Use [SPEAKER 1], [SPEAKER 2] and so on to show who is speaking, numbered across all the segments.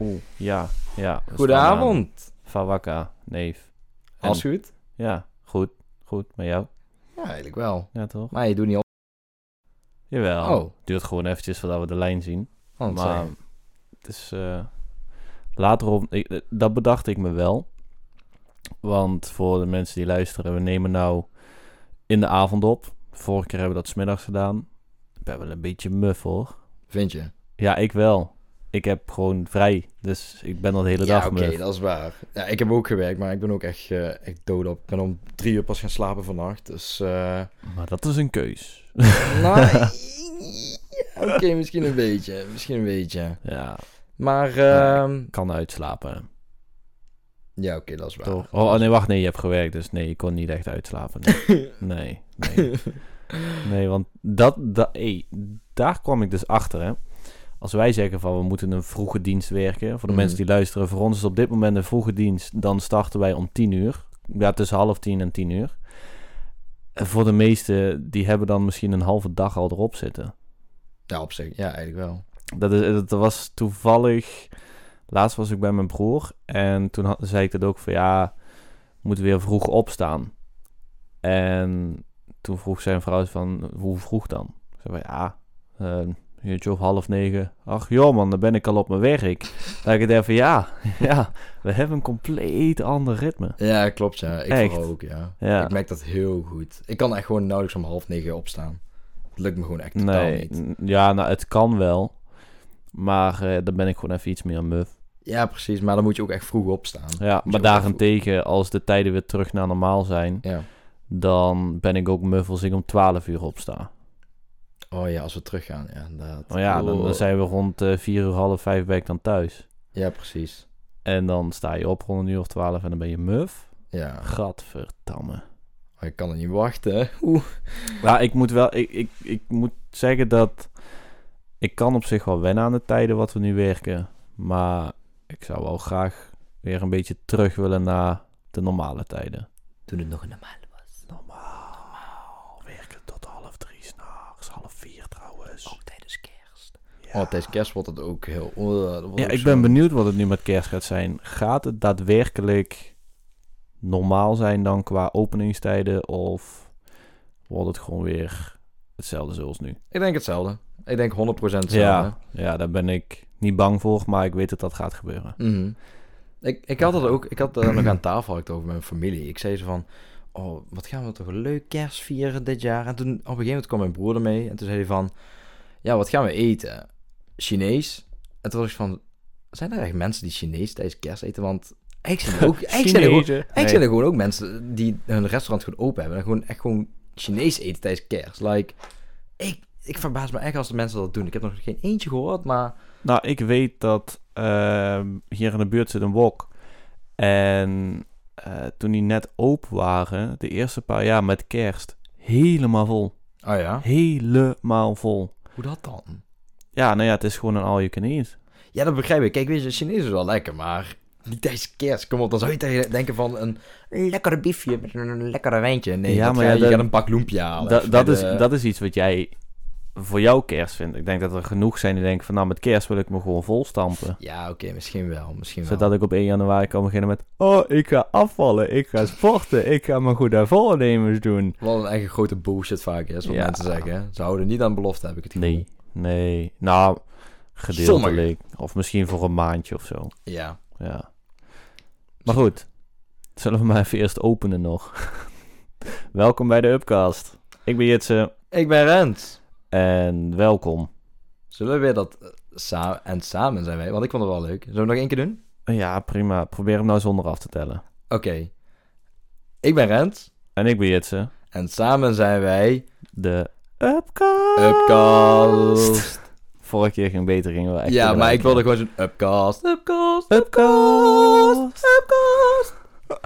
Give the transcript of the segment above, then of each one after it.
[SPEAKER 1] Oeh.
[SPEAKER 2] Ja, ja.
[SPEAKER 1] Goedenavond.
[SPEAKER 2] Fawaka, ehm, neef. En-
[SPEAKER 1] Alles goed?
[SPEAKER 2] Ja, goed. Goed, met jou?
[SPEAKER 1] Ja, eigenlijk wel.
[SPEAKER 2] Ja, toch?
[SPEAKER 1] Maar je doet niet op.
[SPEAKER 2] Jawel.
[SPEAKER 1] Oh.
[SPEAKER 2] Duurt gewoon eventjes voordat we de lijn zien.
[SPEAKER 1] Want,
[SPEAKER 2] maar
[SPEAKER 1] eh,
[SPEAKER 2] het is... eh, later op... ik- eh, dat bedacht ik me wel. Want voor de mensen die luisteren, we nemen nou in de avond op. Vorige keer hebben we dat smiddags gedaan. Ik ben wel een beetje muf hoor.
[SPEAKER 1] vind je?
[SPEAKER 2] Ja, ik wel. Ik heb gewoon vrij. Dus ik ben al de hele
[SPEAKER 1] ja,
[SPEAKER 2] dag
[SPEAKER 1] oké,
[SPEAKER 2] muf.
[SPEAKER 1] dat is waar. Ja, ik heb ook gewerkt, maar ik ben ook echt, eh, echt dood op. Ik ben om drie uur pas gaan slapen vannacht, dus... eh,
[SPEAKER 2] Maar dat is een keus.
[SPEAKER 1] nou, ja, oké, misschien een beetje. Misschien een beetje.
[SPEAKER 2] Ja,
[SPEAKER 1] Maar,
[SPEAKER 2] Ja.
[SPEAKER 1] ehm,
[SPEAKER 2] kan uitslapen.
[SPEAKER 1] ja, oké, dat is waar.
[SPEAKER 2] Toch? Oh, oh, nee, wacht. Nee, je hebt gewerkt. Dus nee, je kon niet echt uitslapen. Nee. Nee, nee. Nee, want dat, dat, hé, daar kwam ik dus achter. Hè. Als wij zeggen van we moeten een vroege dienst werken. Voor de
[SPEAKER 1] Mhm.
[SPEAKER 2] mensen die luisteren, voor ons is het op dit moment een vroege dienst. Dan starten wij om 10 uur. Ja, tussen half tien en tien uur. En voor de meesten, die hebben dan misschien een halve dag al erop zitten.
[SPEAKER 1] Ja, op zich. Ja, eigenlijk wel.
[SPEAKER 2] Dat, is, dat was toevallig. Laatst was ik bij mijn broer. En toen had, zei ik dat ook van ja, moet weer vroeg opstaan. En toen vroeg zijn vrouw van hoe vroeg dan? Ik zei van ja, eh, een uurtje of half negen. Ach joh man, dan ben ik al op mijn werk. Dat ik dacht van ja, ja, we hebben een compleet ander ritme.
[SPEAKER 1] Ja, klopt, ja. Ik
[SPEAKER 2] Echt?
[SPEAKER 1] vooral ook, ja.
[SPEAKER 2] Ja.
[SPEAKER 1] Ik merk dat heel goed. Ik kan echt gewoon nauwelijks om half negen opstaan. Het lukt me gewoon echt totaal
[SPEAKER 2] Nee,
[SPEAKER 1] niet.
[SPEAKER 2] n- ja, nou het kan wel. Maar eh, dan ben ik gewoon even iets meer muf.
[SPEAKER 1] Ja, precies. Maar dan moet je ook echt vroeg opstaan.
[SPEAKER 2] Ja,
[SPEAKER 1] je
[SPEAKER 2] maar
[SPEAKER 1] ook wel
[SPEAKER 2] daarentegen, als de tijden weer terug naar normaal zijn,
[SPEAKER 1] Ja.
[SPEAKER 2] dan ben ik ook muf als ik om 12 uur opsta.
[SPEAKER 1] Oh ja, als we teruggaan. Ja, inderdaad.
[SPEAKER 2] Maar ja, dan,
[SPEAKER 1] Oh.
[SPEAKER 2] dan zijn we rond eh 4 uur, half 5 ben ik dan thuis.
[SPEAKER 1] Ja, precies.
[SPEAKER 2] En dan sta je op rond een uur of 12 en dan ben je muf.
[SPEAKER 1] Ja,
[SPEAKER 2] Gadverdamme.
[SPEAKER 1] oh, ik kan er niet wachten. Oeh.
[SPEAKER 2] Ja, ik moet wel, ik, ik, ik moet zeggen dat ik kan op zich wel wennen aan de tijden wat we nu werken. Maar ik zou wel graag weer een beetje terug willen naar de normale tijden.
[SPEAKER 1] Toen het nog een normaal
[SPEAKER 2] Normaal werken tot half drie s'nachts, half vier trouwens.
[SPEAKER 1] tijdens kerst. Oh, tijdens kerst wordt het ook heel...
[SPEAKER 2] Ja, ik ben benieuwd wat het nu met kerst gaat zijn. Gaat het daadwerkelijk normaal zijn dan qua openingstijden? Of wordt het gewoon weer hetzelfde zoals nu?
[SPEAKER 1] Ik denk hetzelfde. Ik denk 100% hetzelfde.
[SPEAKER 2] Ja, ja, daar ben ik niet bang voor, maar ik weet dat dat gaat gebeuren.
[SPEAKER 1] Mhm. Ik, ik had dat ook, ik had eh, nog aan tafel had ik het over met mijn familie. Ik zei ze van, oh, wat gaan we toch een leuk kerst vieren dit jaar? En toen op een gegeven moment kwam mijn broer ermee en toen zei hij van, ja, wat gaan we eten? Chinees? En toen was ik van, zijn er echt mensen die Chinees tijdens kerst eten? Want eigenlijk zijn er, ook, eigenlijk zijn er, gewoon,
[SPEAKER 2] Chinezen.
[SPEAKER 1] eigenlijk zijn er gewoon ook mensen die hun restaurant gewoon open hebben en gewoon echt gewoon Chinees eten tijdens kerst. Like, ik, ik verbaas me echt als de mensen dat doen. Ik heb nog geen eentje gehoord, maar
[SPEAKER 2] Nou, ik weet dat ehm, hier in de buurt zit een wok. En eh, toen die net open waren, de eerste paar jaar met kerst, helemaal vol.
[SPEAKER 1] oh ja,
[SPEAKER 2] Helemaal vol.
[SPEAKER 1] hoe dat dan?
[SPEAKER 2] Ja, nou ja, het is gewoon een all you can eat.
[SPEAKER 1] Ja, dat begrijp ik. Kijk, weet je, Chinees is wel lekker, maar niet tijdens kerst. Kom op, dan zou je tegen- denken van een lekkere biefje met een lekkere wijntje. Nee,
[SPEAKER 2] Ja,
[SPEAKER 1] dat
[SPEAKER 2] maar
[SPEAKER 1] ga
[SPEAKER 2] ja,
[SPEAKER 1] je,
[SPEAKER 2] dat-
[SPEAKER 1] gaat een bak loempia halen.
[SPEAKER 2] Dat,
[SPEAKER 1] Of
[SPEAKER 2] dat,
[SPEAKER 1] bij
[SPEAKER 2] is,
[SPEAKER 1] de-
[SPEAKER 2] dat is iets wat jij voor jouw kerst vindt. Ik denk dat er genoeg zijn die denken van nou, met kerst wil ik me gewoon volstampen.
[SPEAKER 1] Ja, oké, misschien wel, misschien wel.
[SPEAKER 2] Zodat ik op 1 januari kan beginnen met oh, ik ga afvallen, ik ga sporten, ik ga mijn goede voornemens doen.
[SPEAKER 1] Wat een eigen grote bullshit vaak is, wat
[SPEAKER 2] Ja.
[SPEAKER 1] mensen zeggen. Ze houden niet aan belofte, heb ik het gevoel.
[SPEAKER 2] Nee, nee. Nou, gedeeltelijk. Of misschien voor een maandje of zo.
[SPEAKER 1] Ja.
[SPEAKER 2] Ja. Maar goed, zullen we maar even eerst openen nog. welkom bij de Upcast. Ik ben Jitse
[SPEAKER 1] Ik ben Rens.
[SPEAKER 2] en welkom.
[SPEAKER 1] Zullen we weer dat eh, sa- en samen zijn wij? Want ik vond het wel leuk. Zullen we het nog één keer doen?
[SPEAKER 2] Ja, prima. Probeer hem nou zonder af te tellen.
[SPEAKER 1] Oké. Ik ben Rens.
[SPEAKER 2] En ik ben Jitse,
[SPEAKER 1] En samen zijn wij...
[SPEAKER 2] de Upcast.
[SPEAKER 1] Upcast.
[SPEAKER 2] Vorige keer ging beter, gingen we echt
[SPEAKER 1] Ja, maar
[SPEAKER 2] tegelijk.
[SPEAKER 1] ik wilde gewoon zo'n upcast. Upcast.
[SPEAKER 2] Upcast. Nou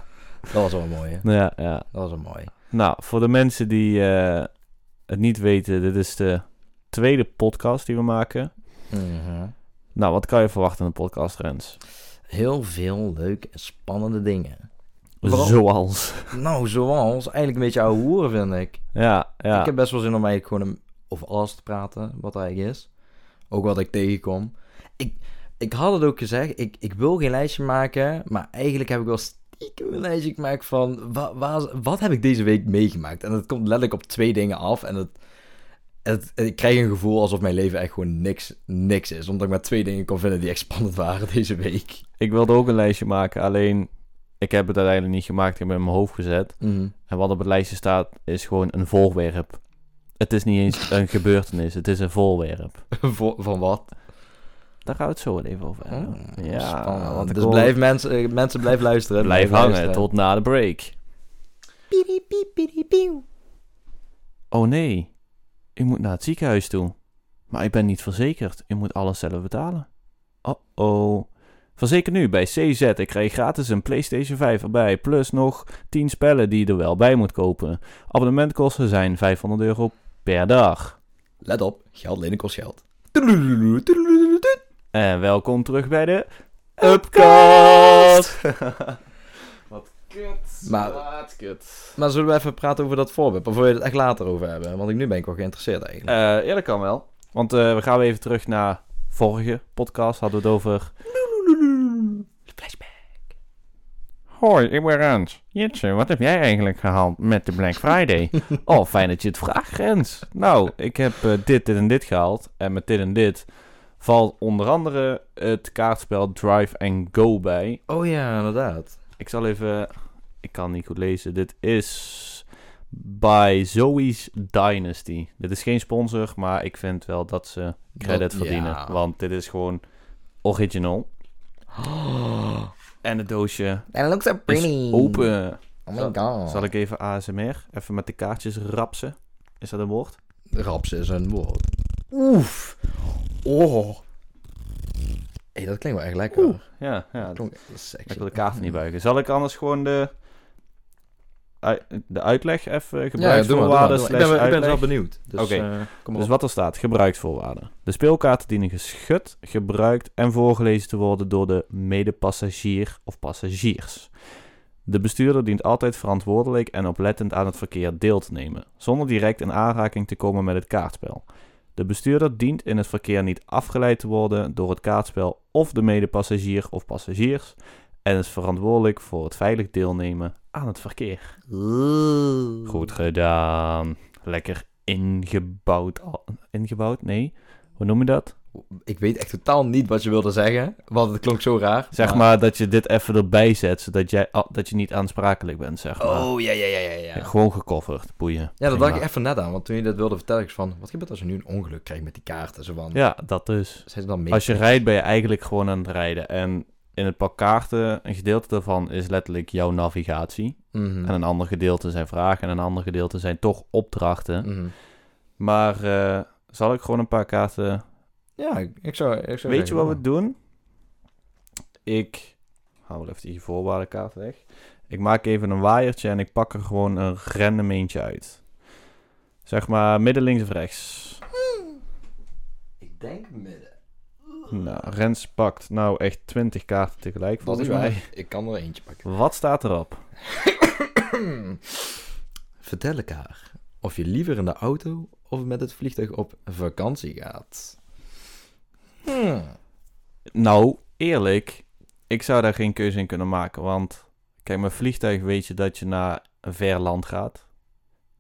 [SPEAKER 1] Dat was wel mooi, hè?
[SPEAKER 2] Ja, ja.
[SPEAKER 1] Dat was wel mooi.
[SPEAKER 2] Nou, voor de mensen die eh, het niet weten, dit is de tweede podcast die we maken. Nou, wat kan je verwachten in een podcast, Rens?
[SPEAKER 1] Heel veel leuke en spannende dingen. Waarom?
[SPEAKER 2] Zoals.
[SPEAKER 1] Nou, zoals eigenlijk een beetje ouwe hoeren, vind ik.
[SPEAKER 2] Ja, ja.
[SPEAKER 1] Ik heb best wel zin om eigenlijk gewoon een- over alles te praten, wat er eigenlijk is. Ook wat ik tegenkom. Ik, ik had het ook gezegd, ik, ik wil geen lijstje maken, maar eigenlijk heb ik wel stiekem een lijstje gemaakt van wa, waar, wat heb ik deze week meegemaakt? En dat komt letterlijk op twee dingen af en het, het, ik krijg een gevoel alsof mijn leven echt gewoon niks, niks is, omdat ik maar twee dingen kon vinden die echt spannend waren deze week.
[SPEAKER 2] Ik wilde ook een lijstje maken, alleen ik heb het uiteindelijk niet gemaakt. Ik heb het in mijn hoofd gezet. En wat op het lijstje staat, is gewoon een voorwerp. Het is niet eens een gebeurtenis, het is een voorwerp.
[SPEAKER 1] Voor- van wat?
[SPEAKER 2] Daar gaan we het zo wel even over hebben. ja,
[SPEAKER 1] Spannend.
[SPEAKER 2] want ik
[SPEAKER 1] dus
[SPEAKER 2] hoor-
[SPEAKER 1] blijf mensen, eh, mensen blijf luisteren.
[SPEAKER 2] blijf hangen
[SPEAKER 1] luisteren.
[SPEAKER 2] tot na de break. Oh nee, u moet naar het ziekenhuis toe. Maar ik ben niet verzekerd, u moet alles zelf betalen. Oh-oh. Verzeker nu bij CZ en krijg gratis een PlayStation 5 erbij, plus nog 10 spellen die je er wel bij moet kopen. Abonnementkosten zijn 500 euro per dag.
[SPEAKER 1] Let op, geld lenen kost geld.
[SPEAKER 2] En welkom terug bij de Upcast! Wat kut.
[SPEAKER 1] Maar-
[SPEAKER 2] Wat kut.
[SPEAKER 1] Maar zullen we even praten over dat voorwerp? Of wil je het echt later over hebben? Want ik nu ben ik wel geïnteresseerd eigenlijk.
[SPEAKER 2] Eh ja, dat kan wel. Want eh, we gaan weer even terug naar vorige podcast. Hadden we het over...
[SPEAKER 1] Flashback.
[SPEAKER 2] Hoi, ik ben Rens. Jitsen, wat heb jij eigenlijk gehaald met de Black Friday? oh, fijn dat je het vraagt, Rens. Nou, ik heb eh, dit, dit en dit gehaald. En met dit en dit valt onder andere het kaartspel Drive and Go bij.
[SPEAKER 1] Oh ja, inderdaad.
[SPEAKER 2] Ik zal even. Ik kan niet goed lezen. Dit is by Zoe's Dynasty. Dit is geen sponsor, maar ik vind wel dat ze credit
[SPEAKER 1] Dat-
[SPEAKER 2] verdienen.
[SPEAKER 1] ja.
[SPEAKER 2] Want dit is gewoon original. En het doosje
[SPEAKER 1] And it looks so
[SPEAKER 2] is open.
[SPEAKER 1] Oh my god.
[SPEAKER 2] Zal ik even ASMR? Even met de kaartjes rapsen. Is dat een woord?
[SPEAKER 1] Raps is een woord. Oef. Oh. hey, dat klinkt wel echt lekker.
[SPEAKER 2] Oeh. Ja, ja.
[SPEAKER 1] Dat klonk echt sexy.
[SPEAKER 2] Ik wil de kaarten niet buigen. Zal ik anders gewoon de, ui- de uitleg even
[SPEAKER 1] Ja, ja, doe maar, doe
[SPEAKER 2] gebruiksvoorwaarden
[SPEAKER 1] maar, doe maar. Ik
[SPEAKER 2] slash
[SPEAKER 1] ben, ik ben
[SPEAKER 2] uitleg?
[SPEAKER 1] wel benieuwd. Dus,
[SPEAKER 2] Oké.
[SPEAKER 1] eh, kom maar
[SPEAKER 2] Dus
[SPEAKER 1] op.
[SPEAKER 2] wat er staat, gebruiksvoorwaarden. De speelkaarten dienen geschud, gebruikt en voorgelezen te worden door de medepassagier of passagiers. De bestuurder dient altijd verantwoordelijk en oplettend aan het verkeer deel te nemen, zonder direct in aanraking te komen met het kaartspel. De bestuurder dient in het verkeer niet afgeleid te worden door het kaartspel of de medepassagier of passagiers en is verantwoordelijk voor het veilig deelnemen aan het verkeer. Goed gedaan. Lekker ingebouwd. al- Ingebouwd? Nee. Hoe noem je dat?
[SPEAKER 1] Ik weet echt totaal niet wat je wilde zeggen, want het klonk zo raar.
[SPEAKER 2] Zeg maar, dat je dit even erbij zet, zodat jij, ah, dat je niet aansprakelijk bent, zeg maar.
[SPEAKER 1] Oh, ja, ja, ja, ja,
[SPEAKER 2] Ja,
[SPEAKER 1] ja.
[SPEAKER 2] gewoon gecoverd, boeien.
[SPEAKER 1] Ja, dat dacht ik
[SPEAKER 2] Prima.
[SPEAKER 1] even net aan, want toen je dat wilde vertellen, ik was van, wat gebeurt als je nu een ongeluk krijgt met die kaarten? Zo van,
[SPEAKER 2] Ja, dat dus.
[SPEAKER 1] zijn ze dan mee?
[SPEAKER 2] Als je rijdt, ben je eigenlijk gewoon aan het rijden. En in het pak kaarten, een gedeelte daarvan is letterlijk jouw navigatie.
[SPEAKER 1] Mhm.
[SPEAKER 2] En een ander gedeelte zijn vragen. En een ander gedeelte zijn toch opdrachten.
[SPEAKER 1] Mhm.
[SPEAKER 2] Maar eh, zal ik gewoon een paar kaarten
[SPEAKER 1] Ja, ik ik zou, ik zou
[SPEAKER 2] Weet je
[SPEAKER 1] zeggen,
[SPEAKER 2] wat
[SPEAKER 1] ja.
[SPEAKER 2] we doen? Ik haal wel even die voorwaardenkaart weg. Ik maak even een waaiertje en ik pak er gewoon een random eentje uit. Zeg maar midden links of rechts.
[SPEAKER 1] Ik denk midden.
[SPEAKER 2] Nou, Rens pakt nou echt 20 kaarten tegelijk
[SPEAKER 1] Dat is
[SPEAKER 2] volgens
[SPEAKER 1] waar.
[SPEAKER 2] mij.
[SPEAKER 1] Ik kan er eentje pakken.
[SPEAKER 2] Wat staat erop?
[SPEAKER 1] Vertel elkaar of je liever in de auto of met het vliegtuig op vakantie gaat. Hmm.
[SPEAKER 2] Nou, eerlijk, ik zou daar geen keuze in kunnen maken. Want kijk, met vliegtuig weet je dat je naar een ver land gaat.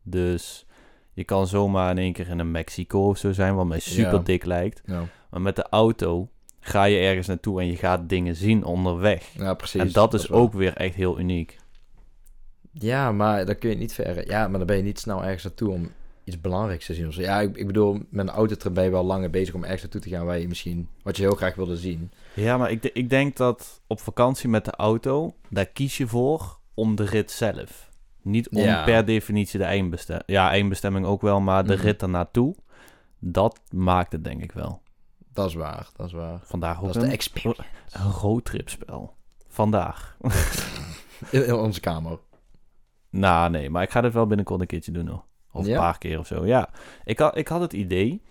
[SPEAKER 2] Dus je kan zomaar in één keer in een Mexico of zo zijn, wat mij super dik lijkt.
[SPEAKER 1] Nou,
[SPEAKER 2] Maar met de auto ga je ergens naartoe en je gaat dingen zien onderweg.
[SPEAKER 1] ja, precies.
[SPEAKER 2] en dat is
[SPEAKER 1] wel-
[SPEAKER 2] ook weer echt heel uniek.
[SPEAKER 1] Ja, maar dan kun je niet ver. Ja, maar dan ben je niet snel ergens naartoe om iets belangrijks te zien. Of zo. Ja, ik, ik bedoel, met een autotrip ben je wel langer bezig om ergens naartoe te gaan waar je misschien wat je heel graag wilde zien.
[SPEAKER 2] Ja, maar ik, de- ik denk dat op vakantie met de auto, daar kies je voor om de rit zelf. Niet om
[SPEAKER 1] Ja.
[SPEAKER 2] per definitie de eindbestemming. Ja, eindbestemming ook wel, maar de
[SPEAKER 1] Mhm.
[SPEAKER 2] rit ernaartoe, dat maakt het denk ik wel.
[SPEAKER 1] Dat is waar, dat is waar.
[SPEAKER 2] Vandaag ook
[SPEAKER 1] Dat is de
[SPEAKER 2] een,
[SPEAKER 1] experience.
[SPEAKER 2] een roadtripspel. Vandaag.
[SPEAKER 1] In, in onze kamer.
[SPEAKER 2] Nou, nee, maar ik ga dit wel binnenkort een keertje doen hoor. Of
[SPEAKER 1] Ja?
[SPEAKER 2] een paar keer of zo. Ja, ik, had- ik had het idee.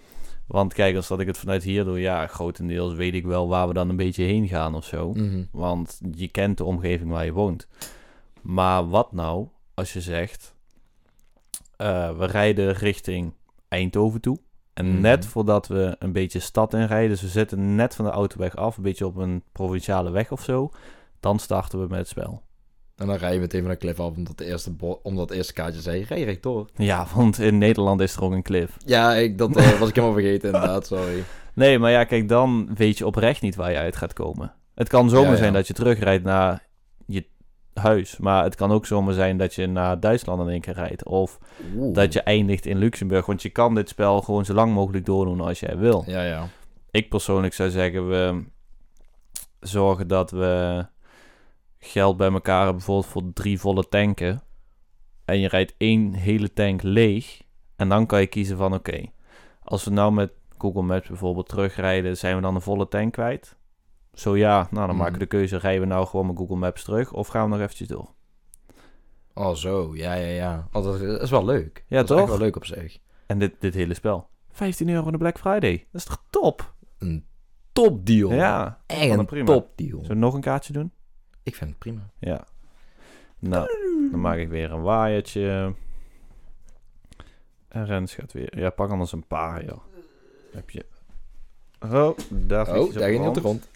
[SPEAKER 2] Want kijk, als dat ik het vanuit hier doe, ja, grotendeels weet ik wel waar we dan een beetje heen gaan of zo.
[SPEAKER 1] Mhm.
[SPEAKER 2] Want je kent de omgeving waar je woont. Maar wat nou als je zegt, eh, we rijden richting Eindhoven toe. En
[SPEAKER 1] Mhm.
[SPEAKER 2] net voordat we een beetje stad inrijden, dus we zitten net van de autoweg af, een beetje op een provinciale weg of zo, dan starten we met het spel.
[SPEAKER 1] En dan rij je meteen van een cliff af, omdat, de eerste bo- omdat het eerste kaartje zei, rij rechtdoor.
[SPEAKER 2] Ja, want in Nederland is er ook een cliff.
[SPEAKER 1] Ja, ik, dat eh, was ik helemaal vergeten inderdaad, sorry.
[SPEAKER 2] Nee, maar ja, kijk, dan weet je oprecht niet waar je uit gaat komen. Het kan zomaar
[SPEAKER 1] Ja, ja.
[SPEAKER 2] zijn dat je terugrijdt naar je huis, maar het kan ook zomaar zijn dat je naar Duitsland in één keer rijdt. Of
[SPEAKER 1] Oeh.
[SPEAKER 2] dat je eindigt in Luxemburg, want je kan dit spel gewoon zo lang mogelijk doordoen als jij wil.
[SPEAKER 1] Ja, ja.
[SPEAKER 2] Ik persoonlijk zou zeggen, we zorgen dat we geld bij elkaar hebben, bijvoorbeeld voor drie volle tanken. En je rijdt één hele tank leeg. En dan kan je kiezen van, oké, als we nou met Google Maps bijvoorbeeld terugrijden, zijn we dan een volle tank kwijt? Zo ja, nou dan
[SPEAKER 1] Mhm.
[SPEAKER 2] maken we de keuze, rijden we nou gewoon met Google Maps terug of gaan we nog eventjes door?
[SPEAKER 1] Oh, zo. Ja, ja, ja. Oh, dat, is, dat is wel leuk.
[SPEAKER 2] Ja,
[SPEAKER 1] dat is
[SPEAKER 2] toch?
[SPEAKER 1] echt wel leuk op zich.
[SPEAKER 2] En dit, dit hele spel. 15 euro van de Black Friday. Dat is toch top?
[SPEAKER 1] Een topdeal.
[SPEAKER 2] Ja.
[SPEAKER 1] Echt
[SPEAKER 2] Wat een
[SPEAKER 1] een
[SPEAKER 2] prima.
[SPEAKER 1] topdeal.
[SPEAKER 2] Zullen we nog een kaartje doen?
[SPEAKER 1] Ik vind het prima.
[SPEAKER 2] Ja. Nou, dan maak ik weer een waaiertje. En Rens gaat weer. Ja, pak anders een paar, joh. Heb je. Oh, daar ging
[SPEAKER 1] oh, daar ging hij op de grond.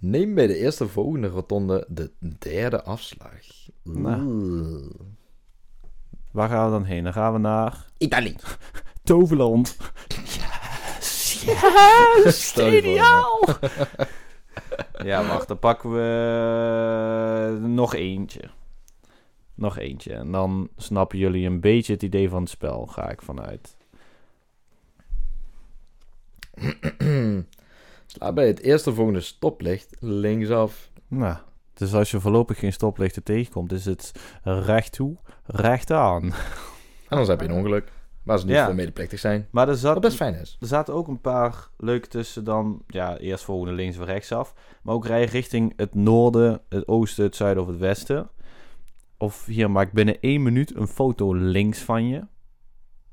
[SPEAKER 1] Neem bij de eerste volgende rotonde de derde afslag.
[SPEAKER 2] Nou.
[SPEAKER 1] Oeh.
[SPEAKER 2] Waar gaan we dan heen? Dan gaan we naar...
[SPEAKER 1] Italië.
[SPEAKER 2] Toverland. Yes! Yes!
[SPEAKER 1] Stel je voor,
[SPEAKER 2] Geniaal! ja, wacht. Dan pakken we... Nog eentje. Nog eentje. En dan snappen jullie een beetje het idee van het spel, ga ik vanuit.
[SPEAKER 1] Sla bij het eerste volgende stoplicht linksaf.
[SPEAKER 2] Nou, dus als je voorlopig geen stoplichten tegenkomt, is het recht toe, recht aan.
[SPEAKER 1] Anders heb je een ongeluk. Waar ze niet
[SPEAKER 2] Ja.
[SPEAKER 1] voor medeplichtig zijn.
[SPEAKER 2] Maar er,
[SPEAKER 1] Wat
[SPEAKER 2] zat,
[SPEAKER 1] best fijn is.
[SPEAKER 2] er zaten ook een paar leuke tussen dan, ja, eerst volgende links of rechtsaf. Maar ook rij richting het noorden, het oosten, het zuiden of het westen. Of hier, maak binnen één minuut een foto links van je.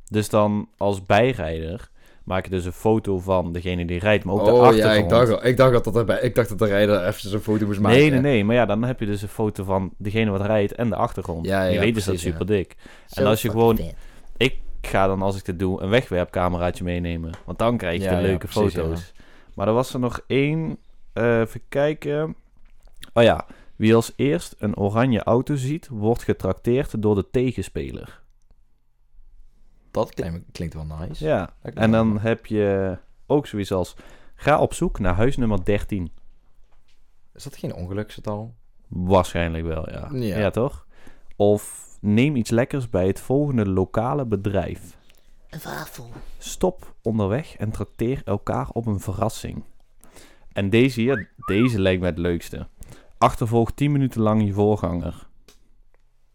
[SPEAKER 2] Dus dan als bijrijder maak je dus een foto van degene die rijdt, maar ook de
[SPEAKER 1] oh ja,
[SPEAKER 2] achtergrond.
[SPEAKER 1] ik dacht, al- ik dacht dat dat erbij. Ik dacht dat de rijder even een foto moest maken.
[SPEAKER 2] Nee, nee, nee. Maar ja, dan heb je dus een foto van degene wat rijdt en de achtergrond.
[SPEAKER 1] Ja, ja,
[SPEAKER 2] je weet dus dat
[SPEAKER 1] precies, ja.
[SPEAKER 2] super dik. En als je gewoon... Ik ga dan, als ik dit doe, een wegwerpcameraatje meenemen. Want dan krijg je
[SPEAKER 1] Ja,
[SPEAKER 2] de
[SPEAKER 1] ja,
[SPEAKER 2] leuke
[SPEAKER 1] precies,
[SPEAKER 2] foto's. Maar er was er nog één. eh even kijken. Oh ja. Wie als eerst een oranje auto ziet, wordt getrakteerd door de tegenspeler.
[SPEAKER 1] Dat klinkt, klinkt wel nice.
[SPEAKER 2] Ja.
[SPEAKER 1] Dat klinkt
[SPEAKER 2] En
[SPEAKER 1] wel
[SPEAKER 2] dan heb je ook zoiets als... Ga op zoek naar huis nummer 13.
[SPEAKER 1] Is dat geen ongeluksgetal?
[SPEAKER 2] Waarschijnlijk wel, ja.
[SPEAKER 1] Ja.
[SPEAKER 2] toch? Of neem iets lekkers bij het volgende lokale bedrijf.
[SPEAKER 3] Een wafel.
[SPEAKER 2] Stop onderweg en trakteer elkaar op een verrassing. En deze hier, deze lijkt mij het leukste. Achtervolg 10 minuten lang je voorganger.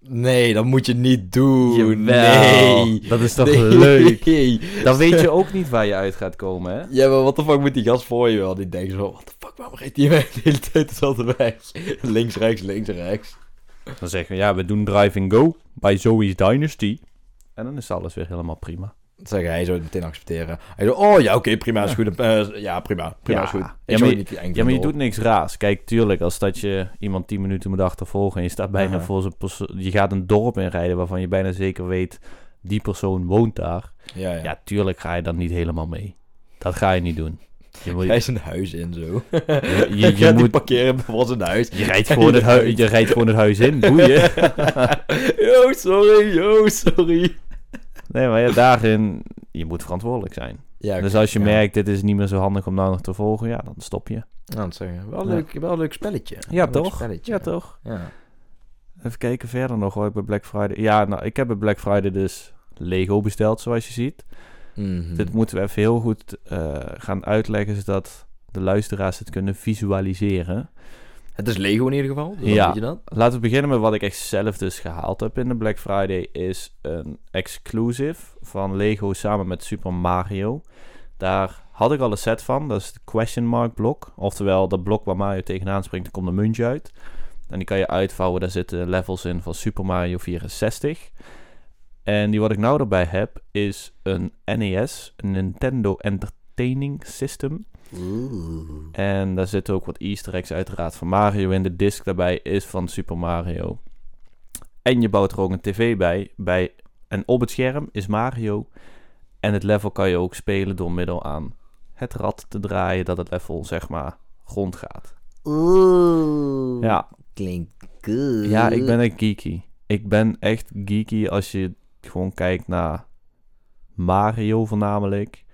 [SPEAKER 1] Nee, dat moet je niet doen.
[SPEAKER 2] Jawel.
[SPEAKER 1] Nee.
[SPEAKER 2] Dat is toch
[SPEAKER 1] Nee.
[SPEAKER 2] leuk? Dan weet je ook niet waar je uit gaat komen, hè?
[SPEAKER 1] Ja, maar wat de fuck moet die gast voor je wel? Die denkt zo, wat de fuck, waarom rijdt die weg de hele tijd dezelfde weg? links, rechts, links, rechts.
[SPEAKER 2] Dan zeggen we, ja, we doen Driving Go bij Zoe's Dynasty. En dan is alles weer helemaal prima.
[SPEAKER 1] Dat zeg hij zo meteen accepteren. Hij zo, oh ja, oké, prima, is goed. Eh, ja, prima, prima,
[SPEAKER 2] Ja.
[SPEAKER 1] is goed. Ik Mm.
[SPEAKER 2] Ja,
[SPEAKER 1] zou
[SPEAKER 2] maar-
[SPEAKER 1] niet die eind
[SPEAKER 2] Ja, maar je
[SPEAKER 1] doen.
[SPEAKER 2] doet niks raars. Kijk, tuurlijk, als dat je iemand 10 minuten moet achtervolgen en je staat bijna
[SPEAKER 1] Aha.
[SPEAKER 2] voor zijn perso- Je gaat een dorp inrijden waarvan je bijna zeker weet, die persoon woont daar.
[SPEAKER 1] Ja, ja.
[SPEAKER 2] Ja, tuurlijk ga je dan niet helemaal mee. Dat ga je niet doen. Je, wil-
[SPEAKER 1] Hij is een huis in zo.
[SPEAKER 2] je, je,
[SPEAKER 1] Je,
[SPEAKER 2] je
[SPEAKER 1] gaat moet...
[SPEAKER 2] moet,
[SPEAKER 1] parkeren voor zijn huis.
[SPEAKER 2] je, rijdt gewoon het hui- je rijdt gewoon het huis in, boeien.
[SPEAKER 1] yo, sorry, yo, sorry.
[SPEAKER 2] Nee, maar ja, daarin, je moet verantwoordelijk zijn.
[SPEAKER 1] Ja,
[SPEAKER 2] Dus als je merkt, dit is niet meer zo handig om nou nog te volgen, ja, dan stop je.
[SPEAKER 1] Nou, dat zeg je. Wel,
[SPEAKER 2] Ja.
[SPEAKER 1] leuk, wel een leuk spelletje.
[SPEAKER 2] Ja,
[SPEAKER 1] Wel een leuk
[SPEAKER 2] toch?
[SPEAKER 1] spelletje.
[SPEAKER 2] Ja, toch?
[SPEAKER 1] Ja.
[SPEAKER 2] Even kijken verder nog hoor, ik bij Black Friday. Ja, nou, ik heb bij Black Friday dus Lego besteld, zoals je ziet.
[SPEAKER 1] Mhm.
[SPEAKER 2] Dit moeten we even heel goed eh, gaan uitleggen, zodat de luisteraars het kunnen visualiseren.
[SPEAKER 1] Het is Lego in ieder geval, dus
[SPEAKER 2] Ja.
[SPEAKER 1] ja. weet je dat.
[SPEAKER 2] Laten we beginnen met wat ik echt zelf dus gehaald heb in de Black Friday. Is een exclusive van Lego samen met Super Mario. Daar had ik al een set van, dat is de question mark blok. Oftewel, dat blok waar Mario tegenaan springt, daar komt een muntje uit. En die kan je uitvouwen, daar zitten levels in van Super Mario 64. En die wat ik nou erbij heb, is een NES, een Nintendo Entertaining System. En daar zitten ook wat easter eggs uiteraard van Mario in. De disc daarbij is van Super Mario. En je bouwt er ook een tv bij, bij En op het scherm is Mario. En het level kan je ook spelen door middel aan het rad te draaien dat het level zeg maar rond gaat.
[SPEAKER 1] Oeh.
[SPEAKER 2] Ja,
[SPEAKER 1] Klinkt goed.
[SPEAKER 2] ja ik ben echt geeky. Ik ben echt geeky als je gewoon kijkt naar Mario voornamelijk.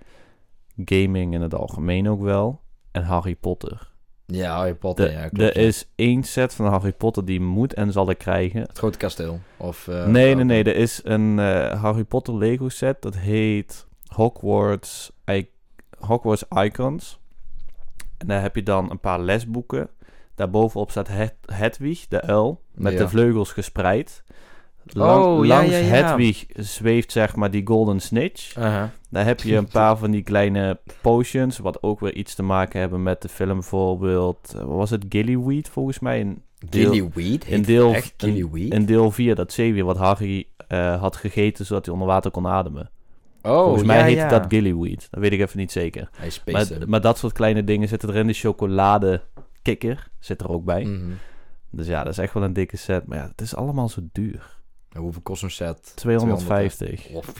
[SPEAKER 2] Gaming in het algemeen ook wel. En Harry Potter.
[SPEAKER 1] Ja, Harry Potter,
[SPEAKER 2] De,
[SPEAKER 1] ja, klopt,
[SPEAKER 2] er
[SPEAKER 1] ja.
[SPEAKER 2] is één set van Harry Potter die moet en zal ik krijgen.
[SPEAKER 1] Het grote kasteel. Of,
[SPEAKER 2] nee,
[SPEAKER 1] eh,
[SPEAKER 2] nee,
[SPEAKER 1] of-
[SPEAKER 2] nee. Er is een eh, Harry Potter Lego set. Dat heet Hogwarts, I- Hogwarts Icons. En daar heb je dan een paar lesboeken. Daarbovenop staat Het Hedwig, de uil, met
[SPEAKER 1] Ja.
[SPEAKER 2] de vleugels gespreid. Lang-
[SPEAKER 1] Oh, ja,
[SPEAKER 2] langs
[SPEAKER 1] ja, ja.
[SPEAKER 2] Hedwig zweeft zeg maar die Golden Snitch.
[SPEAKER 1] Aha.
[SPEAKER 2] Daar heb je een paar van die kleine potions, wat ook weer iets te maken hebben met de film bijvoorbeeld. eh, Wat was het? Gillyweed volgens mij? Een deel-
[SPEAKER 1] Gillyweed? Heet
[SPEAKER 2] een deel-
[SPEAKER 1] het echt Gillyweed?
[SPEAKER 2] in deel 4 dat zeewier wat Harry eh, had gegeten zodat hij onder water kon ademen.
[SPEAKER 1] oh,
[SPEAKER 2] Volgens mij
[SPEAKER 1] ja,
[SPEAKER 2] heette
[SPEAKER 1] ja.
[SPEAKER 2] dat gillyweed. Dat weet ik even niet zeker.
[SPEAKER 1] Hij
[SPEAKER 2] Maar,
[SPEAKER 1] spaced hem.
[SPEAKER 2] maar dat soort kleine dingen zitten erin. De chocoladekikker zit er ook bij.
[SPEAKER 1] Mhm.
[SPEAKER 2] Dus ja, dat is echt wel een dikke set. Maar ja, het is allemaal zo duur.
[SPEAKER 1] En Hoeveel kost een set?
[SPEAKER 2] 250.
[SPEAKER 1] Of-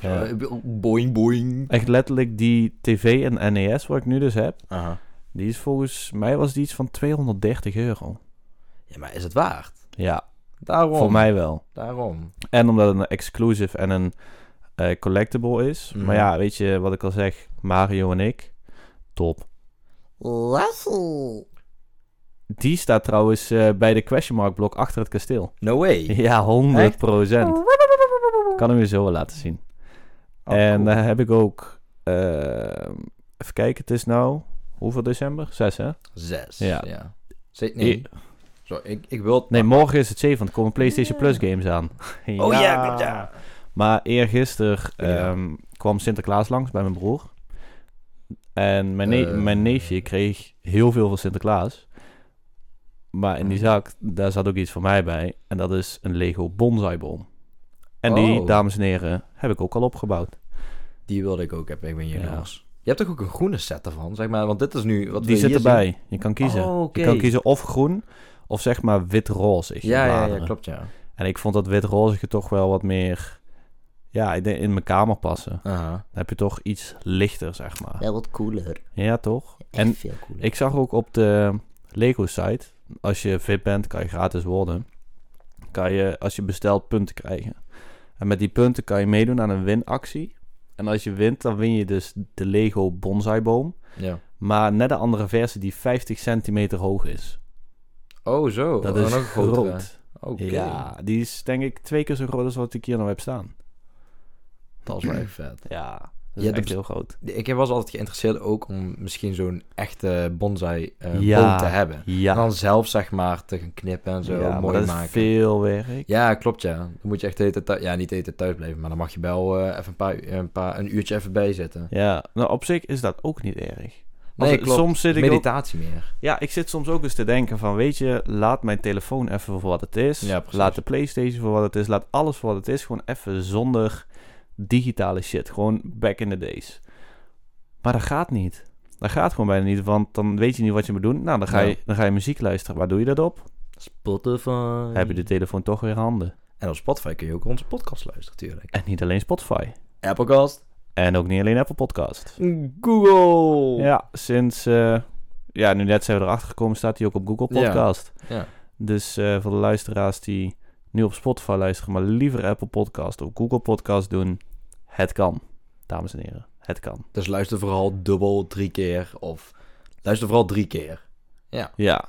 [SPEAKER 2] Ja.
[SPEAKER 1] Boing, boing.
[SPEAKER 2] Echt letterlijk die tv en NES wat ik nu dus heb.
[SPEAKER 1] Aha.
[SPEAKER 2] Die is volgens mij was die iets van 230 euro.
[SPEAKER 1] Ja, maar is het waard?
[SPEAKER 2] Ja,
[SPEAKER 1] Daarom.
[SPEAKER 2] voor mij wel.
[SPEAKER 1] Daarom.
[SPEAKER 2] En omdat het een exclusive en een eh, collectible is.
[SPEAKER 1] Mhm.
[SPEAKER 2] Maar ja, weet je wat ik al zeg? Mario en ik. Top.
[SPEAKER 1] Lassel.
[SPEAKER 2] Die staat trouwens eh, bij de question mark blok achter het kasteel.
[SPEAKER 1] No way.
[SPEAKER 2] Ja, 100
[SPEAKER 1] Oh.
[SPEAKER 2] procent. Kan
[SPEAKER 1] Kan
[SPEAKER 2] hem je zo wel laten zien.
[SPEAKER 1] Oh,
[SPEAKER 2] en eh, daar heb ik ook... eh, even kijken, het is nou... Hoeveel december? 6 hè?
[SPEAKER 1] Zes.
[SPEAKER 2] Ja.
[SPEAKER 1] Ja. Zet, nee.
[SPEAKER 2] I-
[SPEAKER 1] Zo, ik, ik wil... het-
[SPEAKER 2] Nee, morgen is het 7, want er komen PlayStation Plus games aan.
[SPEAKER 1] Oh ja, klopt, ja.
[SPEAKER 2] Maar eergisteren
[SPEAKER 1] Ja.
[SPEAKER 2] ehm, kwam Sinterklaas langs bij mijn broer. En mijn, ne-
[SPEAKER 1] Eh.
[SPEAKER 2] mijn neefje kreeg heel veel van Sinterklaas. Maar in die zak, daar zat ook iets voor mij bij. En dat is een Lego bonsaiboom. En die,
[SPEAKER 1] Oh.
[SPEAKER 2] dames en heren, heb ik ook al opgebouwd.
[SPEAKER 1] Die wilde ik ook hebben. Ik ben hier
[SPEAKER 2] Ja.
[SPEAKER 1] jongens. Je hebt toch ook een groene set ervan, zeg maar. Want dit is nu... Wat
[SPEAKER 2] die
[SPEAKER 1] we
[SPEAKER 2] zit
[SPEAKER 1] hier
[SPEAKER 2] erbij. Je kan kiezen.
[SPEAKER 1] Oh, oké.
[SPEAKER 2] Je kan kiezen of groen, of zeg maar wit-roze.
[SPEAKER 1] zien. Ja, ja, ja, klopt, ja.
[SPEAKER 2] En ik vond dat wit-rozige toch wel wat meer... Ja, ik denk in mijn kamer passen.
[SPEAKER 1] Aha.
[SPEAKER 2] Dan heb je toch iets lichter, zeg maar.
[SPEAKER 1] Wel wat cooler.
[SPEAKER 2] Ja, toch? En
[SPEAKER 1] veel cooler.
[SPEAKER 2] ik zag ook op de Lego-site... Als je VIP bent, kan je gratis worden. Kan je, als je bestelt, punten krijgen. En met die punten kan je meedoen aan een winactie. En als je wint, dan win je dus de Lego bonsaiboom.
[SPEAKER 1] Ja.
[SPEAKER 2] Maar net een andere versie die 50 centimeter hoog is.
[SPEAKER 1] Oh, zo.
[SPEAKER 2] Dat
[SPEAKER 1] Oh,
[SPEAKER 2] is
[SPEAKER 1] nog een grotere.
[SPEAKER 2] groot.
[SPEAKER 1] Oké.
[SPEAKER 2] Ja, die is denk ik twee keer zo groot als wat ik hier nou heb staan.
[SPEAKER 1] Dat is wel echt vet.
[SPEAKER 2] Ja, dat
[SPEAKER 1] Ja,
[SPEAKER 2] is
[SPEAKER 1] dat
[SPEAKER 2] echt
[SPEAKER 1] is-
[SPEAKER 2] heel groot.
[SPEAKER 1] Ik was altijd geïnteresseerd ook om misschien zo'n echte bonsai eh
[SPEAKER 2] Ja.
[SPEAKER 1] boom te hebben.
[SPEAKER 2] Ja,
[SPEAKER 1] En dan zelf zeg maar te gaan knippen en zo
[SPEAKER 2] ja, maar
[SPEAKER 1] mooi
[SPEAKER 2] dat
[SPEAKER 1] maken.
[SPEAKER 2] is veel werk.
[SPEAKER 1] Ja, klopt ja. Dan moet je echt eten thuis, ja, niet eten thuis blijven, maar dan mag je wel eh, even een paar, een paar een uurtje even bij zitten.
[SPEAKER 2] Ja, nou op zich is dat ook niet erg. Want
[SPEAKER 1] Nee,
[SPEAKER 2] eh,
[SPEAKER 1] klopt.
[SPEAKER 2] soms zit ik ook,
[SPEAKER 1] Meditatie meer.
[SPEAKER 2] ja, ik zit soms ook eens te denken van, weet je, laat mijn telefoon even voor wat het is.
[SPEAKER 1] Ja, precies.
[SPEAKER 2] laat de PlayStation voor wat het is. Laat alles voor wat het is. Gewoon even zonder digitale shit. Gewoon back in the days. Maar dat gaat niet. Dat gaat gewoon bijna niet, want dan weet je niet wat je moet doen. Nou, dan ga,
[SPEAKER 1] Ja.
[SPEAKER 2] je, dan ga je muziek luisteren. Waar doe je dat op?
[SPEAKER 1] Spotify.
[SPEAKER 2] Heb je de telefoon toch weer in handen.
[SPEAKER 1] En op Spotify kun je ook onze podcast luisteren, natuurlijk.
[SPEAKER 2] En niet alleen Spotify.
[SPEAKER 1] Applecast.
[SPEAKER 2] En ook niet alleen Apple Podcast.
[SPEAKER 1] Google.
[SPEAKER 2] Ja, sinds... eh, ja, nu net zijn we erachter gekomen, staat hij ook op Google
[SPEAKER 1] Ja.
[SPEAKER 2] Podcast.
[SPEAKER 1] Ja.
[SPEAKER 2] Dus eh, voor de luisteraars die nu op Spotify luisteren, maar liever Apple Podcast of Google Podcast doen, het kan, dames en heren. Het kan.
[SPEAKER 1] Dus luister vooral dubbel, drie keer of luister vooral drie keer.
[SPEAKER 2] Ja, ja.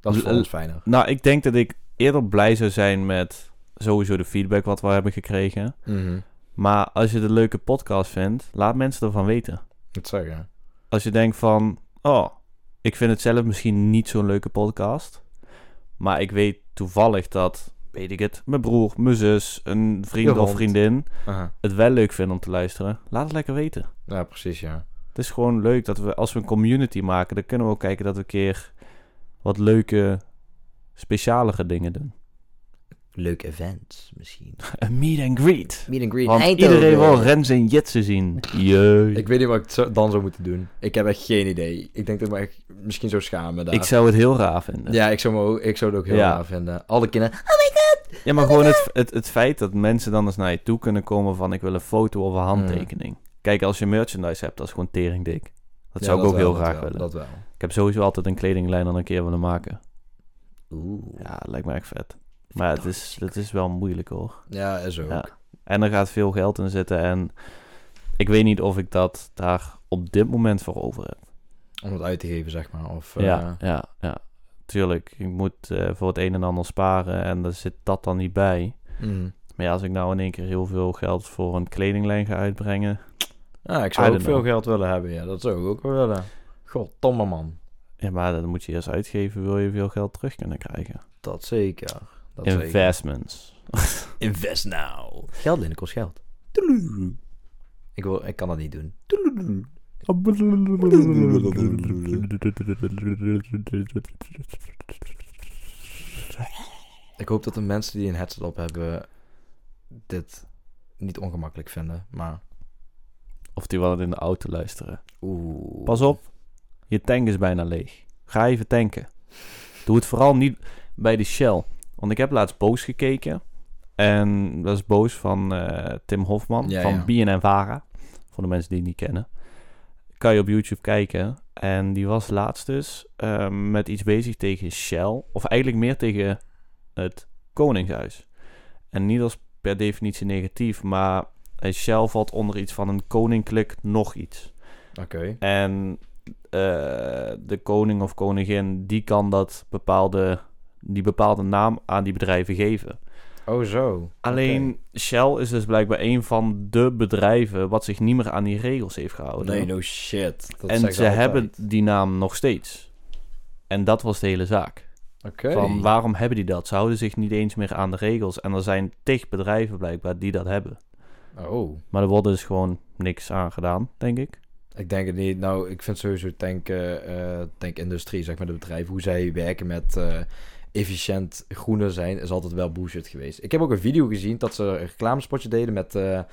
[SPEAKER 1] Dat is voor
[SPEAKER 2] L-
[SPEAKER 1] ons fijner.
[SPEAKER 2] Nou, ik denk dat ik eerder blij zou zijn met sowieso de feedback wat we hebben gekregen.
[SPEAKER 1] Mhm.
[SPEAKER 2] Maar als je het een leuke podcast vindt, laat mensen ervan weten.
[SPEAKER 1] Dat zeggen.
[SPEAKER 2] als je denkt van, oh, ik vind het zelf misschien niet zo'n leuke podcast, maar ik weet toevallig dat, weet ik het, mijn broer, mijn zus, een
[SPEAKER 1] Je
[SPEAKER 2] vriend
[SPEAKER 1] hond.
[SPEAKER 2] of vriendin
[SPEAKER 1] Aha.
[SPEAKER 2] het wel leuk vinden om te luisteren, laat het lekker weten.
[SPEAKER 1] Ja, precies ja.
[SPEAKER 2] Het is gewoon leuk dat we, als we een community maken, dan kunnen we ook kijken dat we een keer wat leuke, specialere dingen doen.
[SPEAKER 1] Leuk event misschien.
[SPEAKER 2] Een meet and greet.
[SPEAKER 1] Meet and greet.
[SPEAKER 2] Want iedereen wil Rens en Jitsen zien. Jee.
[SPEAKER 1] Ik weet niet wat ik zo- dan zou moeten doen. Ik heb echt geen idee. Ik denk dat ik me echt misschien zou schamen daar.
[SPEAKER 2] Ik zou het heel raar vinden.
[SPEAKER 1] Ja, ik zou, me ook, ik zou het ook heel
[SPEAKER 2] Ja.
[SPEAKER 1] raar vinden. Alle kinderen. Oh my god!
[SPEAKER 2] Ja, maar gewoon het, het, het feit dat mensen dan eens naar je toe kunnen komen van ik wil een foto of een
[SPEAKER 1] Hmm.
[SPEAKER 2] handtekening. Kijk, als je merchandise hebt, dat is gewoon teringdik. Dat
[SPEAKER 1] Ja,
[SPEAKER 2] zou ik ook
[SPEAKER 1] wel,
[SPEAKER 2] heel
[SPEAKER 1] dat
[SPEAKER 2] graag
[SPEAKER 1] wel,
[SPEAKER 2] willen.
[SPEAKER 1] Dat wel.
[SPEAKER 2] Ik heb sowieso altijd een kledinglijn aan een keer willen maken.
[SPEAKER 1] Oeh.
[SPEAKER 2] Ja, dat lijkt me echt vet. Maar het is, het is wel moeilijk hoor.
[SPEAKER 1] Ja, is ook.
[SPEAKER 2] Ja. En er gaat veel geld in zitten en ik weet niet of ik dat daar op dit moment voor over heb.
[SPEAKER 1] Om het uit te geven, zeg maar. Of,
[SPEAKER 2] Ja,
[SPEAKER 1] ja.
[SPEAKER 2] ja, ja. Tuurlijk, ik moet eh, voor het een en ander sparen en daar zit dat dan niet bij.
[SPEAKER 1] eh, hmm.
[SPEAKER 2] Maar ja, als ik nou in één keer heel veel geld voor een kledinglijn ga uitbrengen...
[SPEAKER 1] ja, ik
[SPEAKER 2] I
[SPEAKER 1] zou ook
[SPEAKER 2] don't
[SPEAKER 1] veel
[SPEAKER 2] know.
[SPEAKER 1] geld willen hebben. Ja, dat zou ik ook wel willen. God, tomme man.
[SPEAKER 2] Ja, maar dat moet je eerst uitgeven, wil je veel geld terug kunnen krijgen.
[SPEAKER 1] Dat zeker. Dat zeker.
[SPEAKER 2] Investments.
[SPEAKER 1] Invest now. Geld lenen kost geld. Ik, wil, ik kan dat niet doen. Ik hoop dat de mensen die een headset op hebben dit niet ongemakkelijk vinden. Maar
[SPEAKER 2] Of die wel het in de auto luisteren.
[SPEAKER 1] oeh.
[SPEAKER 2] Pas op, je tank is bijna leeg. Ga even tanken. Doe het vooral niet bij de Shell. Want ik heb laatst Boos gekeken. En dat is Boos van eh, Tim Hofman
[SPEAKER 1] Ja,
[SPEAKER 2] van BNN Vara. Voor de mensen die het niet kennen. Kan je op YouTube kijken. En die was laatst dus eh, met iets bezig tegen Shell. Of eigenlijk meer tegen het Koningshuis. En niet als per definitie negatief, maar eh, Shell valt onder iets van een koninklijk nog iets.
[SPEAKER 1] Oké.
[SPEAKER 2] En eh, de koning of koningin, die kan dat bepaalde, die bepaalde naam aan die bedrijven geven.
[SPEAKER 1] Oh, zo.
[SPEAKER 2] Alleen Shell is dus blijkbaar een van de bedrijven wat zich niet meer aan die regels heeft
[SPEAKER 1] Oké.
[SPEAKER 2] gehouden.
[SPEAKER 1] Nee, no shit. Dat
[SPEAKER 2] Oh, en ze
[SPEAKER 1] zeggen altijd.
[SPEAKER 2] hebben die naam nog steeds. En dat was de hele zaak.
[SPEAKER 1] Oké.
[SPEAKER 2] Van waarom hebben die dat? Ze houden zich niet eens meer aan de regels. En er zijn tig bedrijven blijkbaar die dat hebben.
[SPEAKER 1] Oh.
[SPEAKER 2] Maar er wordt dus gewoon niks aan gedaan, denk ik.
[SPEAKER 1] Ik denk het niet. Nou, ik vind sowieso tank, eh, eh, tankindustrie, zeg maar de bedrijven, hoe zij werken met eh, efficiënt groener zijn, is altijd wel bullshit geweest. Ik heb ook een video gezien dat ze een reclamespotje deden met eh, eh,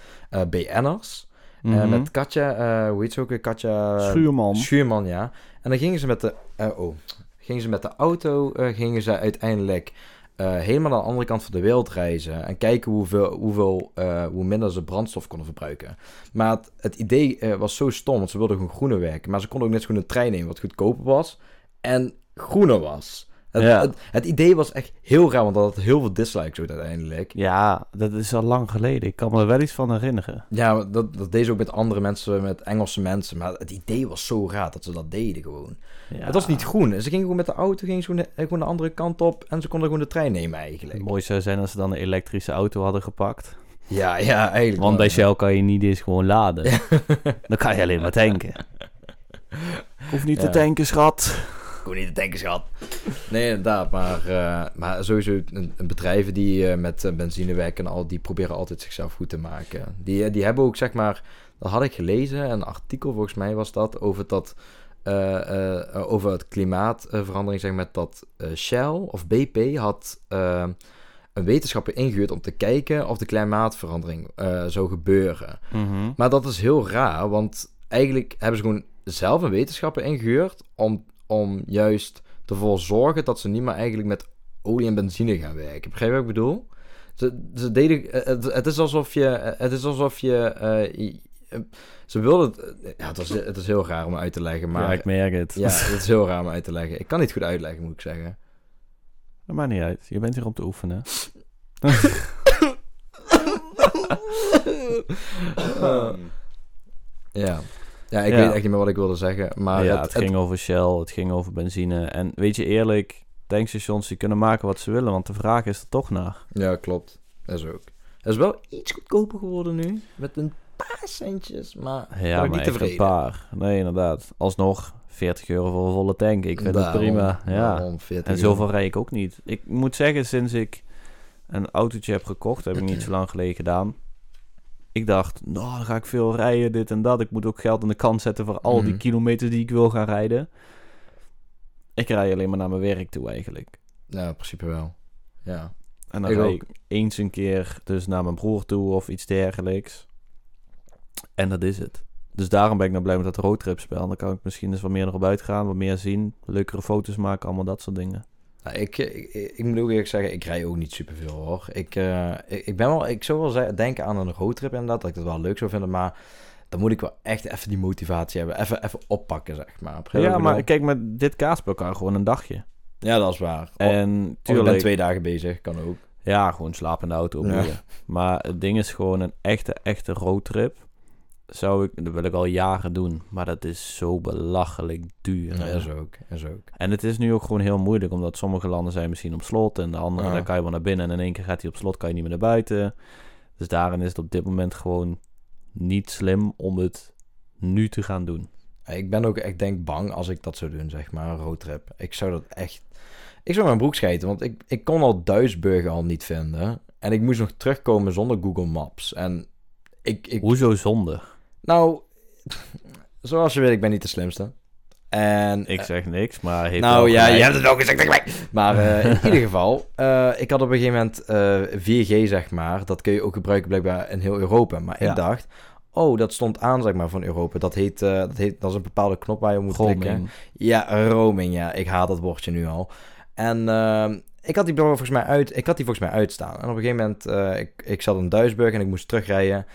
[SPEAKER 1] BN'ers. Eh,
[SPEAKER 2] Mhm.
[SPEAKER 1] met Katja, eh, hoe heet ze ook? weer? Katja
[SPEAKER 2] Schuurman.
[SPEAKER 1] Schuurman, ja. En dan gingen ze met de, eh, oh, gingen ze met de auto, eh, gingen ze uiteindelijk eh, helemaal aan de andere kant van de wereld reizen. En kijken hoeveel, hoeveel, eh, hoe minder ze brandstof konden verbruiken. Maar het, het idee eh, was zo stom, want ze wilden gewoon groener werken. Maar ze konden ook net zo goed een trein nemen, wat goedkoper was. En groener was. Het,
[SPEAKER 2] Ja.
[SPEAKER 1] het, het idee was echt heel raar, want dat had heel veel dislikes ook uiteindelijk.
[SPEAKER 2] Ja, dat is al lang geleden. Ik kan me er wel iets van herinneren.
[SPEAKER 1] Ja, maar dat, dat deden ze ook met andere mensen, met Engelse mensen. Maar het idee was zo raar dat ze dat deden gewoon.
[SPEAKER 2] Ja.
[SPEAKER 1] Het was niet groen. En Ze gingen gewoon met de auto, gingen ze gewoon de, gewoon de andere kant op en ze konden gewoon de trein nemen eigenlijk.
[SPEAKER 2] Mooi zou zijn als ze dan een elektrische auto hadden gepakt.
[SPEAKER 1] Ja, ja, eigenlijk.
[SPEAKER 2] Want bij
[SPEAKER 1] wel, ja.
[SPEAKER 2] Shell kan je niet eens gewoon laden. Dan kan je alleen maar tanken. Hoef niet
[SPEAKER 1] Ja.
[SPEAKER 2] te tanken, schat.
[SPEAKER 1] Ik hoef niet te tanken, schat. Nee, inderdaad. Maar, eh, maar sowieso een, een bedrijven die eh, met eh, benzine werken, en al, die proberen altijd zichzelf goed te maken. Die, eh, die hebben ook, zeg maar, dat had ik gelezen, een artikel volgens mij was dat, over dat... eh, eh, over het klimaatverandering, zeg maar, dat eh, Shell of BP had eh, een wetenschapper ingehuurd om te kijken of de klimaatverandering eh, zou gebeuren.
[SPEAKER 2] Mhm.
[SPEAKER 1] Maar dat is heel raar, want eigenlijk hebben ze gewoon zelf een wetenschapper ingehuurd om, om juist ervoor te zorgen dat ze niet meer eigenlijk met olie en benzine gaan werken. Begrijp je wat ik bedoel? Ze, ze deden, eh, het, het is alsof je, eh, het is alsof je, eh, i- eh, ze wilden, het- eh, ja, het, was, het is heel raar om uit te leggen,
[SPEAKER 2] Maar
[SPEAKER 1] maar
[SPEAKER 2] ik merk het.
[SPEAKER 1] ja, het is heel raar om uit te leggen. Ik kan niet goed uitleggen, moet ik zeggen.
[SPEAKER 2] Dat maakt niet uit. Je bent hier om te oefenen.
[SPEAKER 1] Eh, ja. Ja, ik
[SPEAKER 2] Ja.
[SPEAKER 1] weet echt niet meer wat ik wilde zeggen, maar
[SPEAKER 2] Ah, ja,
[SPEAKER 1] het-
[SPEAKER 2] het,
[SPEAKER 1] het-
[SPEAKER 2] ging over Shell, het ging over benzine. En weet je eerlijk, tankstations die kunnen maken wat ze willen. Want de vraag is er toch naar.
[SPEAKER 1] Ja, klopt. Dat is ook. Het is wel iets goedkoper geworden nu. Met een paar centjes, maar ben
[SPEAKER 2] Ja, maar
[SPEAKER 1] ik niet
[SPEAKER 2] echt een
[SPEAKER 1] tevreden.
[SPEAKER 2] paar. Nee, inderdaad. Alsnog 40 euro voor een volle tank. Ik vind het
[SPEAKER 1] Daarom-
[SPEAKER 2] prima. Ja.
[SPEAKER 1] daarom 40
[SPEAKER 2] En zoveel rij ik ook niet. Ik moet zeggen, sinds ik een autootje heb gekocht, heb ik niet zo lang geleden gedaan. Ik dacht, nou, dan ga ik veel rijden, dit en dat. Ik moet ook geld aan de kant zetten voor al die
[SPEAKER 1] Mhm.
[SPEAKER 2] kilometers die ik wil gaan rijden. Ik rij alleen maar naar mijn werk toe eigenlijk.
[SPEAKER 1] Ja, in principe wel. Ja.
[SPEAKER 2] En dan
[SPEAKER 1] Ik
[SPEAKER 2] ga
[SPEAKER 1] ook.
[SPEAKER 2] ik eens een keer dus naar mijn broer toe of iets dergelijks. En dat is het. Dus daarom ben ik nou blij met dat roadtrip spel. Dan kan ik misschien eens wat meer erop uitgaan, wat meer zien, leukere foto's maken, allemaal dat soort dingen.
[SPEAKER 1] Nou, ik, ik, ik moet ook eerlijk zeggen, ik rij ook niet superveel hoor. Ik, eh, ik, ik ben wel, ik zou wel ze- denken aan een roadtrip inderdaad, dat ik dat wel leuk zou vinden, maar dan moet ik wel echt even die motivatie hebben, even, even oppakken zeg maar. Begrijp je
[SPEAKER 2] Ja,
[SPEAKER 1] wat ik
[SPEAKER 2] maar
[SPEAKER 1] bedoel?
[SPEAKER 2] kijk, met dit kaaspel kan gewoon een dagje.
[SPEAKER 1] Ja, dat is waar. Of-
[SPEAKER 2] En
[SPEAKER 1] of ik ben
[SPEAKER 2] Eh, tuurlijk,
[SPEAKER 1] twee dagen bezig, kan ook.
[SPEAKER 2] ja, gewoon slapen in de auto.
[SPEAKER 1] Ja.
[SPEAKER 2] boeien. Maar het ding is gewoon een echte, echte roadtrip. Zou ik, dat wil ik al jaren doen, maar dat is zo belachelijk duur.
[SPEAKER 1] Ja,
[SPEAKER 2] hè.
[SPEAKER 1] is ook, is ook.
[SPEAKER 2] En het is nu ook gewoon heel moeilijk, omdat sommige landen zijn misschien op slot en de andere,
[SPEAKER 1] Ja.
[SPEAKER 2] daar kan je wel naar binnen. En in één keer gaat hij op slot, kan je niet meer naar buiten. Dus daarin is het op dit moment gewoon niet slim om het nu te gaan doen.
[SPEAKER 1] Ik ben ook echt denk bang als ik dat zou doen, zeg maar, een roadtrip. Ik zou dat echt... Ik zou mijn broek schijten, want ik, ik kon al Duisburg al niet vinden. En ik moest nog terugkomen zonder Google Maps. En ik... ik...
[SPEAKER 2] Hoezo zonde?
[SPEAKER 1] Nou, zoals je weet, ik ben niet de slimste. En...
[SPEAKER 2] Ik zeg niks, maar heeft
[SPEAKER 1] Eh, nou
[SPEAKER 2] wel
[SPEAKER 1] ja,
[SPEAKER 2] gelijk.
[SPEAKER 1] je hebt het ook gezegd. ik weet. Maar eh, in ieder geval, eh, ik had op een gegeven moment eh, 4G, zeg maar. Dat kun je ook gebruiken blijkbaar in heel Europa. Maar
[SPEAKER 2] Ja.
[SPEAKER 1] ik dacht, oh, dat stond aan, zeg maar, van Europa. Dat heet, eh, dat heet, dat is een bepaalde knop waar je op moet
[SPEAKER 2] Roaming.
[SPEAKER 1] klikken. Ja, roaming, ja. Ik haat dat woordje nu al. En ehm, ik had die blauwe volgens mij uit. Ik had die volgens mij uitstaan. En op een gegeven moment, eh, ik, ik zat in Duisburg en ik moest terugrijden.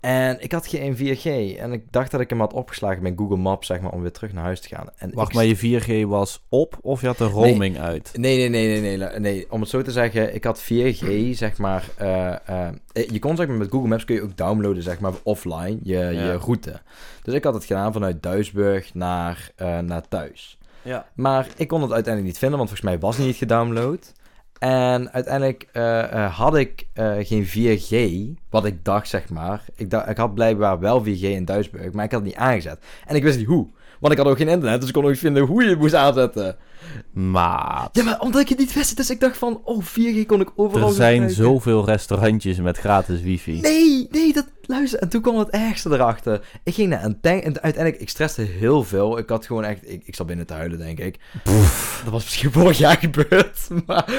[SPEAKER 1] En ik had geen 4G. En ik dacht dat ik hem had opgeslagen met Google Maps, zeg maar, om weer terug naar huis te gaan. En
[SPEAKER 2] Wacht,
[SPEAKER 1] ik...
[SPEAKER 2] maar je 4G was op of je had de roaming uit?
[SPEAKER 1] Nee, nee, nee, nee, nee, la- nee. Om het zo te zeggen, ik had 4G, zeg maar. eh, eh, je kon zeg maar met Google Maps kun je ook downloaden, zeg maar, offline je,
[SPEAKER 2] Ja.
[SPEAKER 1] je route. Dus ik had het gedaan vanuit Duisburg naar, eh, naar thuis.
[SPEAKER 2] Ja.
[SPEAKER 1] Maar ik kon het uiteindelijk niet vinden, want volgens mij was het niet gedownload. En uiteindelijk eh, eh, had ik eh, geen 4G, wat ik dacht, zeg maar. Ik, da- ik had blijkbaar wel 4G in Duisburg, maar ik had het niet aangezet. En ik wist niet hoe, want ik had ook geen internet, dus ik kon ook niet vinden hoe je het moest aanzetten.
[SPEAKER 2] Maar
[SPEAKER 1] Ja, maar omdat ik het niet wist, dus ik dacht van, oh, 4G kon ik overal
[SPEAKER 2] er zijn
[SPEAKER 1] gebruiken.
[SPEAKER 2] zoveel restaurantjes met gratis wifi.
[SPEAKER 1] Nee, nee, dat... Luister, en toen kwam het ergste erachter. Ik ging naar een tank en uiteindelijk, ik stresste heel veel. Ik had gewoon echt... Ik, ik zat binnen te huilen, denk ik. Dat was misschien vorig jaar gebeurd, maar...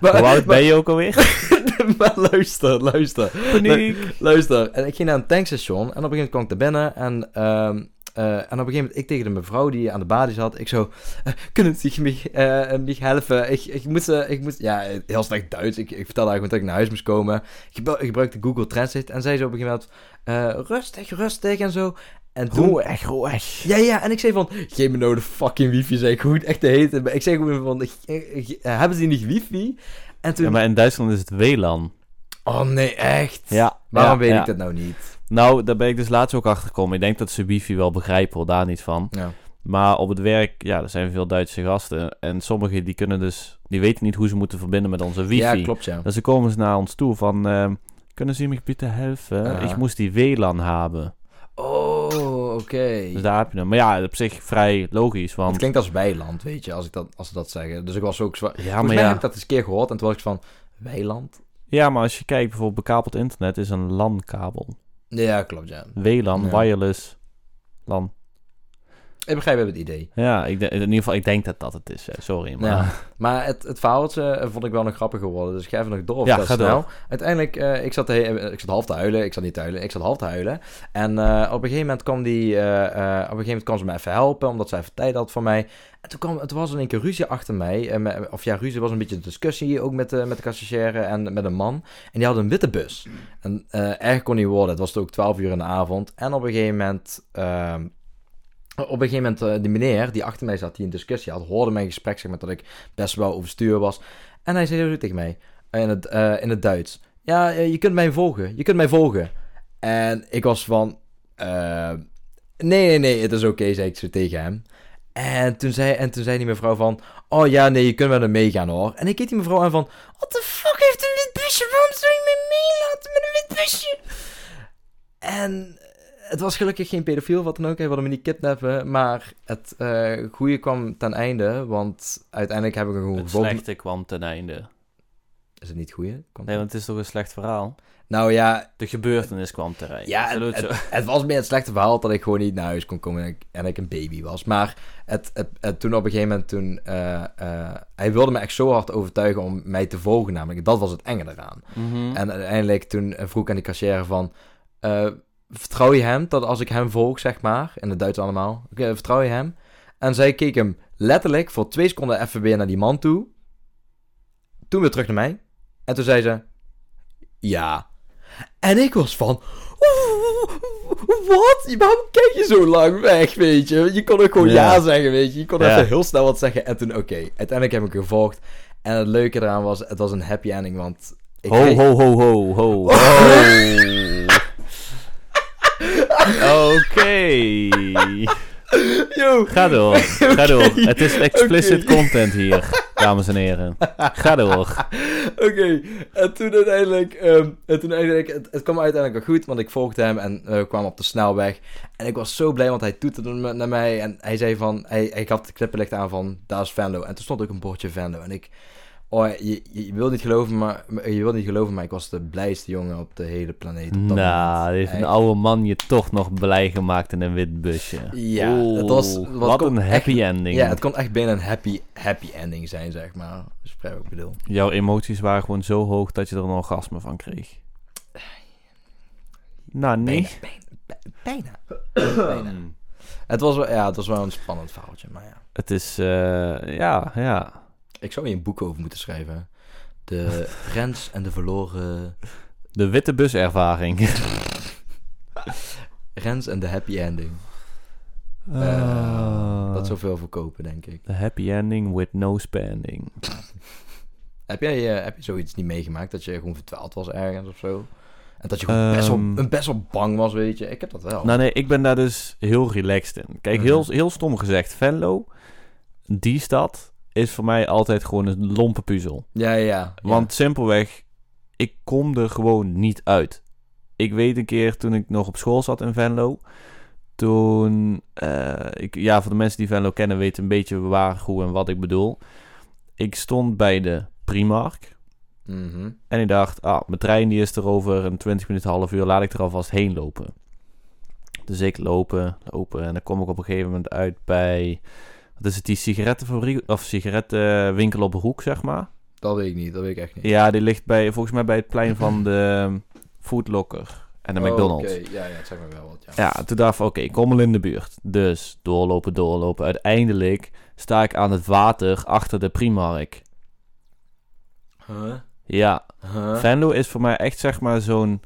[SPEAKER 1] maar
[SPEAKER 2] Hoe oud ben je ook alweer?
[SPEAKER 1] maar- maar luister, luister.
[SPEAKER 2] Paniek.
[SPEAKER 1] Luister, en ik ging naar een tankstation en op een gegeven moment kwam ik daar binnen en, ehm, eh, en op een gegeven moment ik tegen de mevrouw die aan de balie zat, ik zo, eh, kunnen ze mij eh, mij helpen? Ik, ik moet, ze- ik moet, ja, heel slecht Duits, ik, ik vertelde eigenlijk dat ik naar huis moest komen. Ik gebru- ik gebruikte Google Translate en zei ze op een gegeven moment, eh, rustig, rustig en zo. En toen,
[SPEAKER 2] Roe echt, roe echt.
[SPEAKER 1] ja, ja, en ik zei van, geef me nou de fucking wifi, zei ik goed, echt te heten. Maar Ik zei gewoon van, eh, eh, hebben ze niet wifi? En toen,
[SPEAKER 2] Ja, maar in Duitsland is het WLAN.
[SPEAKER 1] oh nee, echt?
[SPEAKER 2] Ja.
[SPEAKER 1] Waarom weet
[SPEAKER 2] ja.
[SPEAKER 1] ik dat nou niet?
[SPEAKER 2] Nou, daar ben ik dus laatst ook achter gekomen. Ik denk dat ze wifi wel begrijpen, hoor, daar niet van.
[SPEAKER 1] Ja.
[SPEAKER 2] Maar op het werk, ja, er zijn veel Duitse gasten. En sommigen die kunnen dus, die weten niet hoe ze moeten verbinden met onze wifi.
[SPEAKER 1] Ja, klopt, ja.
[SPEAKER 2] Dus ze komen ze naar ons toe van, ehm, kunnen ze me bitte helpen?
[SPEAKER 1] Ja.
[SPEAKER 2] Ik moest die WLAN hebben.
[SPEAKER 1] Oh, oké.
[SPEAKER 2] Dus daar heb je hem. Maar ja, op zich vrij logisch,
[SPEAKER 1] Het
[SPEAKER 2] want...
[SPEAKER 1] klinkt als weiland, weet je, als, ik dat, als ze dat zeggen. Dus ik was ook zwaar...
[SPEAKER 2] Ja,
[SPEAKER 1] Volgens
[SPEAKER 2] maar
[SPEAKER 1] mij heb
[SPEAKER 2] ja.
[SPEAKER 1] ik dat eens een keer gehoord en toen was ik van... Weiland?
[SPEAKER 2] ja, maar als je kijkt, bijvoorbeeld bekabeld internet is een LAN-kabel.
[SPEAKER 1] Ja, klopt, ja.
[SPEAKER 2] WLAN,
[SPEAKER 1] Ja.
[SPEAKER 2] wireless, LAN.
[SPEAKER 1] Ik begrijp even het idee.
[SPEAKER 2] Ja, ik, de- in ieder geval, ik denk dat dat het is. hè. Sorry, maar...
[SPEAKER 1] Ja. Maar het, het verhaaltje eh, vond ik wel nog grappig geworden. Dus ik ga even nog door.
[SPEAKER 2] Ja,
[SPEAKER 1] Dat
[SPEAKER 2] ga door.
[SPEAKER 1] snel. Uiteindelijk, eh, ik, zat de he- eh, ik zat half te huilen. Ik zat niet te huilen. Ik zat half te huilen. En eh, op een gegeven moment kwam die... eh, eh, op een gegeven moment kwam ze me even helpen. Omdat zij even tijd had voor mij. En toen kwam... Het was in één keer ruzie achter mij. eh, me- of ja, ruzie was een beetje discussie. Ook met, eh, met de cashier en met een man. En die hadden een witte bus. En eh erg kon niet worden. Het was ook 12 uur in de avond. En op een gegeven moment. ehm, op een gegeven moment, eh, die meneer die achter mij zat, die een discussie had, hoorde mijn gesprek, zeg maar, dat ik best wel overstuur was. En hij zei zo tegen mij, eh, in het, eh, in het Duits. Ja, eh, je kunt mij volgen, je kunt mij volgen. En ik was van, eh, nee, nee, nee, het is oké, zei ik zo tegen hem. En toen, zei, en toen zei die mevrouw van, oh ja, nee, je kunt wel er meegaan hoor. En ik keek die mevrouw aan van, what the fuck heeft een wit busje? Waarom zou je me meelaten met een wit busje? En het was gelukkig geen pedofiel, wat dan ook. Hij wilde me niet kidnappen. Maar het eh goede kwam ten einde. Want uiteindelijk heb ik hem gewoon
[SPEAKER 2] Het
[SPEAKER 1] gevonden.
[SPEAKER 2] slechte kwam ten
[SPEAKER 1] Mhm.
[SPEAKER 2] einde.
[SPEAKER 1] Is het niet goeie? Komt
[SPEAKER 2] Nee, want het is toch een slecht verhaal?
[SPEAKER 1] Nou ja,
[SPEAKER 2] De gebeurtenis kwam ten einde.
[SPEAKER 1] ja
[SPEAKER 2] Zullen we
[SPEAKER 1] het,
[SPEAKER 2] het zo-
[SPEAKER 1] het- het was meer het slechte verhaal dat ik gewoon niet naar huis kon komen en ik, en ik een baby was. Maar het, het, het- toen op een gegeven moment, toen, eh, eh, hij wilde me echt zo hard overtuigen om mij te volgen namelijk. Dat was het enge eraan.
[SPEAKER 2] Mhm.
[SPEAKER 1] En uiteindelijk toen eh, vroeg ik aan die cashier van... eh, vertrouw je hem dat als ik hem volg, zeg maar... In het Duits allemaal. eh, vertrouw je hem? En zij keek hem letterlijk voor twee seconden even weer naar die man toe. toen weer terug naar mij. En toen zei ze, ja. En ik was van, wat? Waarom kijk je zo lang weg, weet je? Je kon ook gewoon ja,
[SPEAKER 2] Ja.
[SPEAKER 1] zeggen, weet je. Je kon
[SPEAKER 2] Ja.
[SPEAKER 1] even heel snel wat zeggen. En toen, oké, uiteindelijk heb ik gevolgd. En het leuke eraan was, het was een happy ending, want... Ik
[SPEAKER 2] Ho,
[SPEAKER 1] kreeg-
[SPEAKER 2] ho, ho, ho, Oh. ho. ho. Oké.
[SPEAKER 1] Yo,
[SPEAKER 2] Ga door. Ga door.
[SPEAKER 1] Oké,
[SPEAKER 2] Het is explicit
[SPEAKER 1] oké.
[SPEAKER 2] content hier, dames en heren. Ga door.
[SPEAKER 1] Oké, en toen uiteindelijk, ehm, en toen uiteindelijk het, het kwam uiteindelijk wel goed, want ik volgde hem en eh, we kwamen op de snelweg. En ik was zo blij, want hij toeterde me- naar mij en hij zei van, hij, ik had het knipperlicht aan van, daar is Venlo. En toen stond ook een bordje Venlo en ik, oh, je, je, je wilt niet geloven, maar, je wilt niet geloven, maar ik was de blijste jongen op de hele planeet. op dat moment.
[SPEAKER 2] Nou, heeft een
[SPEAKER 1] Echt.
[SPEAKER 2] oude man je toch nog blij gemaakt in een wit busje.
[SPEAKER 1] Ja, het was-
[SPEAKER 2] Oeh,
[SPEAKER 1] wat
[SPEAKER 2] wat
[SPEAKER 1] kon
[SPEAKER 2] een happy ending.
[SPEAKER 1] Ja, het kon echt bijna een happy, happy ending zijn, zeg maar. Dus begrijp wat ik bedoel.
[SPEAKER 2] Jouw emoties waren gewoon zo hoog dat je er een orgasme van kreeg. Nou,
[SPEAKER 1] Bijna,
[SPEAKER 2] nee. Ehm,
[SPEAKER 1] bijna, bijna. bijna. Het was, wel- ja, het was wel een spannend verhaaltje, maar ja.
[SPEAKER 2] Het is, eh, ja, ja.
[SPEAKER 1] Ik zou hier een boek over moeten schrijven. hè. De grens en de verloren...
[SPEAKER 2] De witte buservaring.
[SPEAKER 1] Rens en de happy ending. Eh, Dat
[SPEAKER 2] zo.
[SPEAKER 1] zoveel verkopen, denk ik.
[SPEAKER 2] The happy ending with no spending.
[SPEAKER 1] Heb, jij, eh, heb je zoiets niet meegemaakt? Dat je gewoon verdwaald was ergens of zo? En dat je gewoon best, wel,
[SPEAKER 2] Ehm.
[SPEAKER 1] een- best wel bang was, weet je? Ik heb dat wel.
[SPEAKER 2] Nou nee, ik ben daar dus heel relaxed in. Kijk, heel,
[SPEAKER 1] Mhm.
[SPEAKER 2] heel stom gezegd, Venlo, die stad, is voor mij altijd gewoon een lompe puzzel.
[SPEAKER 1] ja, ja, ja.
[SPEAKER 2] Want simpelweg, ik kom er gewoon niet uit. Ik weet een keer toen ik nog op school zat in Venlo. Toen, eh, ik, ja, voor de mensen die Venlo kennen, weten een beetje waar, hoe en wat ik bedoel. Ik stond bij de Primark.
[SPEAKER 1] Mhm.
[SPEAKER 2] En ik dacht, ah, mijn trein die is er over een 20 minuten, half uur, laat ik er alvast heen lopen. Dus ik lopen, lopen. En dan kom ik op een gegeven moment uit bij, wat is het, die sigarettenfabriek, of sigarettenwinkel op de hoek, zeg maar.
[SPEAKER 1] Dat weet ik niet, dat weet ik echt niet.
[SPEAKER 2] Ja, die ligt bij, volgens mij bij het plein van de Foodlocker en de
[SPEAKER 1] Oh,
[SPEAKER 2] McDonald's.
[SPEAKER 1] Oké, ja, ja, het zegt me wel wat, ja.
[SPEAKER 2] Ja, toen dacht ik, van, oké, ik kom al in de buurt. Dus doorlopen, doorlopen. Uiteindelijk sta ik aan het water achter de Primark.
[SPEAKER 1] Huh?
[SPEAKER 2] Ja,
[SPEAKER 1] Huh?
[SPEAKER 2] Venlo is voor mij echt zeg maar zo'n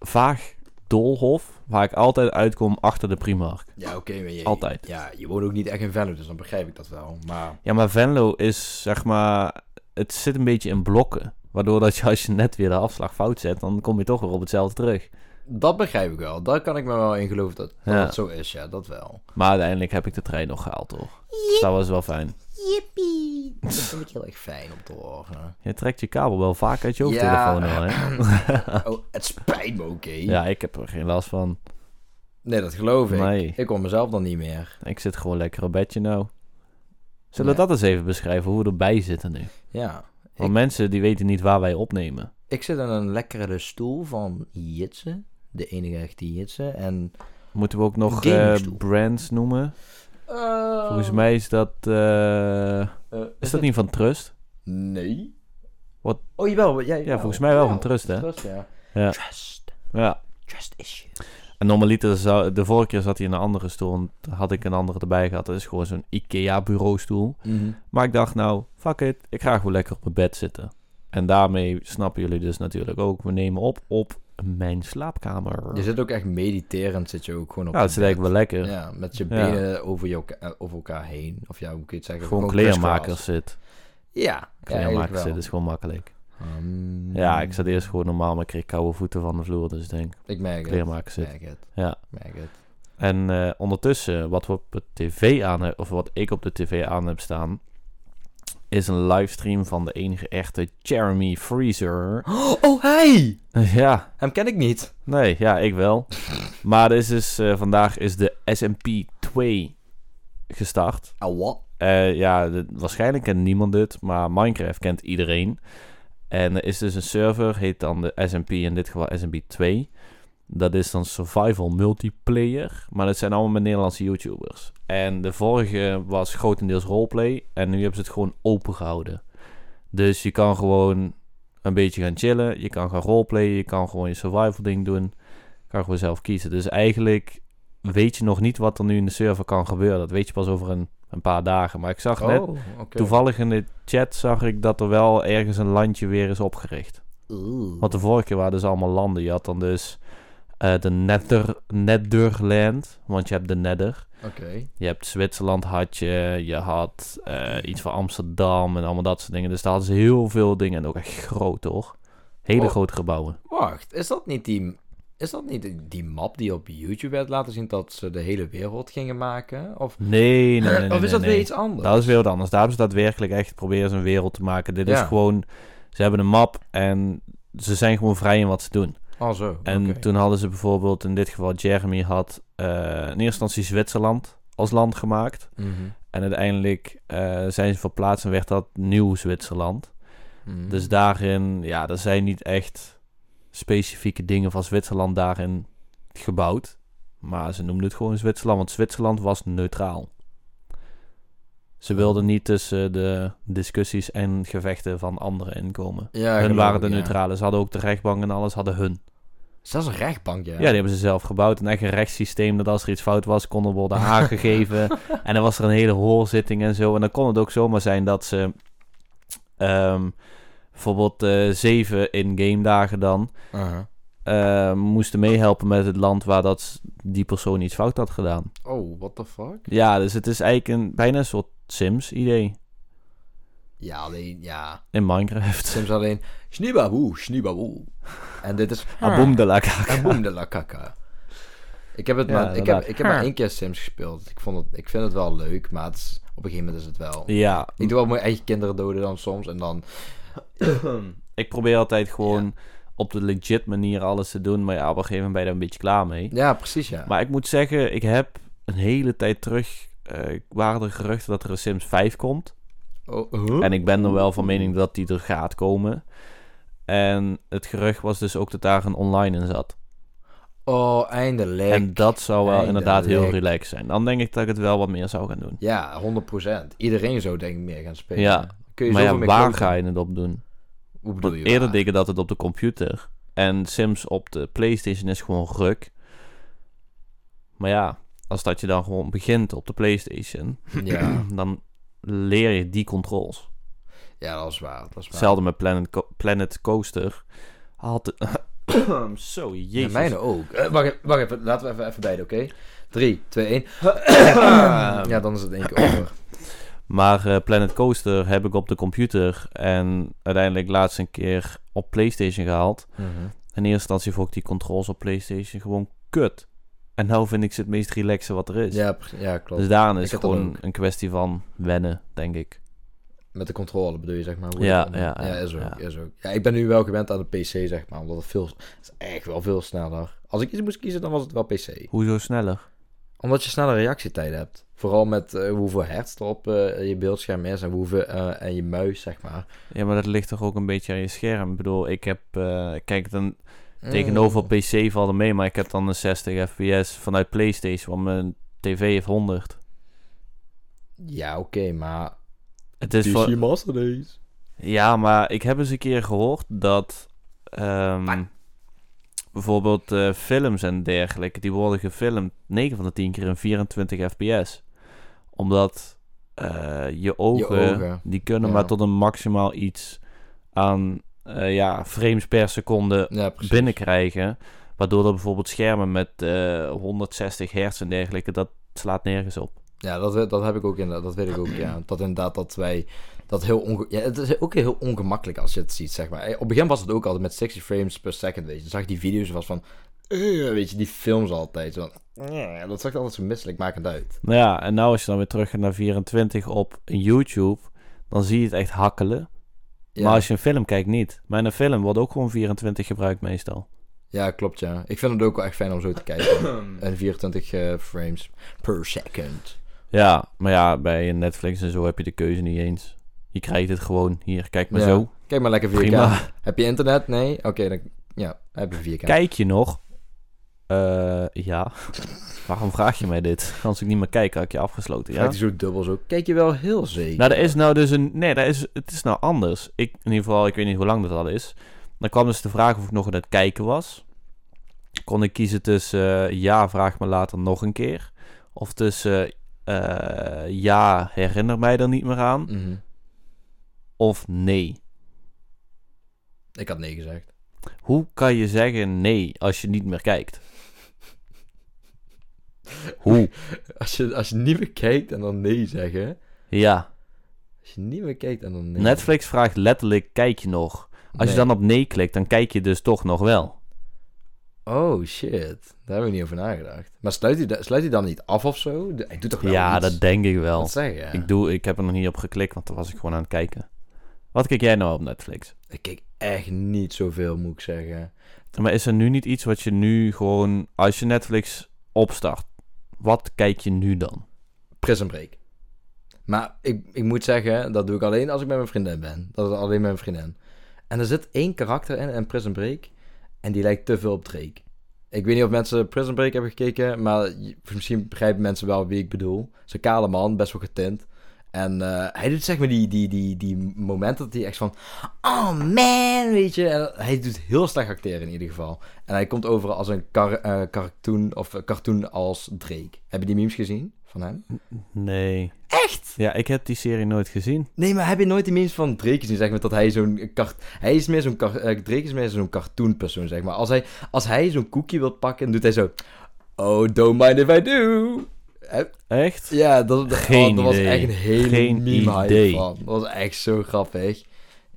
[SPEAKER 2] vaag doolhof waar ik altijd uitkom achter de Primark.
[SPEAKER 1] Ja, oké, maar je...
[SPEAKER 2] Altijd.
[SPEAKER 1] Ja, je woont ook niet echt in Venlo, dus dan begrijp ik dat wel. Maar...
[SPEAKER 2] Ja, maar Venlo is zeg maar, het zit een beetje in blokken. Waardoor dat je als je net weer de afslag fout zet, dan kom je toch weer op hetzelfde terug.
[SPEAKER 1] Dat begrijp ik wel. Daar kan ik me wel in geloven dat dat,
[SPEAKER 2] Ja.
[SPEAKER 1] het zo is, ja, dat wel.
[SPEAKER 2] Maar uiteindelijk heb ik de trein nog gehaald, toch? Dus dat was wel fijn.
[SPEAKER 1] Yippie. Dat vind ik heel erg fijn om te horen.
[SPEAKER 2] Je trekt je kabel wel vaak uit je hoofdtelefoon
[SPEAKER 1] Ja.
[SPEAKER 2] al, hè?
[SPEAKER 1] Oh, het spijt me oké.
[SPEAKER 2] Ah. Ja, ik heb er geen last van.
[SPEAKER 1] Nee, dat geloof ik.
[SPEAKER 2] Nee,
[SPEAKER 1] Ik hoor mezelf dan niet meer.
[SPEAKER 2] ik zit gewoon lekker op bedje nou. Zullen we
[SPEAKER 1] Ja.
[SPEAKER 2] dat eens even beschrijven, hoe we erbij zitten nu?
[SPEAKER 1] Ja.
[SPEAKER 2] Want mensen die weten niet waar wij opnemen.
[SPEAKER 1] Ik zit in een lekkere stoel van Jitse. De enige echte Jitse. En...
[SPEAKER 2] Moeten we ook nog
[SPEAKER 1] Een
[SPEAKER 2] eh,
[SPEAKER 1] gamingstoel.
[SPEAKER 2] brands noemen?
[SPEAKER 1] Eh,
[SPEAKER 2] Volgens mij is dat... eh, is dat niet van Trust?
[SPEAKER 1] Nee.
[SPEAKER 2] Wat?
[SPEAKER 1] Oh, jawel. Jij,
[SPEAKER 2] Ja, volgens mij wel van Trust, hè?
[SPEAKER 1] Trust, ja.
[SPEAKER 2] Ja.
[SPEAKER 1] Trust.
[SPEAKER 2] Ja.
[SPEAKER 1] Trust issue.
[SPEAKER 2] En normaliter, zou, de vorige keer zat hij in een andere stoel en had ik een andere erbij gehad. Dat is gewoon zo'n IKEA-bureaustoel.
[SPEAKER 1] Mhm.
[SPEAKER 2] Maar ik dacht, nou, fuck it, ik ga gewoon lekker op mijn bed zitten. En daarmee snappen jullie dus natuurlijk ook, we nemen op op mijn slaapkamer.
[SPEAKER 1] Je zit ook echt mediterend, zit je ook gewoon op
[SPEAKER 2] ja,
[SPEAKER 1] je
[SPEAKER 2] dat is eigenlijk
[SPEAKER 1] bed.
[SPEAKER 2] wel lekker.
[SPEAKER 1] Ja, met je
[SPEAKER 2] Ja.
[SPEAKER 1] benen over, je, elka- over elkaar heen. Of ja, hoe kun je het zeggen?
[SPEAKER 2] Gewoon kleermakers zit.
[SPEAKER 1] crisscross. Ja, Mm. Ehm,
[SPEAKER 2] Kleermakers zit
[SPEAKER 1] Dus.
[SPEAKER 2] is gewoon makkelijk. Ja, ik zat eerst gewoon normaal, maar ik kreeg koude voeten van de vloer. Dus ik denk,
[SPEAKER 1] Ik merk het.
[SPEAKER 2] kleermakers
[SPEAKER 1] Ik
[SPEAKER 2] zit.
[SPEAKER 1] merk het.
[SPEAKER 2] Ja.
[SPEAKER 1] Ik merk het.
[SPEAKER 2] En eh, ondertussen, wat we op de tv aan hebben, of wat ik op de tv aan heb staan, is een livestream van de enige echte Jeremy Freezer.
[SPEAKER 1] Oh, hey!
[SPEAKER 2] ja,
[SPEAKER 1] Hem ken ik niet.
[SPEAKER 2] Nee, ja, ik wel. maar er is dus, eh, vandaag is de S&P 2 gestart.
[SPEAKER 1] Ah, wat?
[SPEAKER 2] Eh, ja, de- waarschijnlijk kent niemand dit, maar Minecraft kent iedereen. En er is dus een server, heet dan de S&P, in dit geval S&P 2. Dat is dan Survival Multiplayer, maar dat zijn allemaal met Nederlandse YouTubers. En de vorige was grotendeels roleplay en nu hebben ze het gewoon open gehouden. Dus je kan gewoon een beetje gaan chillen, je kan gaan roleplayen, je kan gewoon je survival ding doen. Je kan gewoon zelf kiezen. Dus eigenlijk weet je nog niet wat er nu in de server kan gebeuren. Dat weet je pas over een een paar dagen. Maar ik zag net,
[SPEAKER 1] Oh, oké.
[SPEAKER 2] toevallig in de chat zag ik dat er wel ergens een landje weer is opgericht.
[SPEAKER 1] Oeh.
[SPEAKER 2] Want de vorige keer waren dus allemaal landen. Je had dan dus eh, de Nether, Netherland, want je hebt de Nether.
[SPEAKER 1] Oké.
[SPEAKER 2] Je hebt Zwitserland had je, je had eh, iets van Amsterdam en allemaal dat soort dingen. Dus daar hadden ze heel veel dingen en ook echt groot hoor. Hele
[SPEAKER 1] Oh.
[SPEAKER 2] grote gebouwen.
[SPEAKER 1] Wacht, is dat niet die... Is dat niet die- die map die op YouTube werd laten zien dat ze de hele wereld gingen maken? Of,
[SPEAKER 2] Nee, nee, nee. nee,
[SPEAKER 1] of is
[SPEAKER 2] nee,
[SPEAKER 1] dat
[SPEAKER 2] nee.
[SPEAKER 1] weer iets anders?
[SPEAKER 2] Dat is weer wat anders. Daar hebben ze daadwerkelijk echt proberen ze een wereld te maken. Dit is
[SPEAKER 1] Ja.
[SPEAKER 2] gewoon... Ze hebben een map en ze zijn gewoon vrij in wat ze doen.
[SPEAKER 1] Oh zo,
[SPEAKER 2] En
[SPEAKER 1] oké.
[SPEAKER 2] toen hadden ze bijvoorbeeld, in dit geval Jeremy had eh, in eerste instantie Zwitserland als land gemaakt.
[SPEAKER 1] Mhm.
[SPEAKER 2] En uiteindelijk eh, zijn ze verplaatst en werd dat Nieuw Zwitserland.
[SPEAKER 1] Mhm.
[SPEAKER 2] Dus daarin, ja, er zijn niet echt specifieke dingen van Zwitserland daarin gebouwd. Maar ze noemden het gewoon Zwitserland, want Zwitserland was neutraal. Ze wilden niet tussen de discussies en gevechten van anderen inkomen.
[SPEAKER 1] ja,
[SPEAKER 2] hun
[SPEAKER 1] geloof
[SPEAKER 2] waren
[SPEAKER 1] ik,
[SPEAKER 2] de
[SPEAKER 1] ja.
[SPEAKER 2] neutrale. Ze hadden ook de rechtbank en alles, hadden hun.
[SPEAKER 1] Zelfs een rechtbank, ja.
[SPEAKER 2] Ja, die hebben ze zelf gebouwd. Een echt een rechtssysteem dat als er iets fout was, kon er worden aangegeven. en dan was er een hele hoorzitting en zo. En dan kon het ook zomaar zijn dat ze... ehm, bijvoorbeeld eh, zeven in-game dagen dan...
[SPEAKER 1] Aha.
[SPEAKER 2] eh, moesten meehelpen met het land waar dat die persoon iets fout had gedaan.
[SPEAKER 1] Oh, what the fuck?
[SPEAKER 2] Ja, dus het is eigenlijk een, bijna een soort Sims-idee
[SPEAKER 1] Ja, alleen, ja.
[SPEAKER 2] in Minecraft.
[SPEAKER 1] Sims alleen. Schnibaboe, schnibaboe. En dit is...
[SPEAKER 2] Aboom de la kaka.
[SPEAKER 1] En boem de la kaka. Ik heb, het
[SPEAKER 2] Ja,
[SPEAKER 1] maar, ik, heb,
[SPEAKER 2] inderdaad.
[SPEAKER 1] ik heb maar één keer Sims gespeeld. Ik, vond het, ik vind het wel leuk, maar het is- op een gegeven moment is het wel...
[SPEAKER 2] Ja,
[SPEAKER 1] Ik doe wel mijn eigen kinderen doden dan soms. En dan...
[SPEAKER 2] ik probeer altijd gewoon op de legit manier alles te doen. Maar ja, op een gegeven moment ben je daar een beetje klaar mee.
[SPEAKER 1] Ja, precies ja.
[SPEAKER 2] Maar ik moet zeggen, ik heb een hele tijd terug... eh waren er geruchten dat er een Sims 5 komt.
[SPEAKER 1] Oh, huh?
[SPEAKER 2] En ik ben er wel van mening dat die er gaat komen. En het gerucht was dus ook dat daar een online in zat.
[SPEAKER 1] Oh, eindelijk.
[SPEAKER 2] En dat zou wel inderdaad heel
[SPEAKER 1] Eindelijk.
[SPEAKER 2] relaxed zijn. Dan denk ik dat ik het wel wat meer zou gaan doen.
[SPEAKER 1] Ja, 100%. Iedereen zou denk ik meer gaan spelen.
[SPEAKER 2] Ja.
[SPEAKER 1] Kun je
[SPEAKER 2] Maar
[SPEAKER 1] zoveel
[SPEAKER 2] ja,
[SPEAKER 1] meer
[SPEAKER 2] waar
[SPEAKER 1] kloten.
[SPEAKER 2] ga je het op doen?
[SPEAKER 1] Hoe bedoel
[SPEAKER 2] Want
[SPEAKER 1] je?
[SPEAKER 2] eerder
[SPEAKER 1] waar?
[SPEAKER 2] denk ik dat het op de computer. En Sims op de PlayStation is gewoon ruk. Maar ja, als dat je dan gewoon begint op de PlayStation,
[SPEAKER 1] Ja,
[SPEAKER 2] dan leer je die controls.
[SPEAKER 1] ja, dat is waar. Dat is waar.
[SPEAKER 2] Hetzelfde met Planet, Co- Planet Coaster. Had Zo,
[SPEAKER 1] Ja,
[SPEAKER 2] jezus.
[SPEAKER 1] mijne ook. Eh, wacht, even- wacht even, laten we even, even beide, oké? 3, 2, 1. Ja, dan is het één keer over.
[SPEAKER 2] Maar eh, Planet Coaster heb ik op de computer en uiteindelijk laatst een keer op PlayStation gehaald. In eerste instantie vond ik die controls op PlayStation gewoon kut. En nou vind ik ze het meest relaxe wat er is.
[SPEAKER 1] Ja, pre- ja, klopt.
[SPEAKER 2] dus daarin
[SPEAKER 1] Ik
[SPEAKER 2] is
[SPEAKER 1] had
[SPEAKER 2] het
[SPEAKER 1] dat
[SPEAKER 2] gewoon
[SPEAKER 1] ook.
[SPEAKER 2] een kwestie van wennen, denk ik.
[SPEAKER 1] Met de controle bedoel je, zeg maar. hoe
[SPEAKER 2] Ja,
[SPEAKER 1] het dan-
[SPEAKER 2] ja, ja,
[SPEAKER 1] is ook,
[SPEAKER 2] ja.
[SPEAKER 1] is ook. Ja, ik ben nu wel gewend aan de PC, zeg maar. Omdat het veel... Het is echt wel veel sneller. Als ik iets moest kiezen, dan was het wel PC.
[SPEAKER 2] Hoezo sneller?
[SPEAKER 1] Omdat je snelle reactietijden hebt. Vooral met eh, hoeveel hertz er op eh, je beeldscherm is en, hoeveel, eh, en je muis, zeg maar.
[SPEAKER 2] Ja, maar dat ligt toch ook een beetje aan je scherm. Ik bedoel, ik heb... eh, kijk, dan,
[SPEAKER 1] Mm.
[SPEAKER 2] Tegenover op PC valt er mee, maar ik heb dan een 60 fps vanuit PlayStation, want mijn tv heeft 100.
[SPEAKER 1] Mm. Ja, oké, maar...
[SPEAKER 2] Het is
[SPEAKER 1] je
[SPEAKER 2] voor...
[SPEAKER 1] Master Race.
[SPEAKER 2] Ja, maar ik heb eens een keer gehoord dat ehm, bijvoorbeeld eh, films en dergelijke, die worden gefilmd 9 van de 10 keer in 24 fps. Omdat eh, je, ogen,
[SPEAKER 1] ogen,
[SPEAKER 2] die kunnen
[SPEAKER 1] ja.
[SPEAKER 2] maar tot een maximaal iets aan eh, ja, frames per seconde
[SPEAKER 1] Ja, precies.
[SPEAKER 2] binnenkrijgen. Waardoor er bijvoorbeeld schermen met eh, 160 hertz en dergelijke, dat slaat nergens op.
[SPEAKER 1] Ja, dat, dat heb ik ook inderdaad. Dat weet ik ook, ja. Dat inderdaad dat wij... Dat heel onge ja, het is ook heel ongemakkelijk als je het ziet, zeg maar. Op het begin was het ook altijd met 60 frames per second, weet je. Dan zag ik die video's was van... eh, weet je, die films altijd. Zo van, eh, dat zag er altijd zo misselijk makend uit.
[SPEAKER 2] Nou ja, en nou als je dan weer terug gaat naar 24 op YouTube, dan zie je het echt hakkelen.
[SPEAKER 1] Ja,
[SPEAKER 2] Maar als je een film kijkt, niet. Maar in een film wordt ook gewoon 24 gebruikt meestal.
[SPEAKER 1] ja, klopt, ja. Ik vind het ook wel echt fijn om zo te kijken. en 24 eh, frames per second.
[SPEAKER 2] Ja, maar ja, bij Netflix en zo heb je de keuze niet eens. Je krijgt het gewoon hier, kijk maar
[SPEAKER 1] Ja,
[SPEAKER 2] zo.
[SPEAKER 1] Kijk maar lekker 4K.
[SPEAKER 2] Prima.
[SPEAKER 1] Heb je internet? Nee? Oké, dan... Ja, heb je 4K.
[SPEAKER 2] Kijk je nog? Eh, ja. Waarom vraag je mij dit? Als ik niet meer kijk, had ik je afgesloten.
[SPEAKER 1] Kijk
[SPEAKER 2] Ja?
[SPEAKER 1] die zo dubbel zo. Kijk je wel heel zeker.
[SPEAKER 2] Nou, er is nou dus een. Nee, er is, het is nou anders. Ik, in ieder geval, ik weet niet hoe lang dat al is. Dan kwam dus de vraag of ik nog aan het kijken was. Kon ik kiezen tussen eh, ja, vraag me later nog een keer. Of tussen eh, ja, herinner mij er niet meer aan.
[SPEAKER 1] Mhm.
[SPEAKER 2] Of nee.
[SPEAKER 1] Ik had nee gezegd.
[SPEAKER 2] Hoe kan je zeggen nee als je niet meer kijkt? Hoe?
[SPEAKER 1] Als je, als je niet meer kijkt en dan nee zeggen.
[SPEAKER 2] Ja.
[SPEAKER 1] Als je niet meer kijkt en dan nee.
[SPEAKER 2] Netflix vraagt letterlijk, kijk je nog? Als je dan op nee klikt, dan kijk je dus toch nog wel.
[SPEAKER 1] Oh shit, daar heb ik niet over nagedacht. Maar sluit hij, da- sluit hij dan niet af of zo? De- Hij doet toch wel
[SPEAKER 2] ja,
[SPEAKER 1] iets?
[SPEAKER 2] dat denk ik wel.
[SPEAKER 1] Wat zeg je?
[SPEAKER 2] Ik, doe, ik heb er nog niet op geklikt, want dan was ik gewoon aan het kijken. Wat kijk jij nou op Netflix?
[SPEAKER 1] Ik keek echt niet zoveel, moet ik zeggen.
[SPEAKER 2] Maar is er nu niet iets wat je nu gewoon, als je Netflix opstart, wat kijk je nu dan?
[SPEAKER 1] Prison Break. Maar ik, ik moet zeggen, dat doe ik alleen als ik met mijn vriendin ben. Dat is alleen met mijn vriendin. En er zit één karakter in, in Prison Break. En die lijkt te veel op Drake. Ik weet niet of mensen Prison Break hebben gekeken. Maar je- misschien begrijpen mensen wel wie ik bedoel. Zo'n kale man, best wel getint. En eh, hij doet zeg maar die, die, die, die momenten dat hij echt van... Oh man, weet je. En hij doet heel slecht acteren in ieder geval. En hij komt over als een kar- eh, cartoon, of eh, cartoon als Drake. Heb je die memes gezien van hem?
[SPEAKER 2] Nee.
[SPEAKER 1] Echt?
[SPEAKER 2] Ja, ik heb die serie nooit gezien.
[SPEAKER 1] Nee, maar heb je nooit die memes van Drake gezien, zeg maar, dat hij zo'n... Kart... Hij is meer zo'n... Kar... eh, Drake is meer zo'n cartoonpersoon, zeg maar. Als hij, als hij zo'n koekje wil pakken, doet hij zo... Oh, don't mind if I do. Eh,
[SPEAKER 2] Echt?
[SPEAKER 1] Ja, dat, dat,
[SPEAKER 2] Geen
[SPEAKER 1] oh, dat was
[SPEAKER 2] idee.
[SPEAKER 1] echt een hele
[SPEAKER 2] Geen
[SPEAKER 1] meme
[SPEAKER 2] idee.
[SPEAKER 1] idee. van. Dat was echt zo grappig.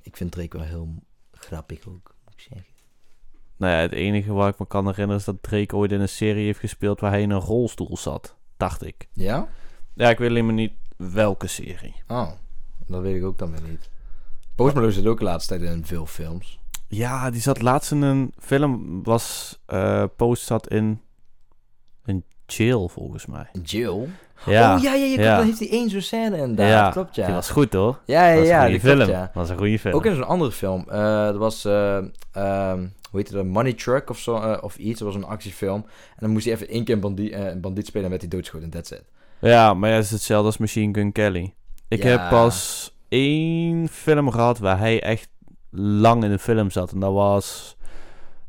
[SPEAKER 1] Ik vind Drake wel heel grappig ook, moet ik zeggen.
[SPEAKER 2] Nou ja, het enige waar ik me kan herinneren is dat Drake ooit in een serie heeft gespeeld waar hij in een rolstoel zat. Dacht ik.
[SPEAKER 1] Ja?
[SPEAKER 2] Ja, ik weet alleen maar niet welke serie.
[SPEAKER 1] Oh, dat weet ik ook dan weer niet. Post Malone zit ook de laatste tijd in veel films.
[SPEAKER 2] Ja, die zat laatst in een film, was, eh, Post zat in een jail volgens mij.
[SPEAKER 1] Jill?
[SPEAKER 2] Ja,
[SPEAKER 1] Oh ja, ja, ja, klopt,
[SPEAKER 2] ja.
[SPEAKER 1] dan heeft hij één zo'n scène inderdaad. Ja. Klopt, ja.
[SPEAKER 2] die was goed hoor.
[SPEAKER 1] Ja, ja,
[SPEAKER 2] Dat was
[SPEAKER 1] ja,
[SPEAKER 2] een goede
[SPEAKER 1] dat klopt,
[SPEAKER 2] film.
[SPEAKER 1] ja.
[SPEAKER 2] Dat was een goede film.
[SPEAKER 1] Ook in zo'n andere film. Eh, dat was, eh, ehm, hoe heette dat, Money Truck of, zo, eh, of iets. Dat was een actiefilm. En dan moest hij even één keer een bandie- eh, een bandiet spelen en werd hij doodgeschoten. That's it.
[SPEAKER 2] Ja, maar ja, het is hetzelfde als Machine Gun Kelly. Ik
[SPEAKER 1] Ja.
[SPEAKER 2] heb pas één film gehad waar hij echt lang in de film zat. En dat was,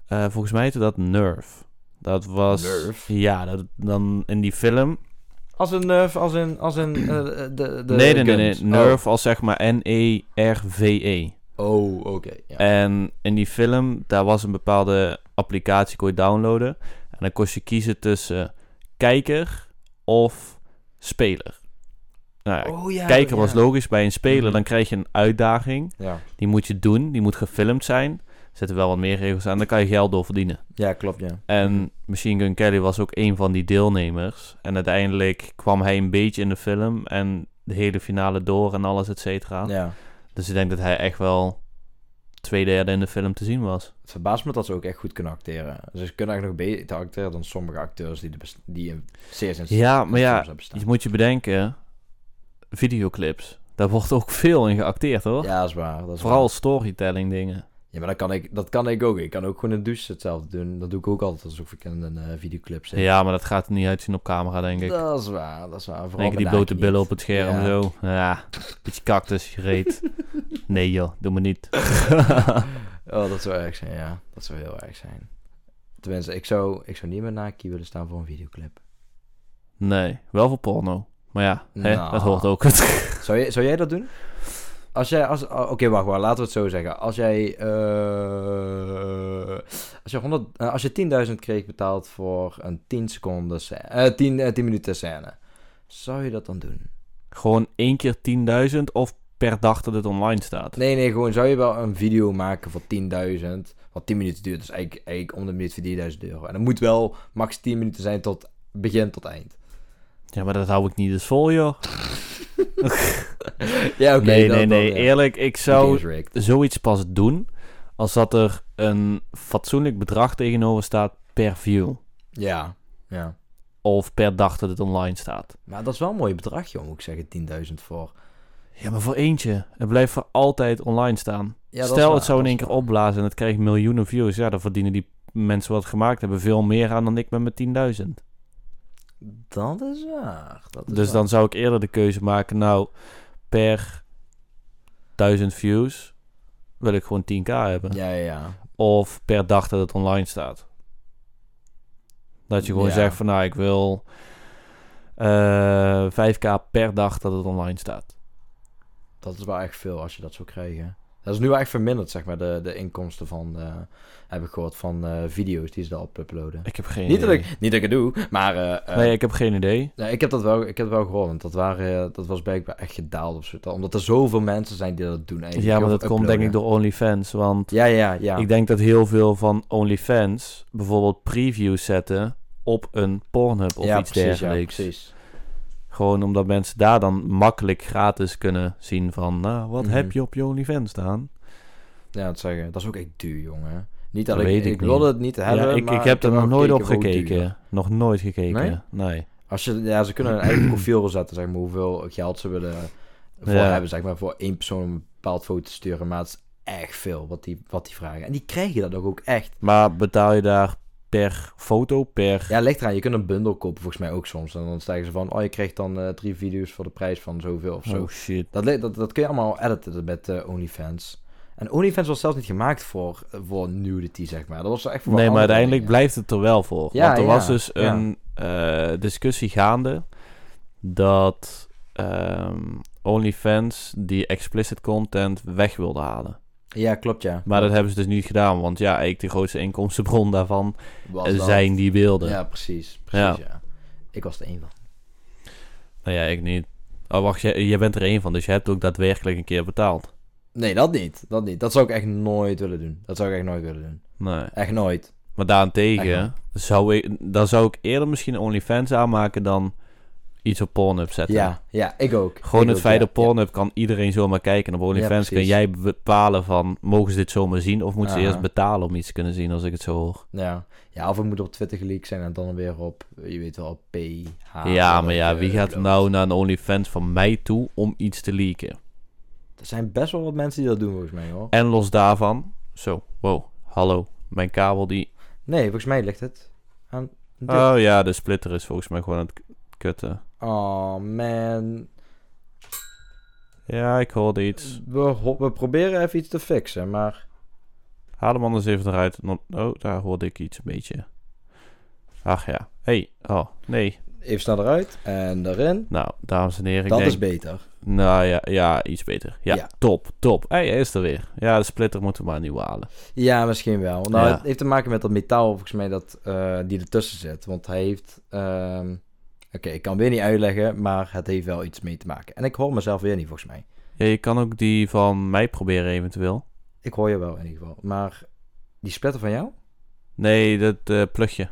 [SPEAKER 2] eh, volgens mij heette dat Nerve. Dat was...
[SPEAKER 1] Nerve?
[SPEAKER 2] Ja, dat, dan in die film...
[SPEAKER 1] Als een nerf, als een... Als een eh, de, Oh. de
[SPEAKER 2] nee, nee, nee, nee.
[SPEAKER 1] guns.
[SPEAKER 2] Nerve als zeg maar E N-E-R-V-E.
[SPEAKER 1] Oh, oh, oké. ja.
[SPEAKER 2] En in die film, daar was een bepaalde applicatie, kon je downloaden. En dan kon je kiezen tussen kijker of speler. Nou ja,
[SPEAKER 1] oh, ja,
[SPEAKER 2] kijker
[SPEAKER 1] ja.
[SPEAKER 2] was logisch. Bij een speler
[SPEAKER 1] Mhm.
[SPEAKER 2] dan krijg je een uitdaging.
[SPEAKER 1] Ja.
[SPEAKER 2] Die moet je doen. Die moet gefilmd zijn. Er zitten wel wat meer regels aan. Daar kan je geld door verdienen.
[SPEAKER 1] ja, klopt, ja.
[SPEAKER 2] En Machine Gun Kelly was ook een van die deelnemers. En uiteindelijk kwam hij een beetje in de film. En de hele finale door en alles, et cetera.
[SPEAKER 1] Ja.
[SPEAKER 2] Dus ik denk dat hij echt wel twee derde in de film te zien was.
[SPEAKER 1] Het verbaast me dat ze ook echt goed kunnen acteren. Dus Ze kunnen eigenlijk nog beter acteren dan sommige acteurs die, de best- die in series en
[SPEAKER 2] Ja, maar ja,
[SPEAKER 1] films hebben staan.
[SPEAKER 2] je moet je bedenken... Videoclips. Daar wordt ook veel in geacteerd, hoor.
[SPEAKER 1] Ja, dat is waar. Dat is waar.
[SPEAKER 2] Vooral storytelling dingen.
[SPEAKER 1] Ja, maar dat kan ik, dat kan ik ook. Ik kan ook gewoon in de douche hetzelfde doen. Dat doe ik ook altijd alsof ik in een eh, videoclip zit.
[SPEAKER 2] Ja, maar dat gaat er niet uitzien op camera, denk ik.
[SPEAKER 1] Dat is waar, dat is waar. Vooral
[SPEAKER 2] Denk die
[SPEAKER 1] bij
[SPEAKER 2] blote
[SPEAKER 1] Nike
[SPEAKER 2] billen
[SPEAKER 1] niet.
[SPEAKER 2] op het scherm
[SPEAKER 1] Ja.
[SPEAKER 2] zo. Ja, beetje cactus, je reet. Nee joh, doe me niet.
[SPEAKER 1] Oh, dat zou erg zijn, ja. Dat zou heel erg zijn. Tenminste, ik zou, ik zou niet meer Nike willen staan voor een videoclip.
[SPEAKER 2] Nee, wel voor porno. Maar ja, hè,
[SPEAKER 1] Nou.
[SPEAKER 2] dat hoort ook.
[SPEAKER 1] Zou, jij, zou jij dat doen? Als jij, als, oh, oké, wacht, wacht, laten we het zo zeggen. Als jij, eh, als je, 100, eh, als je 10.000 kreeg betaald voor een 10 seconden scène, eh, 10, eh, 10 minuten scène, zou je dat dan doen?
[SPEAKER 2] Gewoon één keer 10.000 of per dag dat het online staat.
[SPEAKER 1] Nee, nee, gewoon zou je wel een video maken voor 10.000, wat 10 minuten duurt. Dus eigenlijk, eigenlijk om de minuut voor 10.000 euro. En dat moet wel max 10 minuten zijn tot begin tot eind.
[SPEAKER 2] Ja, maar dat hou ik niet eens vol joh.
[SPEAKER 1] Ja, oké.
[SPEAKER 2] nee,
[SPEAKER 1] dan-
[SPEAKER 2] nee,
[SPEAKER 1] dan,
[SPEAKER 2] nee.
[SPEAKER 1] ja.
[SPEAKER 2] Eerlijk, ik
[SPEAKER 1] Die game
[SPEAKER 2] zou
[SPEAKER 1] is rigged.
[SPEAKER 2] zoiets pas doen als dat er een fatsoenlijk bedrag tegenover staat per view.
[SPEAKER 1] Ja, ja.
[SPEAKER 2] Of per dag dat het online staat.
[SPEAKER 1] Maar dat is wel een mooi bedrag, joh, moet ik zeggen. 10.000 voor.
[SPEAKER 2] Ja, maar voor eentje. Het blijft voor altijd online staan.
[SPEAKER 1] Ja, dat is
[SPEAKER 2] Stel,
[SPEAKER 1] waar,
[SPEAKER 2] het zou in
[SPEAKER 1] dat
[SPEAKER 2] één
[SPEAKER 1] is
[SPEAKER 2] keer
[SPEAKER 1] waar.
[SPEAKER 2] opblazen en het kreeg miljoenen views. Ja, dan verdienen die mensen wat gemaakt hebben veel meer aan dan ik ben met 10.000.
[SPEAKER 1] Dat is waar. Dat is
[SPEAKER 2] Dus
[SPEAKER 1] waar.
[SPEAKER 2] dan zou ik eerder de keuze maken, nou, per 1000 views wil ik gewoon 10k hebben.
[SPEAKER 1] Ja, ja, ja.
[SPEAKER 2] Of per dag dat het online staat. Dat je gewoon
[SPEAKER 1] Ja.
[SPEAKER 2] zegt van, nou, ik wil eh, eh, 5k per dag dat het online staat.
[SPEAKER 1] Dat is wel echt veel als je dat zou krijgen. Dat is nu wel echt verminderd, zeg maar, de, de inkomsten van, eh, heb ik gehoord, van eh, video's die ze daar op uploaden.
[SPEAKER 2] Ik heb geen
[SPEAKER 1] Niet dat,
[SPEAKER 2] idee.
[SPEAKER 1] ik, niet dat ik het doe, maar eh, eh,
[SPEAKER 2] Nee, ik heb geen idee.
[SPEAKER 1] nee, ik heb dat wel, ik heb het wel gehoord. Want dat, waren, eh, dat was blijkbaar echt gedaald of zo. Omdat er zoveel mensen zijn die dat doen. eigenlijk,
[SPEAKER 2] Ja, maar
[SPEAKER 1] heel
[SPEAKER 2] dat
[SPEAKER 1] veel
[SPEAKER 2] komt denk ik
[SPEAKER 1] uploaden.
[SPEAKER 2] door OnlyFans. Want
[SPEAKER 1] Ja, ja, ja.
[SPEAKER 2] ik denk dat heel veel van OnlyFans bijvoorbeeld previews zetten op een Pornhub of
[SPEAKER 1] ja,
[SPEAKER 2] iets
[SPEAKER 1] precies, ja,
[SPEAKER 2] dergelijks.
[SPEAKER 1] precies.
[SPEAKER 2] Gewoon omdat mensen daar dan makkelijk gratis kunnen zien van... Nou, wat heb
[SPEAKER 1] Mhm.
[SPEAKER 2] je op je OnlyFans staan?
[SPEAKER 1] Ja, dat zeggen. Dat is ook echt duur, jongen. Niet
[SPEAKER 2] Dat
[SPEAKER 1] dat ik,
[SPEAKER 2] weet
[SPEAKER 1] ik,
[SPEAKER 2] ik
[SPEAKER 1] wilde
[SPEAKER 2] niet.
[SPEAKER 1] het niet
[SPEAKER 2] Ja,
[SPEAKER 1] hebben,
[SPEAKER 2] ik,
[SPEAKER 1] maar
[SPEAKER 2] ik heb er nog
[SPEAKER 1] wel
[SPEAKER 2] nooit op
[SPEAKER 1] hoe duur.
[SPEAKER 2] gekeken. Nog nooit gekeken. Nee.
[SPEAKER 1] Als je, ja, ze kunnen een eigen profiel wel zetten, zeg maar, hoeveel geld ze willen eh, voor
[SPEAKER 2] Ja.
[SPEAKER 1] hebben, zeg maar, voor één persoon om een bepaald foto te sturen. Maar het is echt veel wat die, wat die vragen. En die krijgen dat nog ook echt.
[SPEAKER 2] Maar betaal je daar per foto, per...
[SPEAKER 1] Ja, ligt eraan. Je kunt een bundel kopen, volgens mij ook soms. En dan stijgen ze van, oh, je krijgt dan eh, drie video's voor de prijs van zoveel of zo.
[SPEAKER 2] Oh shit.
[SPEAKER 1] Dat, li- dat, dat kun je allemaal editen met eh, OnlyFans. En OnlyFans was zelfs niet gemaakt voor, voor nudity, zeg maar. Dat was echt voor
[SPEAKER 2] Nee, maar
[SPEAKER 1] andere
[SPEAKER 2] uiteindelijk
[SPEAKER 1] dingen.
[SPEAKER 2] blijft het er wel voor.
[SPEAKER 1] Ja,
[SPEAKER 2] Want er
[SPEAKER 1] ja,
[SPEAKER 2] was dus
[SPEAKER 1] ja.
[SPEAKER 2] een eh, discussie gaande dat ehm, OnlyFans die explicit content weg wilde halen.
[SPEAKER 1] Ja, klopt, ja.
[SPEAKER 2] Maar dat hebben ze dus niet gedaan, want ja, ik de grootste inkomstenbron daarvan
[SPEAKER 1] Was
[SPEAKER 2] eh,
[SPEAKER 1] dat-
[SPEAKER 2] zijn die beelden.
[SPEAKER 1] Ja, precies. precies ja. Ik was er één van.
[SPEAKER 2] Nou ja, ik niet. Oh, wacht, jij, jij bent er één van, dus je hebt ook daadwerkelijk een keer betaald.
[SPEAKER 1] Nee, dat niet. Dat niet. Dat zou ik echt nooit willen doen. Dat zou ik echt nooit willen doen.
[SPEAKER 2] Nee.
[SPEAKER 1] Echt nooit.
[SPEAKER 2] Maar
[SPEAKER 1] Echt
[SPEAKER 2] daarentegen
[SPEAKER 1] waar.
[SPEAKER 2] zou ik, dan zou ik eerder misschien OnlyFans aanmaken dan iets op Pornhub zetten.
[SPEAKER 1] Ja, ja, ik ook.
[SPEAKER 2] Gewoon
[SPEAKER 1] Ik
[SPEAKER 2] het
[SPEAKER 1] ook,
[SPEAKER 2] feit
[SPEAKER 1] ja.
[SPEAKER 2] dat Pornhub kan iedereen zomaar kijken. Op OnlyFans kun
[SPEAKER 1] precies.
[SPEAKER 2] jij bepalen van... mogen ze dit zomaar zien of moeten ze
[SPEAKER 1] Aha.
[SPEAKER 2] eerst betalen om iets te kunnen zien... als ik het zo hoor.
[SPEAKER 1] Ja. Ja. ja, of het moet op Twitter geleakt zijn en dan weer op, eh, je weet wel, op PH.
[SPEAKER 2] ja, maar ja,
[SPEAKER 1] Eh,
[SPEAKER 2] wie gaat
[SPEAKER 1] upload.
[SPEAKER 2] nou naar een OnlyFans van mij toe om iets te leaken?
[SPEAKER 1] Er zijn best wel wat mensen die dat doen, volgens mij, hoor.
[SPEAKER 2] En los daarvan... Zo, wow, hallo, mijn kabel die...
[SPEAKER 1] Nee, volgens mij ligt het aan de deur.
[SPEAKER 2] Oh ja, de splitter is volgens mij gewoon aan het k- kutten.
[SPEAKER 1] Oh, man.
[SPEAKER 2] Ja, ik hoorde iets.
[SPEAKER 1] We, ho- we proberen even iets te fixen, maar...
[SPEAKER 2] Haal hem anders even eruit. No- Oh, daar hoorde ik iets een beetje. Ach ja. Hé, hey. oh, nee.
[SPEAKER 1] Even snel eruit en erin.
[SPEAKER 2] Nou, dames en heren, ik
[SPEAKER 1] dat
[SPEAKER 2] denk...
[SPEAKER 1] is beter.
[SPEAKER 2] Nou ja, ja iets beter. Ja,
[SPEAKER 1] Ja.
[SPEAKER 2] top, top. Hé, hij is er weer. Ja, de splitter moeten we maar nieuw halen.
[SPEAKER 1] Ja, misschien wel. Nou,
[SPEAKER 2] Ja.
[SPEAKER 1] het heeft te maken met dat metaal, volgens mij, dat, eh, die ertussen zit. Want hij heeft... ehm, Oké, ik kan weer niet uitleggen, maar het heeft wel iets mee te maken. En ik hoor mezelf weer niet, volgens mij.
[SPEAKER 2] Ja, je kan ook die van mij proberen eventueel.
[SPEAKER 1] Ik hoor je wel, in ieder geval. Maar die splitter van jou?
[SPEAKER 2] Nee, dat eh, plugje.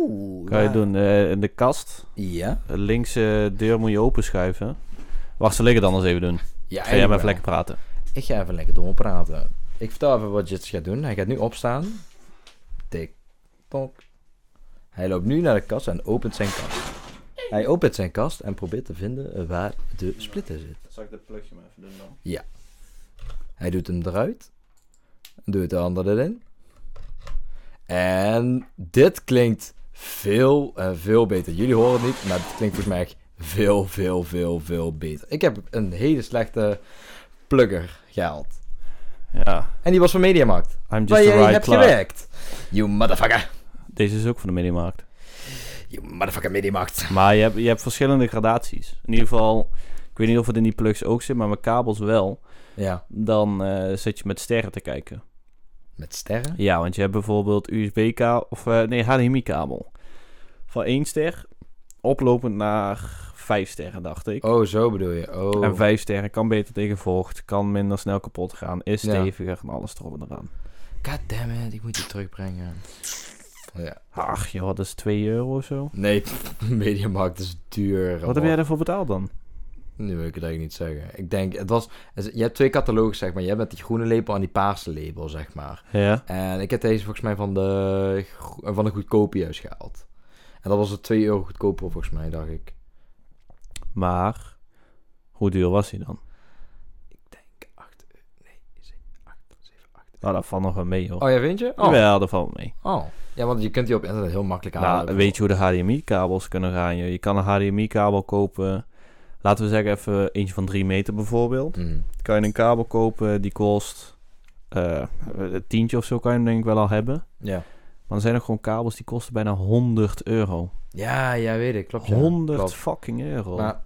[SPEAKER 1] Oeh.
[SPEAKER 2] Kan je
[SPEAKER 1] ja.
[SPEAKER 2] doen. eh, in de kast.
[SPEAKER 1] Ja.
[SPEAKER 2] De linkse deur moet je openschuiven. Wacht, zal ik het anders even doen?
[SPEAKER 1] ja
[SPEAKER 2] Ga jij maar
[SPEAKER 1] eigenlijk
[SPEAKER 2] even
[SPEAKER 1] wel.
[SPEAKER 2] lekker praten.
[SPEAKER 1] Ik ga even lekker doorpraten. Ik vertel even wat Jits gaat doen. Hij gaat nu opstaan. Tik, tok. Hij loopt nu naar de kast en opent zijn kast. Hij opent zijn kast en probeert te vinden waar de splitter zit.
[SPEAKER 2] Zal ik dat plugje maar even doen dan?
[SPEAKER 1] Hij doet hem eruit. Doet de andere erin. En dit klinkt veel, eh, veel beter. Jullie horen het niet, maar het klinkt volgens mij echt veel, veel, veel, veel beter. Ik heb een hele slechte plugger gehaald.
[SPEAKER 2] Ja.
[SPEAKER 1] En die was van Mediamarkt.
[SPEAKER 2] I'm
[SPEAKER 1] Waar
[SPEAKER 2] just the
[SPEAKER 1] jij
[SPEAKER 2] right
[SPEAKER 1] hebt
[SPEAKER 2] clerk.
[SPEAKER 1] gewerkt. You motherfucker.
[SPEAKER 2] Deze is ook van de minimarkt.
[SPEAKER 1] You motherfucker Mediamarkt.
[SPEAKER 2] Maar je hebt, je hebt verschillende gradaties. In ieder geval, ik weet niet of het in die plugs ook zit, maar mijn kabels wel.
[SPEAKER 1] Ja,
[SPEAKER 2] Dan eh, zit je met sterren te kijken.
[SPEAKER 1] met sterren.
[SPEAKER 2] Ja, want je hebt bijvoorbeeld USB-kabel of eh, nee, HDMI-kabel. Van 1 ster oplopend naar 5 sterren, dacht ik.
[SPEAKER 1] Oh, zo bedoel je. Oh.
[SPEAKER 2] En 5 sterren kan beter tegen vocht, kan minder snel kapot gaan, is
[SPEAKER 1] Ja.
[SPEAKER 2] steviger en alles erop en eraan.
[SPEAKER 1] God damn it, ik moet die terugbrengen. Ja.
[SPEAKER 2] Ach joh, dat is 2 euro of zo.
[SPEAKER 1] Nee, Mediamarkt is duur.
[SPEAKER 2] Wat heb jij daarvoor betaald dan?
[SPEAKER 1] Nu wil ik het eigenlijk niet zeggen. Ik denk, het was... Je hebt twee catalogus, zeg maar. Je hebt met die groene lepel en die paarse lepel, zeg maar.
[SPEAKER 2] Ja.
[SPEAKER 1] En ik heb deze volgens mij van de, gro- eh, van de goedkope juist gehaald. En dat was het 2 euro goedkoper, volgens mij, dacht ik.
[SPEAKER 2] Maar, hoe duur was hij dan?
[SPEAKER 1] Ik denk 8 euro. Nee, 7, 8, 7, 8.
[SPEAKER 2] Nou, dat valt nog wel mee hoor.
[SPEAKER 1] Oh, ja, vind je? Oh.
[SPEAKER 2] Jawel, dat valt mee.
[SPEAKER 1] Oh, ja, want je kunt die op internet heel makkelijk halen.
[SPEAKER 2] Nou, weet je hoe de HDMI-kabels kunnen gaan? joh? Je kan een HDMI-kabel kopen, laten we zeggen even eentje van 3 meter bijvoorbeeld.
[SPEAKER 1] Mm.
[SPEAKER 2] kan je een kabel kopen die kost eh een tientje of zo kan je hem denk ik wel al hebben.
[SPEAKER 1] Ja.
[SPEAKER 2] Maar er zijn ook gewoon kabels die kosten bijna 100 euro.
[SPEAKER 1] Ja, ja, weet ik. Klopt. ja.
[SPEAKER 2] 100
[SPEAKER 1] Klopt.
[SPEAKER 2] fucking euro.
[SPEAKER 1] Maar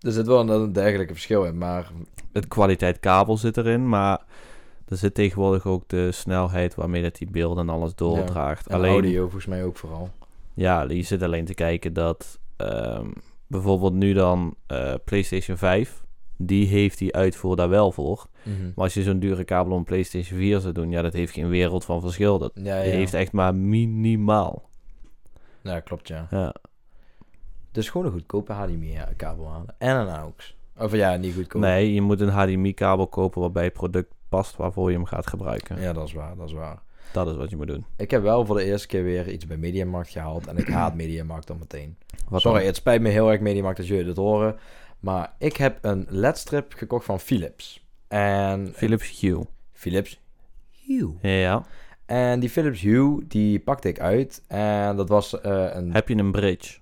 [SPEAKER 1] er zit wel een- een dergelijke verschil in, maar
[SPEAKER 2] Het kwaliteit kabel zit erin, maar er zit tegenwoordig ook de snelheid waarmee dat die beelden en alles doordraagt.
[SPEAKER 1] en
[SPEAKER 2] Alleen,
[SPEAKER 1] audio volgens mij ook vooral.
[SPEAKER 2] Ja, je zit alleen te kijken dat ehm, bijvoorbeeld nu dan eh, PlayStation 5, die heeft die uitvoer daar wel voor. Maar als je zo'n dure kabel om een PlayStation 4 zou doen, ja, dat heeft geen wereld van verschil. Dat
[SPEAKER 1] Ja, ja.
[SPEAKER 2] heeft echt maar minimaal.
[SPEAKER 1] ja, klopt, ja.
[SPEAKER 2] Ja.
[SPEAKER 1] Dus gewoon een goedkope HDMI-kabel aan. En een AUX. Of ja, niet goedkoop.
[SPEAKER 2] Nee, je moet een HDMI-kabel kopen wat bij het product past waarvoor je hem gaat gebruiken.
[SPEAKER 1] Ja, dat is waar, dat is waar.
[SPEAKER 2] Dat is wat je moet doen.
[SPEAKER 1] Ik heb wel voor de eerste keer weer iets bij Mediamarkt gehaald. En ik haat Mediamarkt dan meteen.
[SPEAKER 2] Wat
[SPEAKER 1] Sorry,
[SPEAKER 2] dan?
[SPEAKER 1] het spijt me heel erg Mediamarkt dat jullie dit horen. Maar ik heb een ledstrip gekocht van Philips. En...
[SPEAKER 2] Philips Hue.
[SPEAKER 1] Philips Hue.
[SPEAKER 2] Ja.
[SPEAKER 1] En die Philips Hue, die pakte ik uit. En dat was eh, een...
[SPEAKER 2] Heb je een bridge?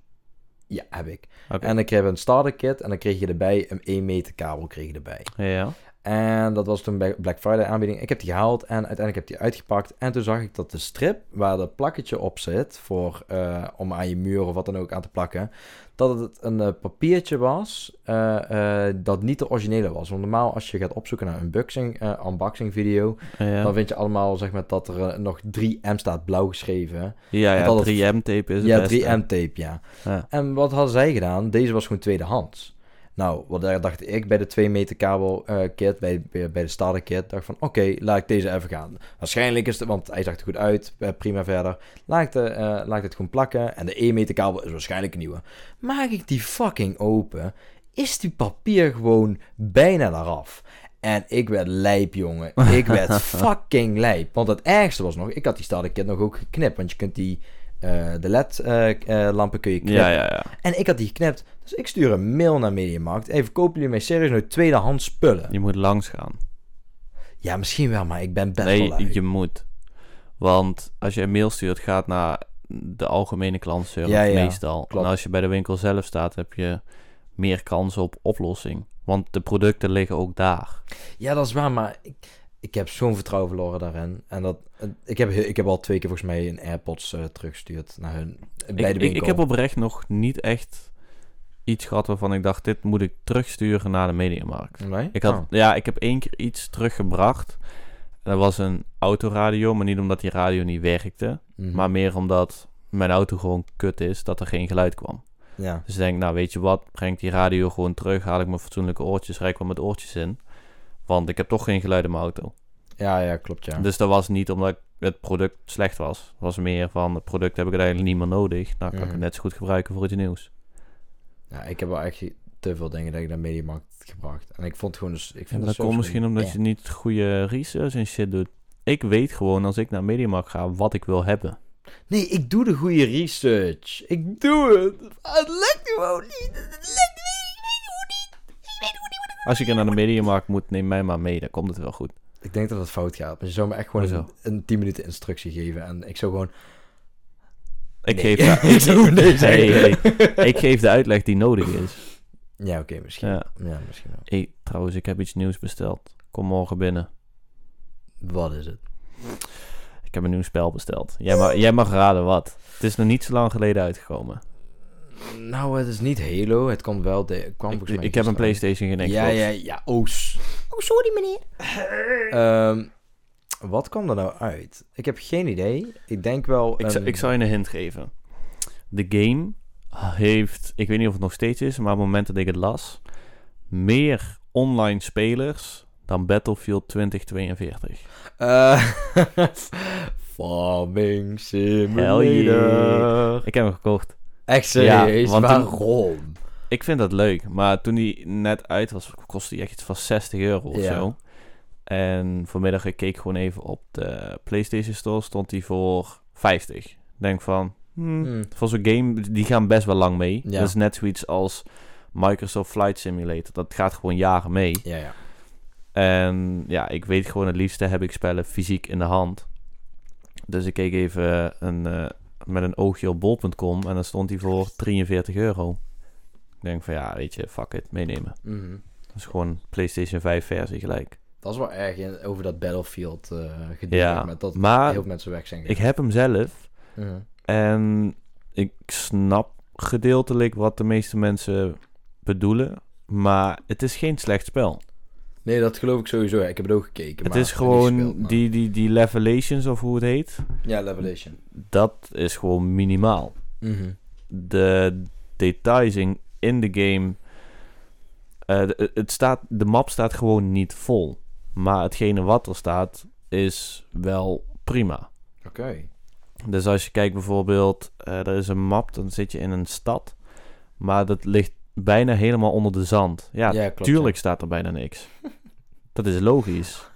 [SPEAKER 1] Ja, heb ik.
[SPEAKER 2] Oké.
[SPEAKER 1] En ik heb een starter kit. En dan kreeg je erbij een 1 meter kabel kreeg je erbij.
[SPEAKER 2] Ja.
[SPEAKER 1] En dat was toen bij Black Friday aanbieding. Ik heb die gehaald en uiteindelijk heb ik die uitgepakt. En toen zag ik dat de strip waar dat plakketje op zit, voor, eh, om aan je muur of wat dan ook aan te plakken, dat het een eh, papiertje was eh, eh, dat niet de originele was. Want normaal als je gaat opzoeken naar een unboxing, eh, unboxing video, dan
[SPEAKER 2] Ja,
[SPEAKER 1] vind je allemaal zeg maar, dat er eh, nog 3M staat blauw geschreven.
[SPEAKER 2] ja, ja
[SPEAKER 1] dat het-
[SPEAKER 2] 3M-tape is het
[SPEAKER 1] Ja,
[SPEAKER 2] beste.
[SPEAKER 1] 3M tape, ja.
[SPEAKER 2] Ja.
[SPEAKER 1] En wat hadden zij gedaan? Deze was gewoon tweedehands. Nou, wat daar dacht ik bij de 2 meter kabel eh, kit, bij, bij, bij de starter kit, dacht van oké, laat ik deze even gaan. Waarschijnlijk is het, want hij zag er goed uit, eh, prima verder. Laat ik, de, eh, laat ik het gewoon plakken en de 1 meter kabel is waarschijnlijk een nieuwe. Maak ik die fucking open, is die papier gewoon bijna daaraf. En ik werd lijp, jongen. Ik werd fucking lijp. Want het ergste was nog, ik had die starter kit nog ook geknipt, want je kunt die, eh, de LED-lampen kun je knippen.
[SPEAKER 2] Ja, ja, ja.
[SPEAKER 1] En ik had die geknipt. Dus ik stuur een mail naar Mediamarkt. Even verkopen jullie mij serieus nu tweedehands spullen?
[SPEAKER 2] Je moet langs gaan.
[SPEAKER 1] Ja, misschien wel, maar ik ben best wel
[SPEAKER 2] nee,
[SPEAKER 1] lui.
[SPEAKER 2] je moet. Want als je een mail stuurt, gaat naar de algemene klantenservice
[SPEAKER 1] Ja, ja,
[SPEAKER 2] meestal.
[SPEAKER 1] klopt.
[SPEAKER 2] En als je bij de winkel zelf staat, heb je meer kans op oplossing. Want de producten liggen ook daar.
[SPEAKER 1] Ja, dat is waar, maar ik, ik heb zo'n vertrouwen verloren daarin. En dat, ik, heb, ik heb al twee keer volgens mij een AirPods eh, teruggestuurd naar hun. eh, Bij
[SPEAKER 2] ik,
[SPEAKER 1] de
[SPEAKER 2] ik,
[SPEAKER 1] winkel.
[SPEAKER 2] ik heb oprecht nog niet echt iets gehad waarvan ik dacht, dit moet ik terugsturen naar de mediamarkt.
[SPEAKER 1] Nee?
[SPEAKER 2] Ik had,
[SPEAKER 1] Oh.
[SPEAKER 2] ja, ik heb één keer iets teruggebracht. Dat was een autoradio, maar niet omdat die radio niet werkte.
[SPEAKER 1] Mhm.
[SPEAKER 2] Maar meer omdat mijn auto gewoon kut is, dat er geen geluid kwam.
[SPEAKER 1] Ja.
[SPEAKER 2] Dus ik denk, nou weet je wat, breng ik die radio gewoon terug, haal ik mijn fatsoenlijke oortjes, rijk wel met oortjes in. Want ik heb toch geen geluid in mijn auto.
[SPEAKER 1] ja, ja, klopt, ja.
[SPEAKER 2] Dus dat was niet omdat het product slecht was. Het was meer van, het product heb ik eigenlijk niet meer nodig. Nou kan ik
[SPEAKER 1] Mhm.
[SPEAKER 2] het net zo goed gebruiken voor iets nieuws.
[SPEAKER 1] ja. Ik heb wel echt te veel dingen dat ik naar Mediamarkt heb gebracht. En ik vond gewoon dus... Ik vind
[SPEAKER 2] En
[SPEAKER 1] het
[SPEAKER 2] dat
[SPEAKER 1] zo
[SPEAKER 2] komt misschien
[SPEAKER 1] verschil-
[SPEAKER 2] omdat
[SPEAKER 1] Ja.
[SPEAKER 2] je niet goede research en shit doet. Ik weet gewoon als ik naar Mediamarkt ga wat ik wil hebben.
[SPEAKER 1] Nee, ik doe de goede research. Ik doe het. Ah, Het lukt gewoon niet. Het lukt niet. Ik weet hoe niet. Ik weet hoe niet.
[SPEAKER 2] Als ik er naar de Mediamarkt moet, neem mij maar mee, dan komt het wel goed.
[SPEAKER 1] Ik denk dat het fout gaat. Maar je zou me echt gewoon een,
[SPEAKER 2] Hoezo?
[SPEAKER 1] een 10 minuten instructie geven. En ik zou gewoon...
[SPEAKER 2] Ik,
[SPEAKER 1] Nee.
[SPEAKER 2] geef, de,
[SPEAKER 1] ik zou nee zeggen.
[SPEAKER 2] Nee, ik geef de uitleg die nodig is.
[SPEAKER 1] Ja, oké, misschien. Ja.
[SPEAKER 2] Ja.
[SPEAKER 1] misschien wel.
[SPEAKER 2] Hey, trouwens, ik heb iets nieuws besteld. Kom morgen binnen.
[SPEAKER 1] Wat is het?
[SPEAKER 2] Ik heb een nieuw spel besteld. Jij mag, jij mag raden wat. Het is nog niet zo lang geleden uitgekomen.
[SPEAKER 1] Nou, het is niet Halo. Het komt wel... De, het kwam
[SPEAKER 2] Ik,
[SPEAKER 1] volgens mij
[SPEAKER 2] ik heb een
[SPEAKER 1] gisteren.
[SPEAKER 2] PlayStation geen Xbox.
[SPEAKER 1] Ja, ja, ja. Oh, s- oh, sorry meneer. Ehm, wat kwam er nou uit? Ik heb geen idee. Ik denk wel...
[SPEAKER 2] Ik, zou-
[SPEAKER 1] een-
[SPEAKER 2] ik zal je een hint geven. De game heeft, ik weet niet of het nog steeds is, maar op het moment dat ik het las, meer online spelers dan Battlefield 2042.
[SPEAKER 1] Eh, Farming Simulator.
[SPEAKER 2] Hell yeah. Ik heb hem gekocht.
[SPEAKER 1] Echt serieus,
[SPEAKER 2] Ja, want toen-
[SPEAKER 1] waarom?
[SPEAKER 2] Ik vind dat leuk, maar toen die net uit was, kostte die echt iets van 60 euro of
[SPEAKER 1] Ja.
[SPEAKER 2] zo. En vanmiddag, ik keek gewoon even op de PlayStation Store, stond die voor 50. Ik Denk van, hmm,
[SPEAKER 1] Hmm.
[SPEAKER 2] voor zo'n game, die gaan best wel lang mee.
[SPEAKER 1] Ja.
[SPEAKER 2] Dat is net zoiets als Microsoft Flight Simulator. Dat gaat gewoon jaren mee.
[SPEAKER 1] Ja, ja.
[SPEAKER 2] En ja, ik weet gewoon het liefste heb ik spellen fysiek in de hand. Dus ik keek even een, eh, met een oogje op bol.com en dan stond die voor 43 euro. Ik denk van ja, weet je, fuck it, meenemen.
[SPEAKER 1] Mhm.
[SPEAKER 2] Dat is gewoon PlayStation 5 versie gelijk.
[SPEAKER 1] Dat is wel erg in, over dat Battlefield eh gedoe
[SPEAKER 2] Ja,
[SPEAKER 1] met dat
[SPEAKER 2] maar
[SPEAKER 1] heel veel mensen weg zijn.
[SPEAKER 2] Ik heb hem zelf,
[SPEAKER 1] Mhm.
[SPEAKER 2] En ik snap gedeeltelijk wat de meeste mensen bedoelen. Maar het is geen slecht spel.
[SPEAKER 1] Nee, dat geloof ik sowieso. ja. Ik heb het ook gekeken.
[SPEAKER 2] het
[SPEAKER 1] maar-
[SPEAKER 2] is
[SPEAKER 1] en niet
[SPEAKER 2] gewoon
[SPEAKER 1] gespeeld, maar-
[SPEAKER 2] die, die, die levelations of hoe het heet.
[SPEAKER 1] Ja, Levelation.
[SPEAKER 2] Dat is gewoon minimaal.
[SPEAKER 1] Mhm.
[SPEAKER 2] De details in, in de game. eh, de- het staat, de map staat gewoon niet vol. Maar hetgene wat er staat is wel prima.
[SPEAKER 1] Oké.
[SPEAKER 2] Dus als je kijkt bijvoorbeeld, eh, er is een map, dan zit je in een stad, maar dat ligt bijna helemaal onder de zand. Ja,
[SPEAKER 1] Ja, klopt,
[SPEAKER 2] tuurlijk staat er bijna niks. dat is logisch.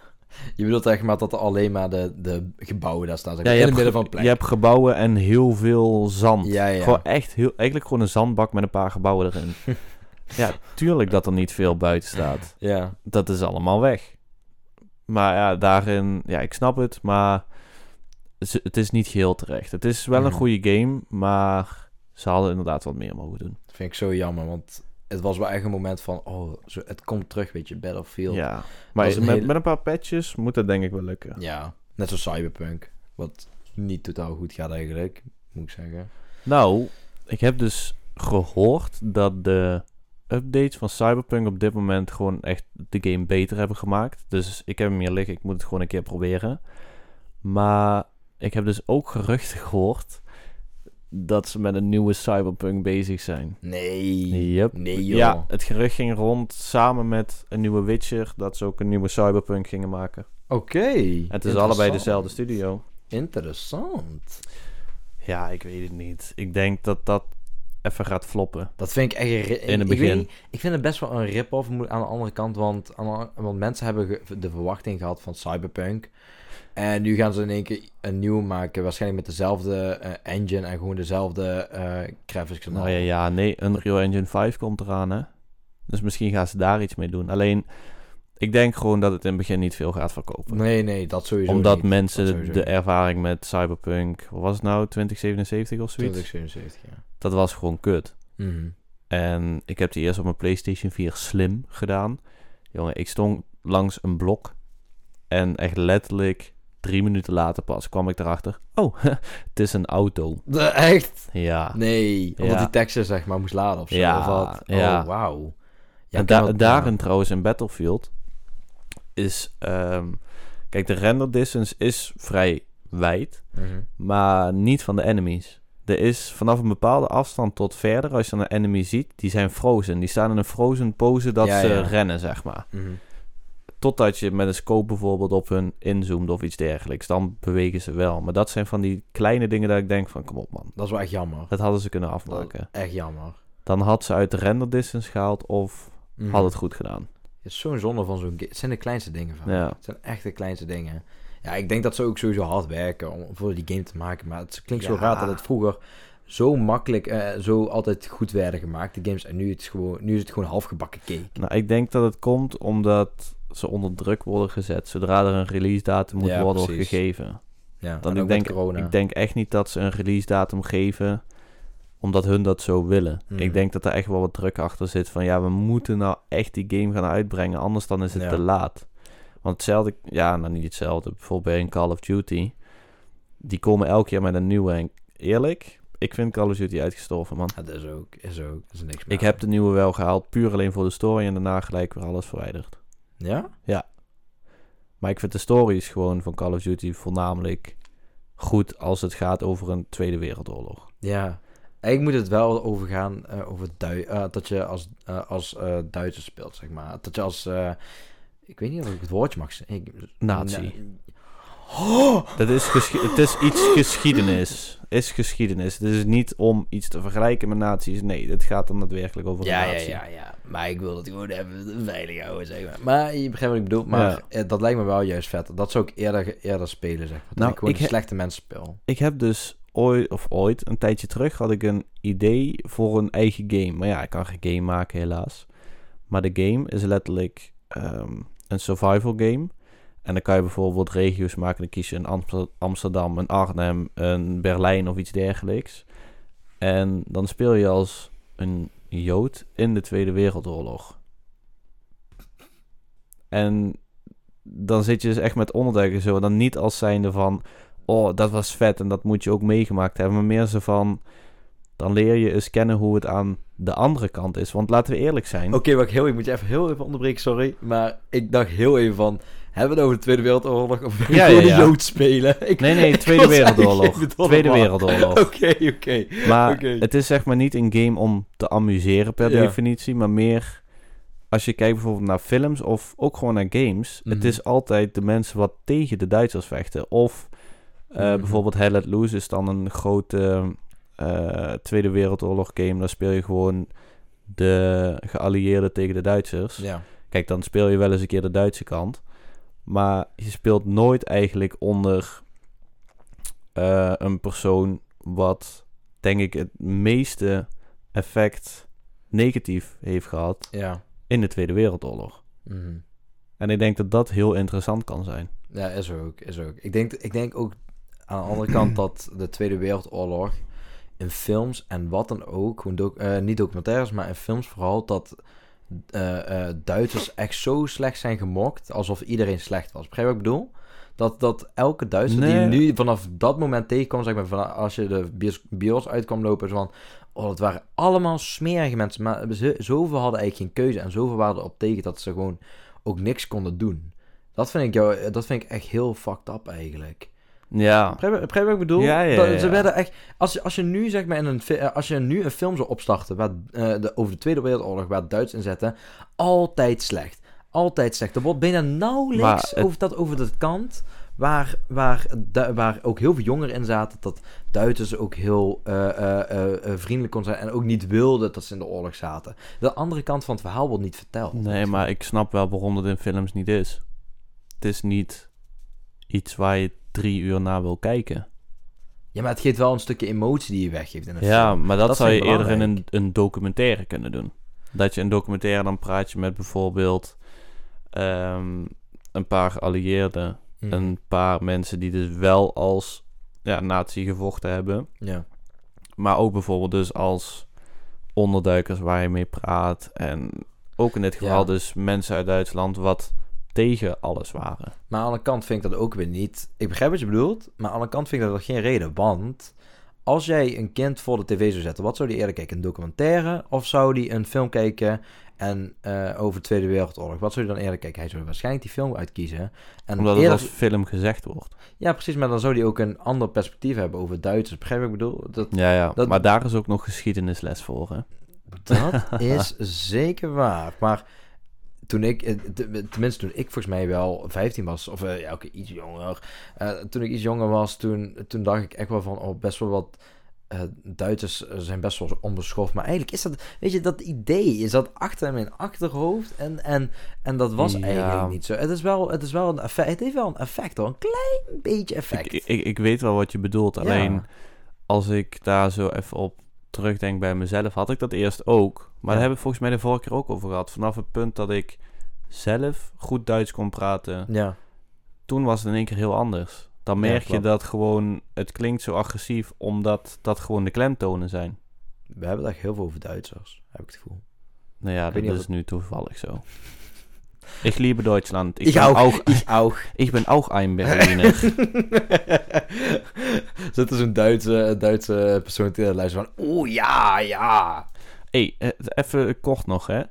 [SPEAKER 1] Je bedoelt echt maar dat er alleen maar de, de gebouwen daar staan. Zeg
[SPEAKER 2] Ja,
[SPEAKER 1] maar,
[SPEAKER 2] je
[SPEAKER 1] in
[SPEAKER 2] hebt
[SPEAKER 1] het midden
[SPEAKER 2] ge-
[SPEAKER 1] van een plek.
[SPEAKER 2] Je hebt gebouwen en heel veel zand.
[SPEAKER 1] Ja, ja.
[SPEAKER 2] Gewoon echt heel, eigenlijk gewoon een zandbak met een paar gebouwen erin. ja, tuurlijk dat er niet veel buiten staat.
[SPEAKER 1] Ja.
[SPEAKER 2] Dat is allemaal weg. Maar ja, daarin, ja, ik snap het, maar ze- het is niet geheel terecht. Het is wel een
[SPEAKER 1] Mhm.
[SPEAKER 2] goede game, maar ze hadden inderdaad wat meer mogen doen.
[SPEAKER 1] Dat vind ik zo jammer, want het was wel echt een moment van... Oh, zo, het komt terug, weet je. Battlefield.
[SPEAKER 2] Ja, maar
[SPEAKER 1] is
[SPEAKER 2] met,
[SPEAKER 1] een hele-
[SPEAKER 2] met een paar patches moet dat denk ik wel lukken.
[SPEAKER 1] Ja, net zoals Cyberpunk. Wat niet totaal goed gaat eigenlijk, moet ik zeggen.
[SPEAKER 2] Nou, ik heb dus gehoord dat de updates van Cyberpunk op dit moment gewoon echt de game beter hebben gemaakt. Dus ik heb hem hier liggen, ik moet het gewoon een keer proberen. Maar ik heb dus ook geruchten gehoord dat ze met een nieuwe Cyberpunk bezig zijn.
[SPEAKER 1] Nee.
[SPEAKER 2] Yep.
[SPEAKER 1] Nee, joh.
[SPEAKER 2] Ja, het gerucht ging rond samen met een nieuwe Witcher dat ze ook een nieuwe Cyberpunk gingen maken.
[SPEAKER 1] Oké.
[SPEAKER 2] En het is allebei
[SPEAKER 1] Interessant.
[SPEAKER 2] dezelfde studio.
[SPEAKER 1] Interessant.
[SPEAKER 2] Ja, ik weet het niet. Ik denk dat dat even gaat floppen.
[SPEAKER 1] Dat vind ik echt... een ri-
[SPEAKER 2] In het
[SPEAKER 1] ik
[SPEAKER 2] begin.
[SPEAKER 1] weet niet, ik vind het best wel een rip-off moet- aan de andere kant, want, aan de- want mensen hebben ge- de verwachting gehad van Cyberpunk. En nu gaan ze in één keer een nieuw maken, waarschijnlijk met dezelfde eh, engine en gewoon dezelfde eh graphics. en
[SPEAKER 2] Nou
[SPEAKER 1] al.
[SPEAKER 2] ja, ja, nee, Unreal Engine 5 komt eraan, hè. Dus misschien gaan ze daar iets mee doen. Alleen, ik denk gewoon dat het in het begin niet veel gaat verkopen.
[SPEAKER 1] Nee, nee, dat sowieso
[SPEAKER 2] Omdat
[SPEAKER 1] niet. Dat
[SPEAKER 2] mensen
[SPEAKER 1] sowieso
[SPEAKER 2] de
[SPEAKER 1] niet.
[SPEAKER 2] ervaring met Cyberpunk, wat was het nou, 2077 of zoiets?
[SPEAKER 1] 2077, ja.
[SPEAKER 2] Dat was gewoon kut.
[SPEAKER 1] Mhm.
[SPEAKER 2] En ik heb die eerst op mijn PlayStation 4 slim gedaan. Jongen, ik stond langs een blok. En echt letterlijk drie minuten later pas kwam ik erachter. Oh, het is een auto.
[SPEAKER 1] De, echt?
[SPEAKER 2] Ja.
[SPEAKER 1] Nee. Omdat
[SPEAKER 2] Ja.
[SPEAKER 1] die teksten zeg maar moest laden of zo.
[SPEAKER 2] Ja,
[SPEAKER 1] of wat.
[SPEAKER 2] ja.
[SPEAKER 1] Oh, wauw. Ja,
[SPEAKER 2] en
[SPEAKER 1] ik kan
[SPEAKER 2] da-
[SPEAKER 1] dat-
[SPEAKER 2] daarin trouwens in Battlefield is... ehm, kijk, de render distance is vrij wijd,
[SPEAKER 1] Mhm.
[SPEAKER 2] maar niet van de enemies. Er is vanaf een bepaalde afstand tot verder, als je dan een enemy ziet, die zijn frozen. Die staan in een frozen pose dat
[SPEAKER 1] Ja,
[SPEAKER 2] ze
[SPEAKER 1] ja.
[SPEAKER 2] rennen, zeg maar.
[SPEAKER 1] Mhm.
[SPEAKER 2] Totdat je met een scope bijvoorbeeld op hun inzoomt of iets dergelijks. Dan bewegen ze wel. Maar dat zijn van die kleine dingen dat ik denk van, kom op man.
[SPEAKER 1] Dat is wel echt jammer.
[SPEAKER 2] Dat hadden ze kunnen afmaken.
[SPEAKER 1] Echt jammer.
[SPEAKER 2] Dan had ze uit de render distance gehaald of
[SPEAKER 1] Mhm.
[SPEAKER 2] had het goed gedaan.
[SPEAKER 1] Het is zo'n zonde van zo'n game. Het zijn de kleinste dingen van.
[SPEAKER 2] Ja.
[SPEAKER 1] Het zijn echt de kleinste dingen. Ja, ik denk dat ze ook sowieso hard werken om voor die game te maken. Maar het klinkt zo
[SPEAKER 2] Ja.
[SPEAKER 1] raar dat het vroeger zo makkelijk, eh, zo altijd goed werden gemaakt, de games. En nu, het is, gewoon, nu is het gewoon halfgebakken cake.
[SPEAKER 2] Nou, ik denk dat het komt omdat ze onder druk worden gezet. Zodra er een release datum moet
[SPEAKER 1] Ja,
[SPEAKER 2] worden
[SPEAKER 1] precies.
[SPEAKER 2] gegeven.
[SPEAKER 1] Ja,
[SPEAKER 2] Dan
[SPEAKER 1] en
[SPEAKER 2] ik,
[SPEAKER 1] ook met
[SPEAKER 2] denk,
[SPEAKER 1] corona.
[SPEAKER 2] ik denk echt niet dat ze een release datum geven omdat hun dat zo willen.
[SPEAKER 1] Mhm.
[SPEAKER 2] Ik denk dat er echt wel wat druk achter zit van ja, we moeten nou echt die game gaan uitbrengen, anders dan is het
[SPEAKER 1] Ja.
[SPEAKER 2] te laat. Want hetzelfde, ja, nou niet hetzelfde. Bijvoorbeeld bij een Call of Duty, die komen elk jaar met een nieuwe. En eerlijk, ik vind Call of Duty uitgestorven, man.
[SPEAKER 1] Ja, dat is ook, is ook, is niks meer.
[SPEAKER 2] Ik heb de nieuwe wel gehaald, puur alleen voor de story en daarna gelijk weer alles verwijderd.
[SPEAKER 1] Ja?
[SPEAKER 2] Maar ik vind de stories gewoon van Call of Duty voornamelijk goed als het gaat over een Tweede Wereldoorlog.
[SPEAKER 1] Ja. Ik moet het wel overgaan eh, over Dui eh, dat je als, eh als eh Duitser speelt, zeg maar. Dat je als... eh, ik weet niet of ik het woordje mag zeggen. Ik-
[SPEAKER 2] Nazi.
[SPEAKER 1] Na- Oh!
[SPEAKER 2] Dat is gesche- het is iets geschiedenis. Is geschiedenis. Het is niet om iets te vergelijken met nazi's. Nee, dit gaat dan daadwerkelijk over
[SPEAKER 1] Ja,
[SPEAKER 2] een
[SPEAKER 1] ja,
[SPEAKER 2] nazi.
[SPEAKER 1] ja, ja. Maar ik wil het gewoon even veilig houden, zeg maar. Maar je begrijpt wat ik bedoel. Maar
[SPEAKER 2] Ja.
[SPEAKER 1] eh, dat lijkt me wel juist vet. Dat zou ik eerder, eerder spelen, zeg maar. Dat
[SPEAKER 2] Nou,
[SPEAKER 1] ik gewoon
[SPEAKER 2] ik
[SPEAKER 1] de
[SPEAKER 2] he-
[SPEAKER 1] slechte mensen speel.
[SPEAKER 2] Ik heb dus ooit, of ooit, een tijdje terug had ik een idee voor een eigen game. Maar ja, ik kan geen game maken helaas. Maar de game is letterlijk ehm, een survival game. En dan kan je bijvoorbeeld regio's maken. Dan kies je een Amster- Amsterdam, een Arnhem, een Berlijn of iets dergelijks. En dan speel je als een Jood in de Tweede Wereldoorlog. En dan zit je dus echt met onderduiken zo. En dan niet als zijnde van... oh, dat was vet en dat moet je ook meegemaakt hebben. Maar meer zo van, dan leer je eens kennen hoe het aan de andere kant is. Want laten we eerlijk zijn.
[SPEAKER 1] Oké, maar ik, heel, ik moet je even heel even onderbreken, sorry. Maar ik dacht heel even van... Hebben we het over de Tweede Wereldoorlog of wil je
[SPEAKER 2] Ja, ja,
[SPEAKER 1] gewoon
[SPEAKER 2] ja.
[SPEAKER 1] een Jood spelen? Ik-
[SPEAKER 2] Nee, nee,
[SPEAKER 1] ik
[SPEAKER 2] Tweede
[SPEAKER 1] was eigenlijk
[SPEAKER 2] Wereldoorlog.
[SPEAKER 1] even door de
[SPEAKER 2] Tweede
[SPEAKER 1] war.
[SPEAKER 2] Wereldoorlog.
[SPEAKER 1] Oké, oké.
[SPEAKER 2] Maar
[SPEAKER 1] Oké.
[SPEAKER 2] het is zeg maar niet een game om te amuseren per
[SPEAKER 1] Ja.
[SPEAKER 2] definitie, maar meer als je kijkt bijvoorbeeld naar films of ook gewoon naar games. Het
[SPEAKER 1] Mhm.
[SPEAKER 2] is altijd de mensen wat tegen de Duitsers vechten. Of eh,
[SPEAKER 1] Mhm.
[SPEAKER 2] bijvoorbeeld Hell Let Loose is dan een grote eh, Tweede Wereldoorlog game. Daar speel je gewoon de geallieerden tegen de Duitsers.
[SPEAKER 1] Ja.
[SPEAKER 2] Kijk, dan speel je wel eens een keer de Duitse kant. Maar je speelt nooit eigenlijk onder eh, een persoon wat, denk ik, het meeste effect negatief heeft gehad
[SPEAKER 1] Ja.
[SPEAKER 2] in de Tweede Wereldoorlog.
[SPEAKER 1] Mhm.
[SPEAKER 2] En ik denk dat dat heel interessant kan zijn.
[SPEAKER 1] Ja, is er ook, is er ook. Ik denk, ik denk ook aan de andere kant dat de Tweede Wereldoorlog in films en wat dan ook, gewoon doc- eh, niet documentaires, maar in films vooral, dat eh, eh, Duitsers echt zo slecht zijn gemokt, alsof iedereen slecht was. Begrijp je wat ik bedoel? Dat, dat elke Duitser
[SPEAKER 2] Nee.
[SPEAKER 1] die nu vanaf dat moment tegenkomt, zeg maar, vanaf als je de bios, bios uitkwam lopen, zo van, oh, dat waren allemaal smerige mensen. Maar ze- zoveel hadden eigenlijk geen keuze en zoveel waren erop tegen dat ze gewoon ook niks konden doen. Dat vind ik, jou, dat vind ik echt heel fucked up eigenlijk.
[SPEAKER 2] Ja.
[SPEAKER 1] Begrijp je begrijp je wat ik bedoel?
[SPEAKER 2] Ja, ja,
[SPEAKER 1] Dat-
[SPEAKER 2] ja,
[SPEAKER 1] Ze
[SPEAKER 2] ja.
[SPEAKER 1] werden echt... Als, je- als je nu zeg maar in een, fi- eh, als je nu een film zou opstarten waar, eh, de, over de Tweede Wereldoorlog, waar het Duits in zetten, altijd slecht. Altijd slecht. Er wordt bijna
[SPEAKER 2] Maar
[SPEAKER 1] nauwelijks
[SPEAKER 2] het-
[SPEAKER 1] over dat over de kant waar, waar, du- waar ook heel veel jongeren in zaten, dat Duitsers ook heel eh, eh, eh, eh, vriendelijk kon zijn en ook niet wilden dat ze in de oorlog zaten. De andere kant van het verhaal wordt niet verteld.
[SPEAKER 2] Nee, maar ik snap wel waarom dat in films niet is. Het is niet iets waar je drie uur naar wil kijken.
[SPEAKER 1] Ja, maar het geeft wel een stukje emotie die je weggeeft in een film.
[SPEAKER 2] Ja, maar eh, dat,
[SPEAKER 1] Dat
[SPEAKER 2] zou je
[SPEAKER 1] vind ik
[SPEAKER 2] eerder in een,
[SPEAKER 1] belangrijk.
[SPEAKER 2] een documentaire kunnen doen. Dat je in documentaire dan praat je met bijvoorbeeld ehm, een paar geallieerden.
[SPEAKER 1] Mhm.
[SPEAKER 2] Een paar mensen die dus wel als ja, nazi gevochten hebben.
[SPEAKER 1] Ja.
[SPEAKER 2] Maar ook bijvoorbeeld dus als onderduikers waar je mee praat. En ook in dit geval
[SPEAKER 1] Ja.
[SPEAKER 2] dus mensen uit Duitsland wat tegen alles waren.
[SPEAKER 1] Maar aan de kant vind ik dat ook weer niet. Ik begrijp wat je bedoelt, maar aan de kant vind ik dat ook geen reden. Want als jij een kind voor de tv zou zetten, wat zou die eerder kijken? Een documentaire? Of zou die een film kijken en, eh, over de Tweede Wereldoorlog? Wat zou die dan eerder kijken? Hij zou waarschijnlijk die film uitkiezen. En
[SPEAKER 2] Omdat het
[SPEAKER 1] eerder-
[SPEAKER 2] als film gezegd wordt.
[SPEAKER 1] Ja, precies, maar dan zou die ook een ander perspectief hebben over Duitsers. Begrijp je wat ik bedoel? Dat,
[SPEAKER 2] Ja, ja.
[SPEAKER 1] Dat-
[SPEAKER 2] Maar daar is ook nog geschiedenisles voor, hè?
[SPEAKER 1] Dat is zeker waar. Maar toen ik, eh, te- tenminste toen ik volgens mij wel 15 was, of eh, ja, oké, iets jonger. Eh, toen ik iets jonger was, toen, toen dacht ik echt wel van, oh, best wel wat eh, Duitsers eh, zijn best wel onbeschoft. Maar eigenlijk is dat, weet je, dat idee is dat achter in mijn achterhoofd. En, en, en dat was
[SPEAKER 2] Ja.
[SPEAKER 1] eigenlijk niet zo. Het is wel, het is wel een effect, het heeft wel een effect hoor, een klein beetje effect.
[SPEAKER 2] Ik, ik, ik weet wel wat je bedoelt. Alleen
[SPEAKER 1] Ja.
[SPEAKER 2] als ik daar zo even op terugdenk bij mezelf, had ik dat eerst ook. Maar daar
[SPEAKER 1] Ja.
[SPEAKER 2] hebben we volgens mij de vorige keer ook over gehad. Vanaf het punt dat ik zelf goed Duits kon praten,
[SPEAKER 1] Ja,
[SPEAKER 2] toen was het in één keer heel anders. Dan
[SPEAKER 1] Ja,
[SPEAKER 2] merk je
[SPEAKER 1] klopt.
[SPEAKER 2] dat gewoon, het klinkt zo agressief, omdat dat gewoon de klemtonen zijn.
[SPEAKER 1] we hebben daar heel veel over Duitsers, heb ik het gevoel.
[SPEAKER 2] Nou ja,
[SPEAKER 1] Ik weet
[SPEAKER 2] dat
[SPEAKER 1] niet
[SPEAKER 2] is
[SPEAKER 1] of
[SPEAKER 2] nu toevallig zo. Ik liebe Duitsland. Ik,
[SPEAKER 1] Ik
[SPEAKER 2] ben
[SPEAKER 1] ook.
[SPEAKER 2] auch,
[SPEAKER 1] Ik ook.
[SPEAKER 2] ik ben auch ein Berliner.
[SPEAKER 1] Zit dus een Duitse, Duitse persoon tegen de luisteren van... Oeh, ja, ja.
[SPEAKER 2] Hey, eh, even kort nog, hè.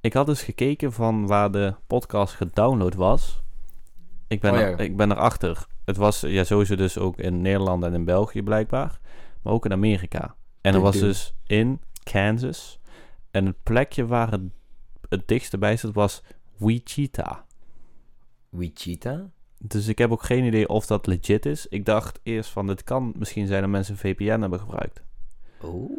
[SPEAKER 2] Ik had dus gekeken van waar de podcast gedownload was. Ik ben,
[SPEAKER 1] Oh, ja.
[SPEAKER 2] er- ik ben erachter. Het was ja, sowieso dus ook in Nederland en in België blijkbaar. Maar ook in Amerika. En er
[SPEAKER 1] Big
[SPEAKER 2] was
[SPEAKER 1] deal.
[SPEAKER 2] dus in Kansas. En het plekje waar het, het dichtste bij zat was Wichita.
[SPEAKER 1] Wichita?
[SPEAKER 2] Dus ik heb ook geen idee of dat legit is. Ik dacht eerst van, dit kan misschien zijn dat mensen VPN hebben gebruikt.
[SPEAKER 1] Oeh.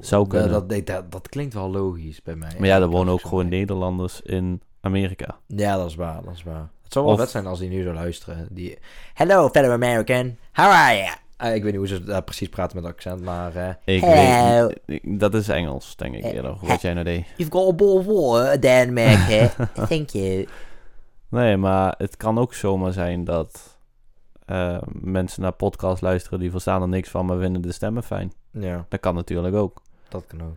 [SPEAKER 2] Zou
[SPEAKER 1] Ja,
[SPEAKER 2] kunnen.
[SPEAKER 1] dat, nee, dat, dat klinkt wel logisch bij mij.
[SPEAKER 2] Maar ja, er
[SPEAKER 1] dat
[SPEAKER 2] wonen ook gewoon Nederlanders in Amerika.
[SPEAKER 1] Ja, dat is waar, dat is waar. Het zou wel
[SPEAKER 2] Of-
[SPEAKER 1] vet zijn als die nu zou luisteren. Die... Hello, fellow American. How are you? Ah, ik weet niet hoe ze daar precies praten met accent, maar... eh,
[SPEAKER 2] Ik
[SPEAKER 3] Hello.
[SPEAKER 2] weet niet. Dat is Engels, denk ik eerder. Wat jij nou deed.
[SPEAKER 3] You've got a ball of water there, America. Thank you.
[SPEAKER 2] Nee, maar het kan ook zomaar zijn dat eh, mensen naar podcasts luisteren die verstaan er niks van, maar vinden de stemmen fijn.
[SPEAKER 1] ja,
[SPEAKER 2] Dat kan natuurlijk ook.
[SPEAKER 1] dat kan ook.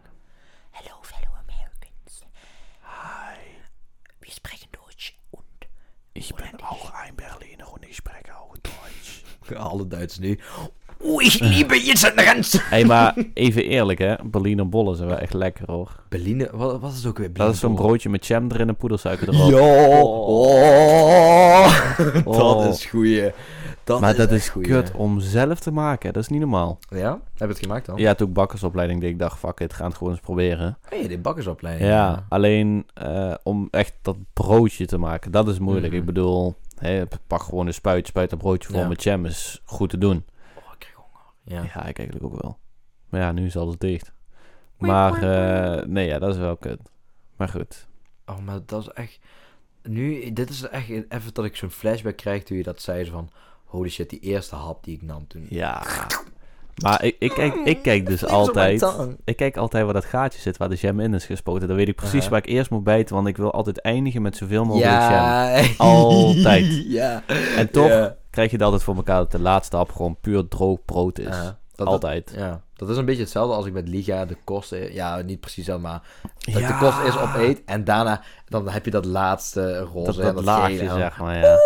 [SPEAKER 3] Hello, fellow Americans. Hi. Wir sprechen Deutsch und
[SPEAKER 2] Ik ben ook een Berliner en ik spreek ook Duits.
[SPEAKER 1] Alle Duits nu. Oei, liebe Jitsenrens.
[SPEAKER 2] Hé, maar even eerlijk hè. Berliner bollen zijn wel echt lekker hoor.
[SPEAKER 1] Berliner, wat, wat is het ook weer?
[SPEAKER 2] Dat is zo'n
[SPEAKER 1] Berliner
[SPEAKER 2] broodje met jam erin en poedersuiker
[SPEAKER 1] Bol?
[SPEAKER 2] erop.
[SPEAKER 1] Ja. Oh.
[SPEAKER 2] Oh.
[SPEAKER 1] Dat is goeie. Dat
[SPEAKER 2] maar dat
[SPEAKER 1] echt
[SPEAKER 2] is
[SPEAKER 1] goeie.
[SPEAKER 2] kut om zelf te maken. Dat is niet normaal.
[SPEAKER 1] Ja? Heb je het gemaakt dan?
[SPEAKER 2] Ja, toen ik bakkersopleiding deed, ik dacht, fuck it, gaan het gewoon eens proberen.
[SPEAKER 1] Oh, je deed bakkersopleiding.
[SPEAKER 2] Ja, alleen eh, om echt dat broodje te maken, dat is moeilijk.
[SPEAKER 1] Mhm.
[SPEAKER 2] Ik bedoel, hè, p- pak gewoon een spuit, spuit een broodje vol
[SPEAKER 1] Ja.
[SPEAKER 2] met jam, is goed te doen.
[SPEAKER 1] Oh, ik krijg honger.
[SPEAKER 2] Ja.
[SPEAKER 1] Ja.
[SPEAKER 2] ik eigenlijk ook wel. Maar ja, nu is alles dicht. Maar eh, nee, ja, dat is wel kut. Maar goed.
[SPEAKER 1] Oh, maar dat is echt... Nu, dit is echt even dat ik zo'n flashback krijg toen je dat zei. zo Van, holy shit, die eerste hap die ik nam toen.
[SPEAKER 2] Ja. Maar ik, ik, kijk, ik kijk dus
[SPEAKER 1] Vlees op mijn
[SPEAKER 2] altijd...
[SPEAKER 1] tong.
[SPEAKER 2] Ik kijk altijd waar dat gaatje zit waar de jam in is gespoten. Dan weet ik precies
[SPEAKER 1] Aha.
[SPEAKER 2] waar ik eerst moet bijten, want ik wil altijd eindigen met zoveel mogelijk jam.
[SPEAKER 1] Ja.
[SPEAKER 2] Altijd.
[SPEAKER 1] ja.
[SPEAKER 2] En toch
[SPEAKER 1] Ja.
[SPEAKER 2] krijg je het altijd voor elkaar dat de laatste hap gewoon puur droog brood is.
[SPEAKER 1] Ja, dat-
[SPEAKER 2] altijd.
[SPEAKER 1] Dat, ja, dat is een beetje hetzelfde als ik met Liga de kosten... Ja, niet precies dat, maar dat
[SPEAKER 2] Ja.
[SPEAKER 1] de kost is op eet. En daarna dan heb je dat laatste roze
[SPEAKER 2] dat,
[SPEAKER 1] en
[SPEAKER 2] dat
[SPEAKER 1] dat
[SPEAKER 2] laagje,
[SPEAKER 1] gele Oh. en-
[SPEAKER 2] zeg maar, ja.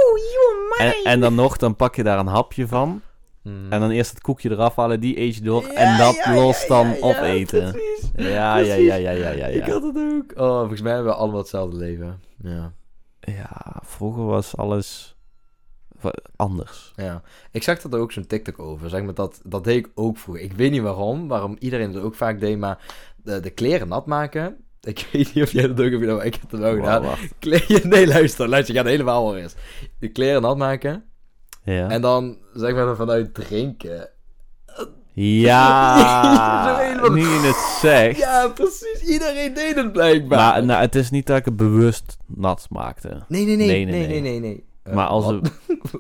[SPEAKER 2] en, en dan nog, dan pak je daar een hapje van.
[SPEAKER 1] Mm.
[SPEAKER 2] En dan eerst het koekje eraf halen, die eet je door. en dat los dan opeten. Ja, ja, ja, ja, ja, ja,
[SPEAKER 1] Ik
[SPEAKER 2] ja.
[SPEAKER 1] had het ook. Oh, volgens mij hebben we allemaal hetzelfde leven. Ja.
[SPEAKER 2] Ja, vroeger was alles wa- anders.
[SPEAKER 1] ja. Ik zag dat er ook zo'n TikTok over. Zeg maar, dat, dat deed ik ook vroeger. Ik weet niet waarom, waarom iedereen dat ook vaak deed, maar de, de kleren nat maken. Ik weet niet of jij dat ook hebt gedaan, maar ik heb dat wel gedaan.
[SPEAKER 2] Wa- wacht.
[SPEAKER 1] Kle- Nee, luister, luister, je gaat helemaal hoor eens. De kleren nat maken
[SPEAKER 2] Ja.
[SPEAKER 1] en dan zeg maar er vanuit drinken. Zo
[SPEAKER 2] ja,
[SPEAKER 1] helemaal-
[SPEAKER 2] nu je het zegt.
[SPEAKER 1] Ja, precies. Iedereen deed het blijkbaar.
[SPEAKER 2] Maar nou, het is niet dat ik het bewust nat maakte.
[SPEAKER 1] nee, nee, nee,
[SPEAKER 2] Nee,
[SPEAKER 1] nee,
[SPEAKER 2] nee,
[SPEAKER 1] nee,
[SPEAKER 2] nee.
[SPEAKER 1] nee, nee, nee. Eh,
[SPEAKER 2] Maar als
[SPEAKER 1] wat?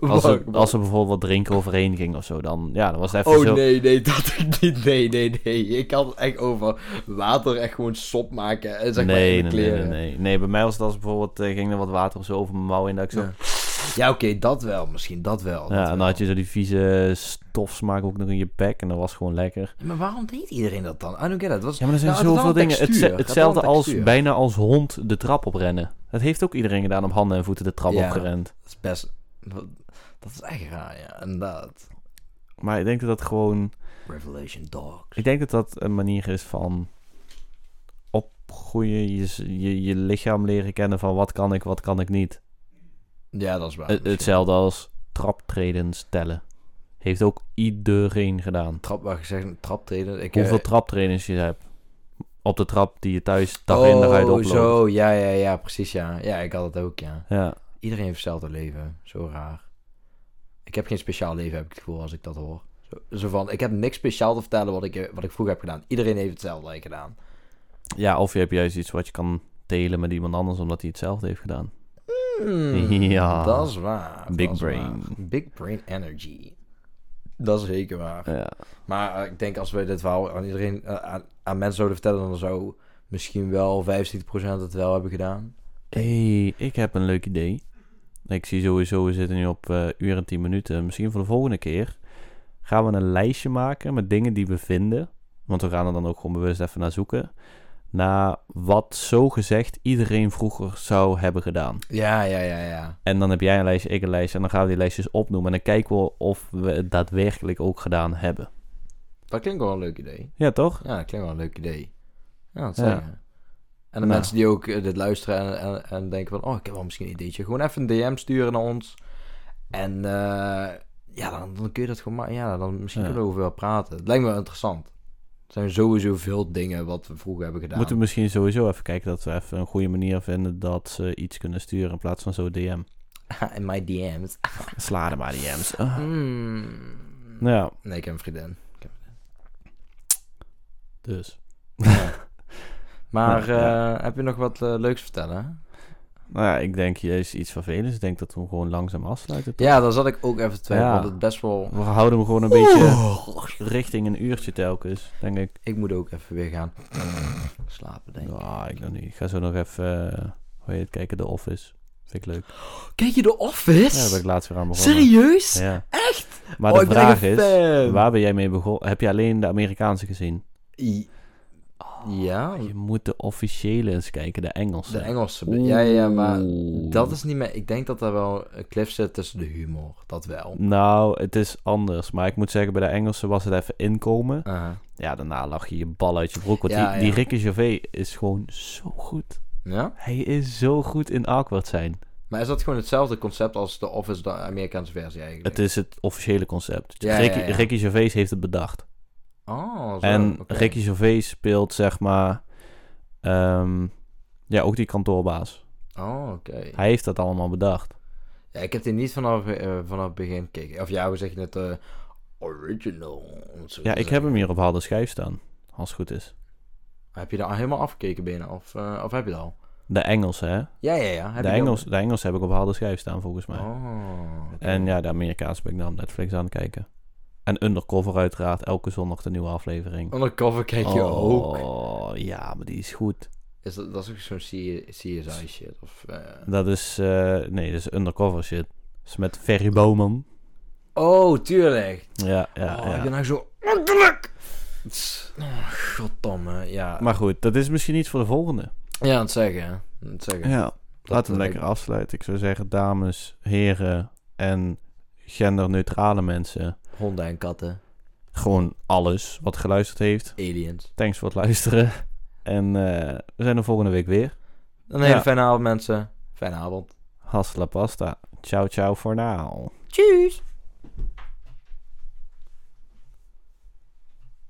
[SPEAKER 2] er, als, er,
[SPEAKER 1] Wat?
[SPEAKER 2] als er bijvoorbeeld wat drinken overheen ging of zo, dan, ja, dan was het even
[SPEAKER 1] Oh
[SPEAKER 2] zo...
[SPEAKER 1] nee, nee, dat ik niet. Nee, nee, nee. Ik had het echt over water echt gewoon sop maken. En zeg maar in
[SPEAKER 2] nee,
[SPEAKER 1] de
[SPEAKER 2] nee, nee,
[SPEAKER 1] kleren.
[SPEAKER 2] nee, nee. Nee, bij mij was het als bijvoorbeeld, eh, ging er wat water of zo over mijn mouw in, dat ik zo... Ja,
[SPEAKER 1] Ja. Ja, oké, dat wel. Misschien dat wel. dat
[SPEAKER 2] en dan
[SPEAKER 1] wel.
[SPEAKER 2] had je zo die vieze stofsmaak ook nog in je bek en dat was gewoon lekker.
[SPEAKER 1] Maar waarom deed iedereen dat dan? I don't get it. Was...
[SPEAKER 2] Ja, maar er zijn
[SPEAKER 1] Nou, het
[SPEAKER 2] zoveel
[SPEAKER 1] had wel een
[SPEAKER 2] dingen. Het-
[SPEAKER 1] textuur. Het had
[SPEAKER 2] hetzelfde
[SPEAKER 1] wel een
[SPEAKER 2] als,
[SPEAKER 1] textuur.
[SPEAKER 2] bijna als hond de trap oprennen. Dat heeft ook iedereen gedaan op handen en voeten de trap
[SPEAKER 1] Ja.
[SPEAKER 2] opgerend.
[SPEAKER 1] Dat is best... Dat is echt raar, ja. Inderdaad.
[SPEAKER 2] Maar ik denk dat dat gewoon...
[SPEAKER 1] Revelation Dogs.
[SPEAKER 2] Ik denk dat dat een manier is van opgroeien, je, je, je lichaam leren kennen van wat kan ik, wat kan ik niet.
[SPEAKER 1] Ja, dat is waar.
[SPEAKER 2] Het- Hetzelfde als traptredens tellen. Heeft ook iedereen gedaan.
[SPEAKER 1] Trap, waar gezegd, traptreden. Ik,
[SPEAKER 2] Hoeveel
[SPEAKER 1] eh,
[SPEAKER 2] traptredens je hebt. Op de trap die je thuis dag in dag uit
[SPEAKER 1] Oh,
[SPEAKER 2] oploopt.
[SPEAKER 1] zo. Ja, ja, ja. Precies, ja. Ja, ik had het ook, ja.
[SPEAKER 2] Ja.
[SPEAKER 1] Iedereen heeft hetzelfde leven. Zo raar. Ik heb geen speciaal leven, heb ik het gevoel, als ik dat hoor. Zo, zo van, ik heb niks speciaal te vertellen wat ik, eh, wat ik vroeger heb gedaan. Iedereen heeft hetzelfde eigenlijk gedaan.
[SPEAKER 2] ja, of je hebt juist iets wat je kan delen met iemand anders omdat hij hetzelfde heeft gedaan. Ja.
[SPEAKER 1] Hmm, Dat is waar.
[SPEAKER 2] Big
[SPEAKER 1] dat is waar.
[SPEAKER 2] brain.
[SPEAKER 1] Big brain energy. Dat is zeker waar.
[SPEAKER 2] Ja.
[SPEAKER 1] Maar eh, ik denk als we dit verhaal aan iedereen, eh, aan, aan mensen zouden vertellen, dan zou misschien wel 75% het wel hebben gedaan.
[SPEAKER 2] hey, ik heb een leuk idee. Ik zie sowieso, we zitten nu op eh uur en 10 minuten. Misschien voor de volgende keer gaan we een lijstje maken met dingen die we vinden. Want we gaan er dan ook gewoon bewust even naar zoeken. Naar wat zo gezegd iedereen vroeger zou hebben gedaan.
[SPEAKER 1] Ja, ja, ja, ja.
[SPEAKER 2] En dan heb jij een lijstje, ik een lijstje. En dan gaan we die lijstjes opnoemen. En dan kijken we of we het daadwerkelijk ook gedaan hebben.
[SPEAKER 1] Dat klinkt wel een leuk idee.
[SPEAKER 2] Ja, toch?
[SPEAKER 1] Ja, dat klinkt wel een leuk idee. Ja, dat
[SPEAKER 2] Ja.
[SPEAKER 1] zeggen. En de
[SPEAKER 2] Nou.
[SPEAKER 1] mensen die ook eh, dit luisteren en, en, en denken van... Oh, ik heb wel misschien een ideetje. Gewoon even een DM sturen naar ons. En eh, ja, dan, dan kun je dat gewoon maken. Ja, dan misschien
[SPEAKER 2] Ja.
[SPEAKER 1] kunnen we over wel praten. Het lijkt me wel interessant. Er zijn sowieso veel dingen wat we vroeger hebben gedaan.
[SPEAKER 2] Moeten we misschien sowieso even kijken dat we even een goede manier vinden dat ze iets kunnen sturen in plaats van zo'n DM.
[SPEAKER 1] In my DM's.
[SPEAKER 2] Ah. Sla er maar DM's. Ah.
[SPEAKER 1] Hmm.
[SPEAKER 2] Nou ja,
[SPEAKER 1] Nee, ik heb een vriendin.
[SPEAKER 2] dus.
[SPEAKER 1] Maar
[SPEAKER 2] Ja, ja.
[SPEAKER 1] eh, heb je nog wat eh, leuks te vertellen?
[SPEAKER 2] Nou ja, ik denk, je is iets vervelends. Ik denk dat we hem gewoon langzaam afsluiten. toch?
[SPEAKER 1] Ja, daar zat ik ook even te twijfelen.
[SPEAKER 2] Ja.
[SPEAKER 1] Want het best wel...
[SPEAKER 2] We houden hem gewoon een beetje richting een uurtje telkens, denk ik.
[SPEAKER 1] Ik moet ook even weer gaan slapen, denk
[SPEAKER 2] Ja,
[SPEAKER 1] ik.
[SPEAKER 2] Ah, ik, weet niet. ik ga zo nog even, eh, hoe heet het, kijken, The Office. Vind ik leuk.
[SPEAKER 1] Kijk je de
[SPEAKER 2] Ja, daar
[SPEAKER 1] Office?
[SPEAKER 2] ben ik laatst weer aan begonnen.
[SPEAKER 1] Serieus?
[SPEAKER 2] Ja.
[SPEAKER 1] Echt?
[SPEAKER 2] Maar
[SPEAKER 1] Oh,
[SPEAKER 2] de
[SPEAKER 1] ik ben
[SPEAKER 2] vraag
[SPEAKER 1] echt
[SPEAKER 2] is,
[SPEAKER 1] een fan.
[SPEAKER 2] waar ben jij mee begonnen? Heb je alleen de Amerikaanse gezien?
[SPEAKER 1] I-
[SPEAKER 2] Oh,
[SPEAKER 1] ja,
[SPEAKER 2] Je moet de officiële eens kijken, de Engelse.
[SPEAKER 1] Oh. de Engelse. be- Ja, ja, ja, maar
[SPEAKER 2] Oeh.
[SPEAKER 1] dat is niet meer... Ik denk dat er wel een cliff zit tussen de humor. Dat wel.
[SPEAKER 2] Nou, het is anders. Maar ik moet zeggen, bij de Engelse was het even inkomen.
[SPEAKER 1] Eh,
[SPEAKER 2] Ja, daarna lag je je bal uit je broek. Want
[SPEAKER 1] Ja,
[SPEAKER 2] die, die
[SPEAKER 1] ja.
[SPEAKER 2] Ricky Gervais is gewoon zo goed.
[SPEAKER 1] ja?
[SPEAKER 2] Hij is zo goed in awkward zijn.
[SPEAKER 1] Maar is dat gewoon hetzelfde concept als de Office, de Amerikaanse versie eigenlijk?
[SPEAKER 2] Het is het officiële concept.
[SPEAKER 1] Ja, ja,
[SPEAKER 2] Ricky,
[SPEAKER 1] ja.
[SPEAKER 2] Ricky Gervais heeft het bedacht.
[SPEAKER 1] Oh, zo.
[SPEAKER 2] En
[SPEAKER 1] oké.
[SPEAKER 2] Ricky Gervais speelt, zeg maar, ehm, ja, ook die kantoorbaas.
[SPEAKER 1] Oh, oké.
[SPEAKER 2] Hij heeft dat allemaal bedacht.
[SPEAKER 1] Ja, ik heb die niet vanaf, eh, vanaf het begin gekeken. Of ja, hoe zeg je het? eh, original. om het
[SPEAKER 2] Ja,
[SPEAKER 1] zo te
[SPEAKER 2] ik heb
[SPEAKER 1] zeggen.
[SPEAKER 2] hem hier op harde schijf staan, als het goed is.
[SPEAKER 1] Heb je daar helemaal afgekeken binnen? Of, eh, of heb je dat al?
[SPEAKER 2] De Engelse, hè?
[SPEAKER 1] Ja, ja, ja. Heb
[SPEAKER 2] De
[SPEAKER 1] je die al?
[SPEAKER 2] Engels, de Engels heb ik op harde schijf staan, volgens mij.
[SPEAKER 1] Oh. oké.
[SPEAKER 2] En ja, de Amerikaanse ben ik dan op Netflix aan het kijken. En Undercover uiteraard, elke zondag de nieuwe aflevering.
[SPEAKER 1] Undercover kijk Oh, je ook.
[SPEAKER 2] Oh, ja, maar die is goed.
[SPEAKER 1] Is dat, dat is ook zo'n C- CSI shit. Of, eh,
[SPEAKER 2] Dat is, eh, nee, dat is Undercover shit. Dat is met Ferry Bowman.
[SPEAKER 1] Oh, tuurlijk.
[SPEAKER 2] Ja, ja,
[SPEAKER 1] oh,
[SPEAKER 2] ja.
[SPEAKER 1] ik ben nou zo makkelijk. Oh, goddamme. Ja,
[SPEAKER 2] Maar goed, dat is misschien iets voor de volgende.
[SPEAKER 1] ja aan het zeggen. hè. Aan het zeggen.
[SPEAKER 2] Ja, laten we
[SPEAKER 1] dat-
[SPEAKER 2] lekker afsluiten. Ik zou zeggen, dames, heren en genderneutrale mensen.
[SPEAKER 1] Honden en katten.
[SPEAKER 2] Gewoon alles wat geluisterd heeft.
[SPEAKER 1] Aliens.
[SPEAKER 2] Thanks voor het luisteren. En eh, we zijn er volgende week weer.
[SPEAKER 1] Een hele
[SPEAKER 2] Ja.
[SPEAKER 1] fijne avond, mensen. Fijne avond.
[SPEAKER 2] Hasta la pasta. Ciao, ciao voor now.
[SPEAKER 3] Tjus.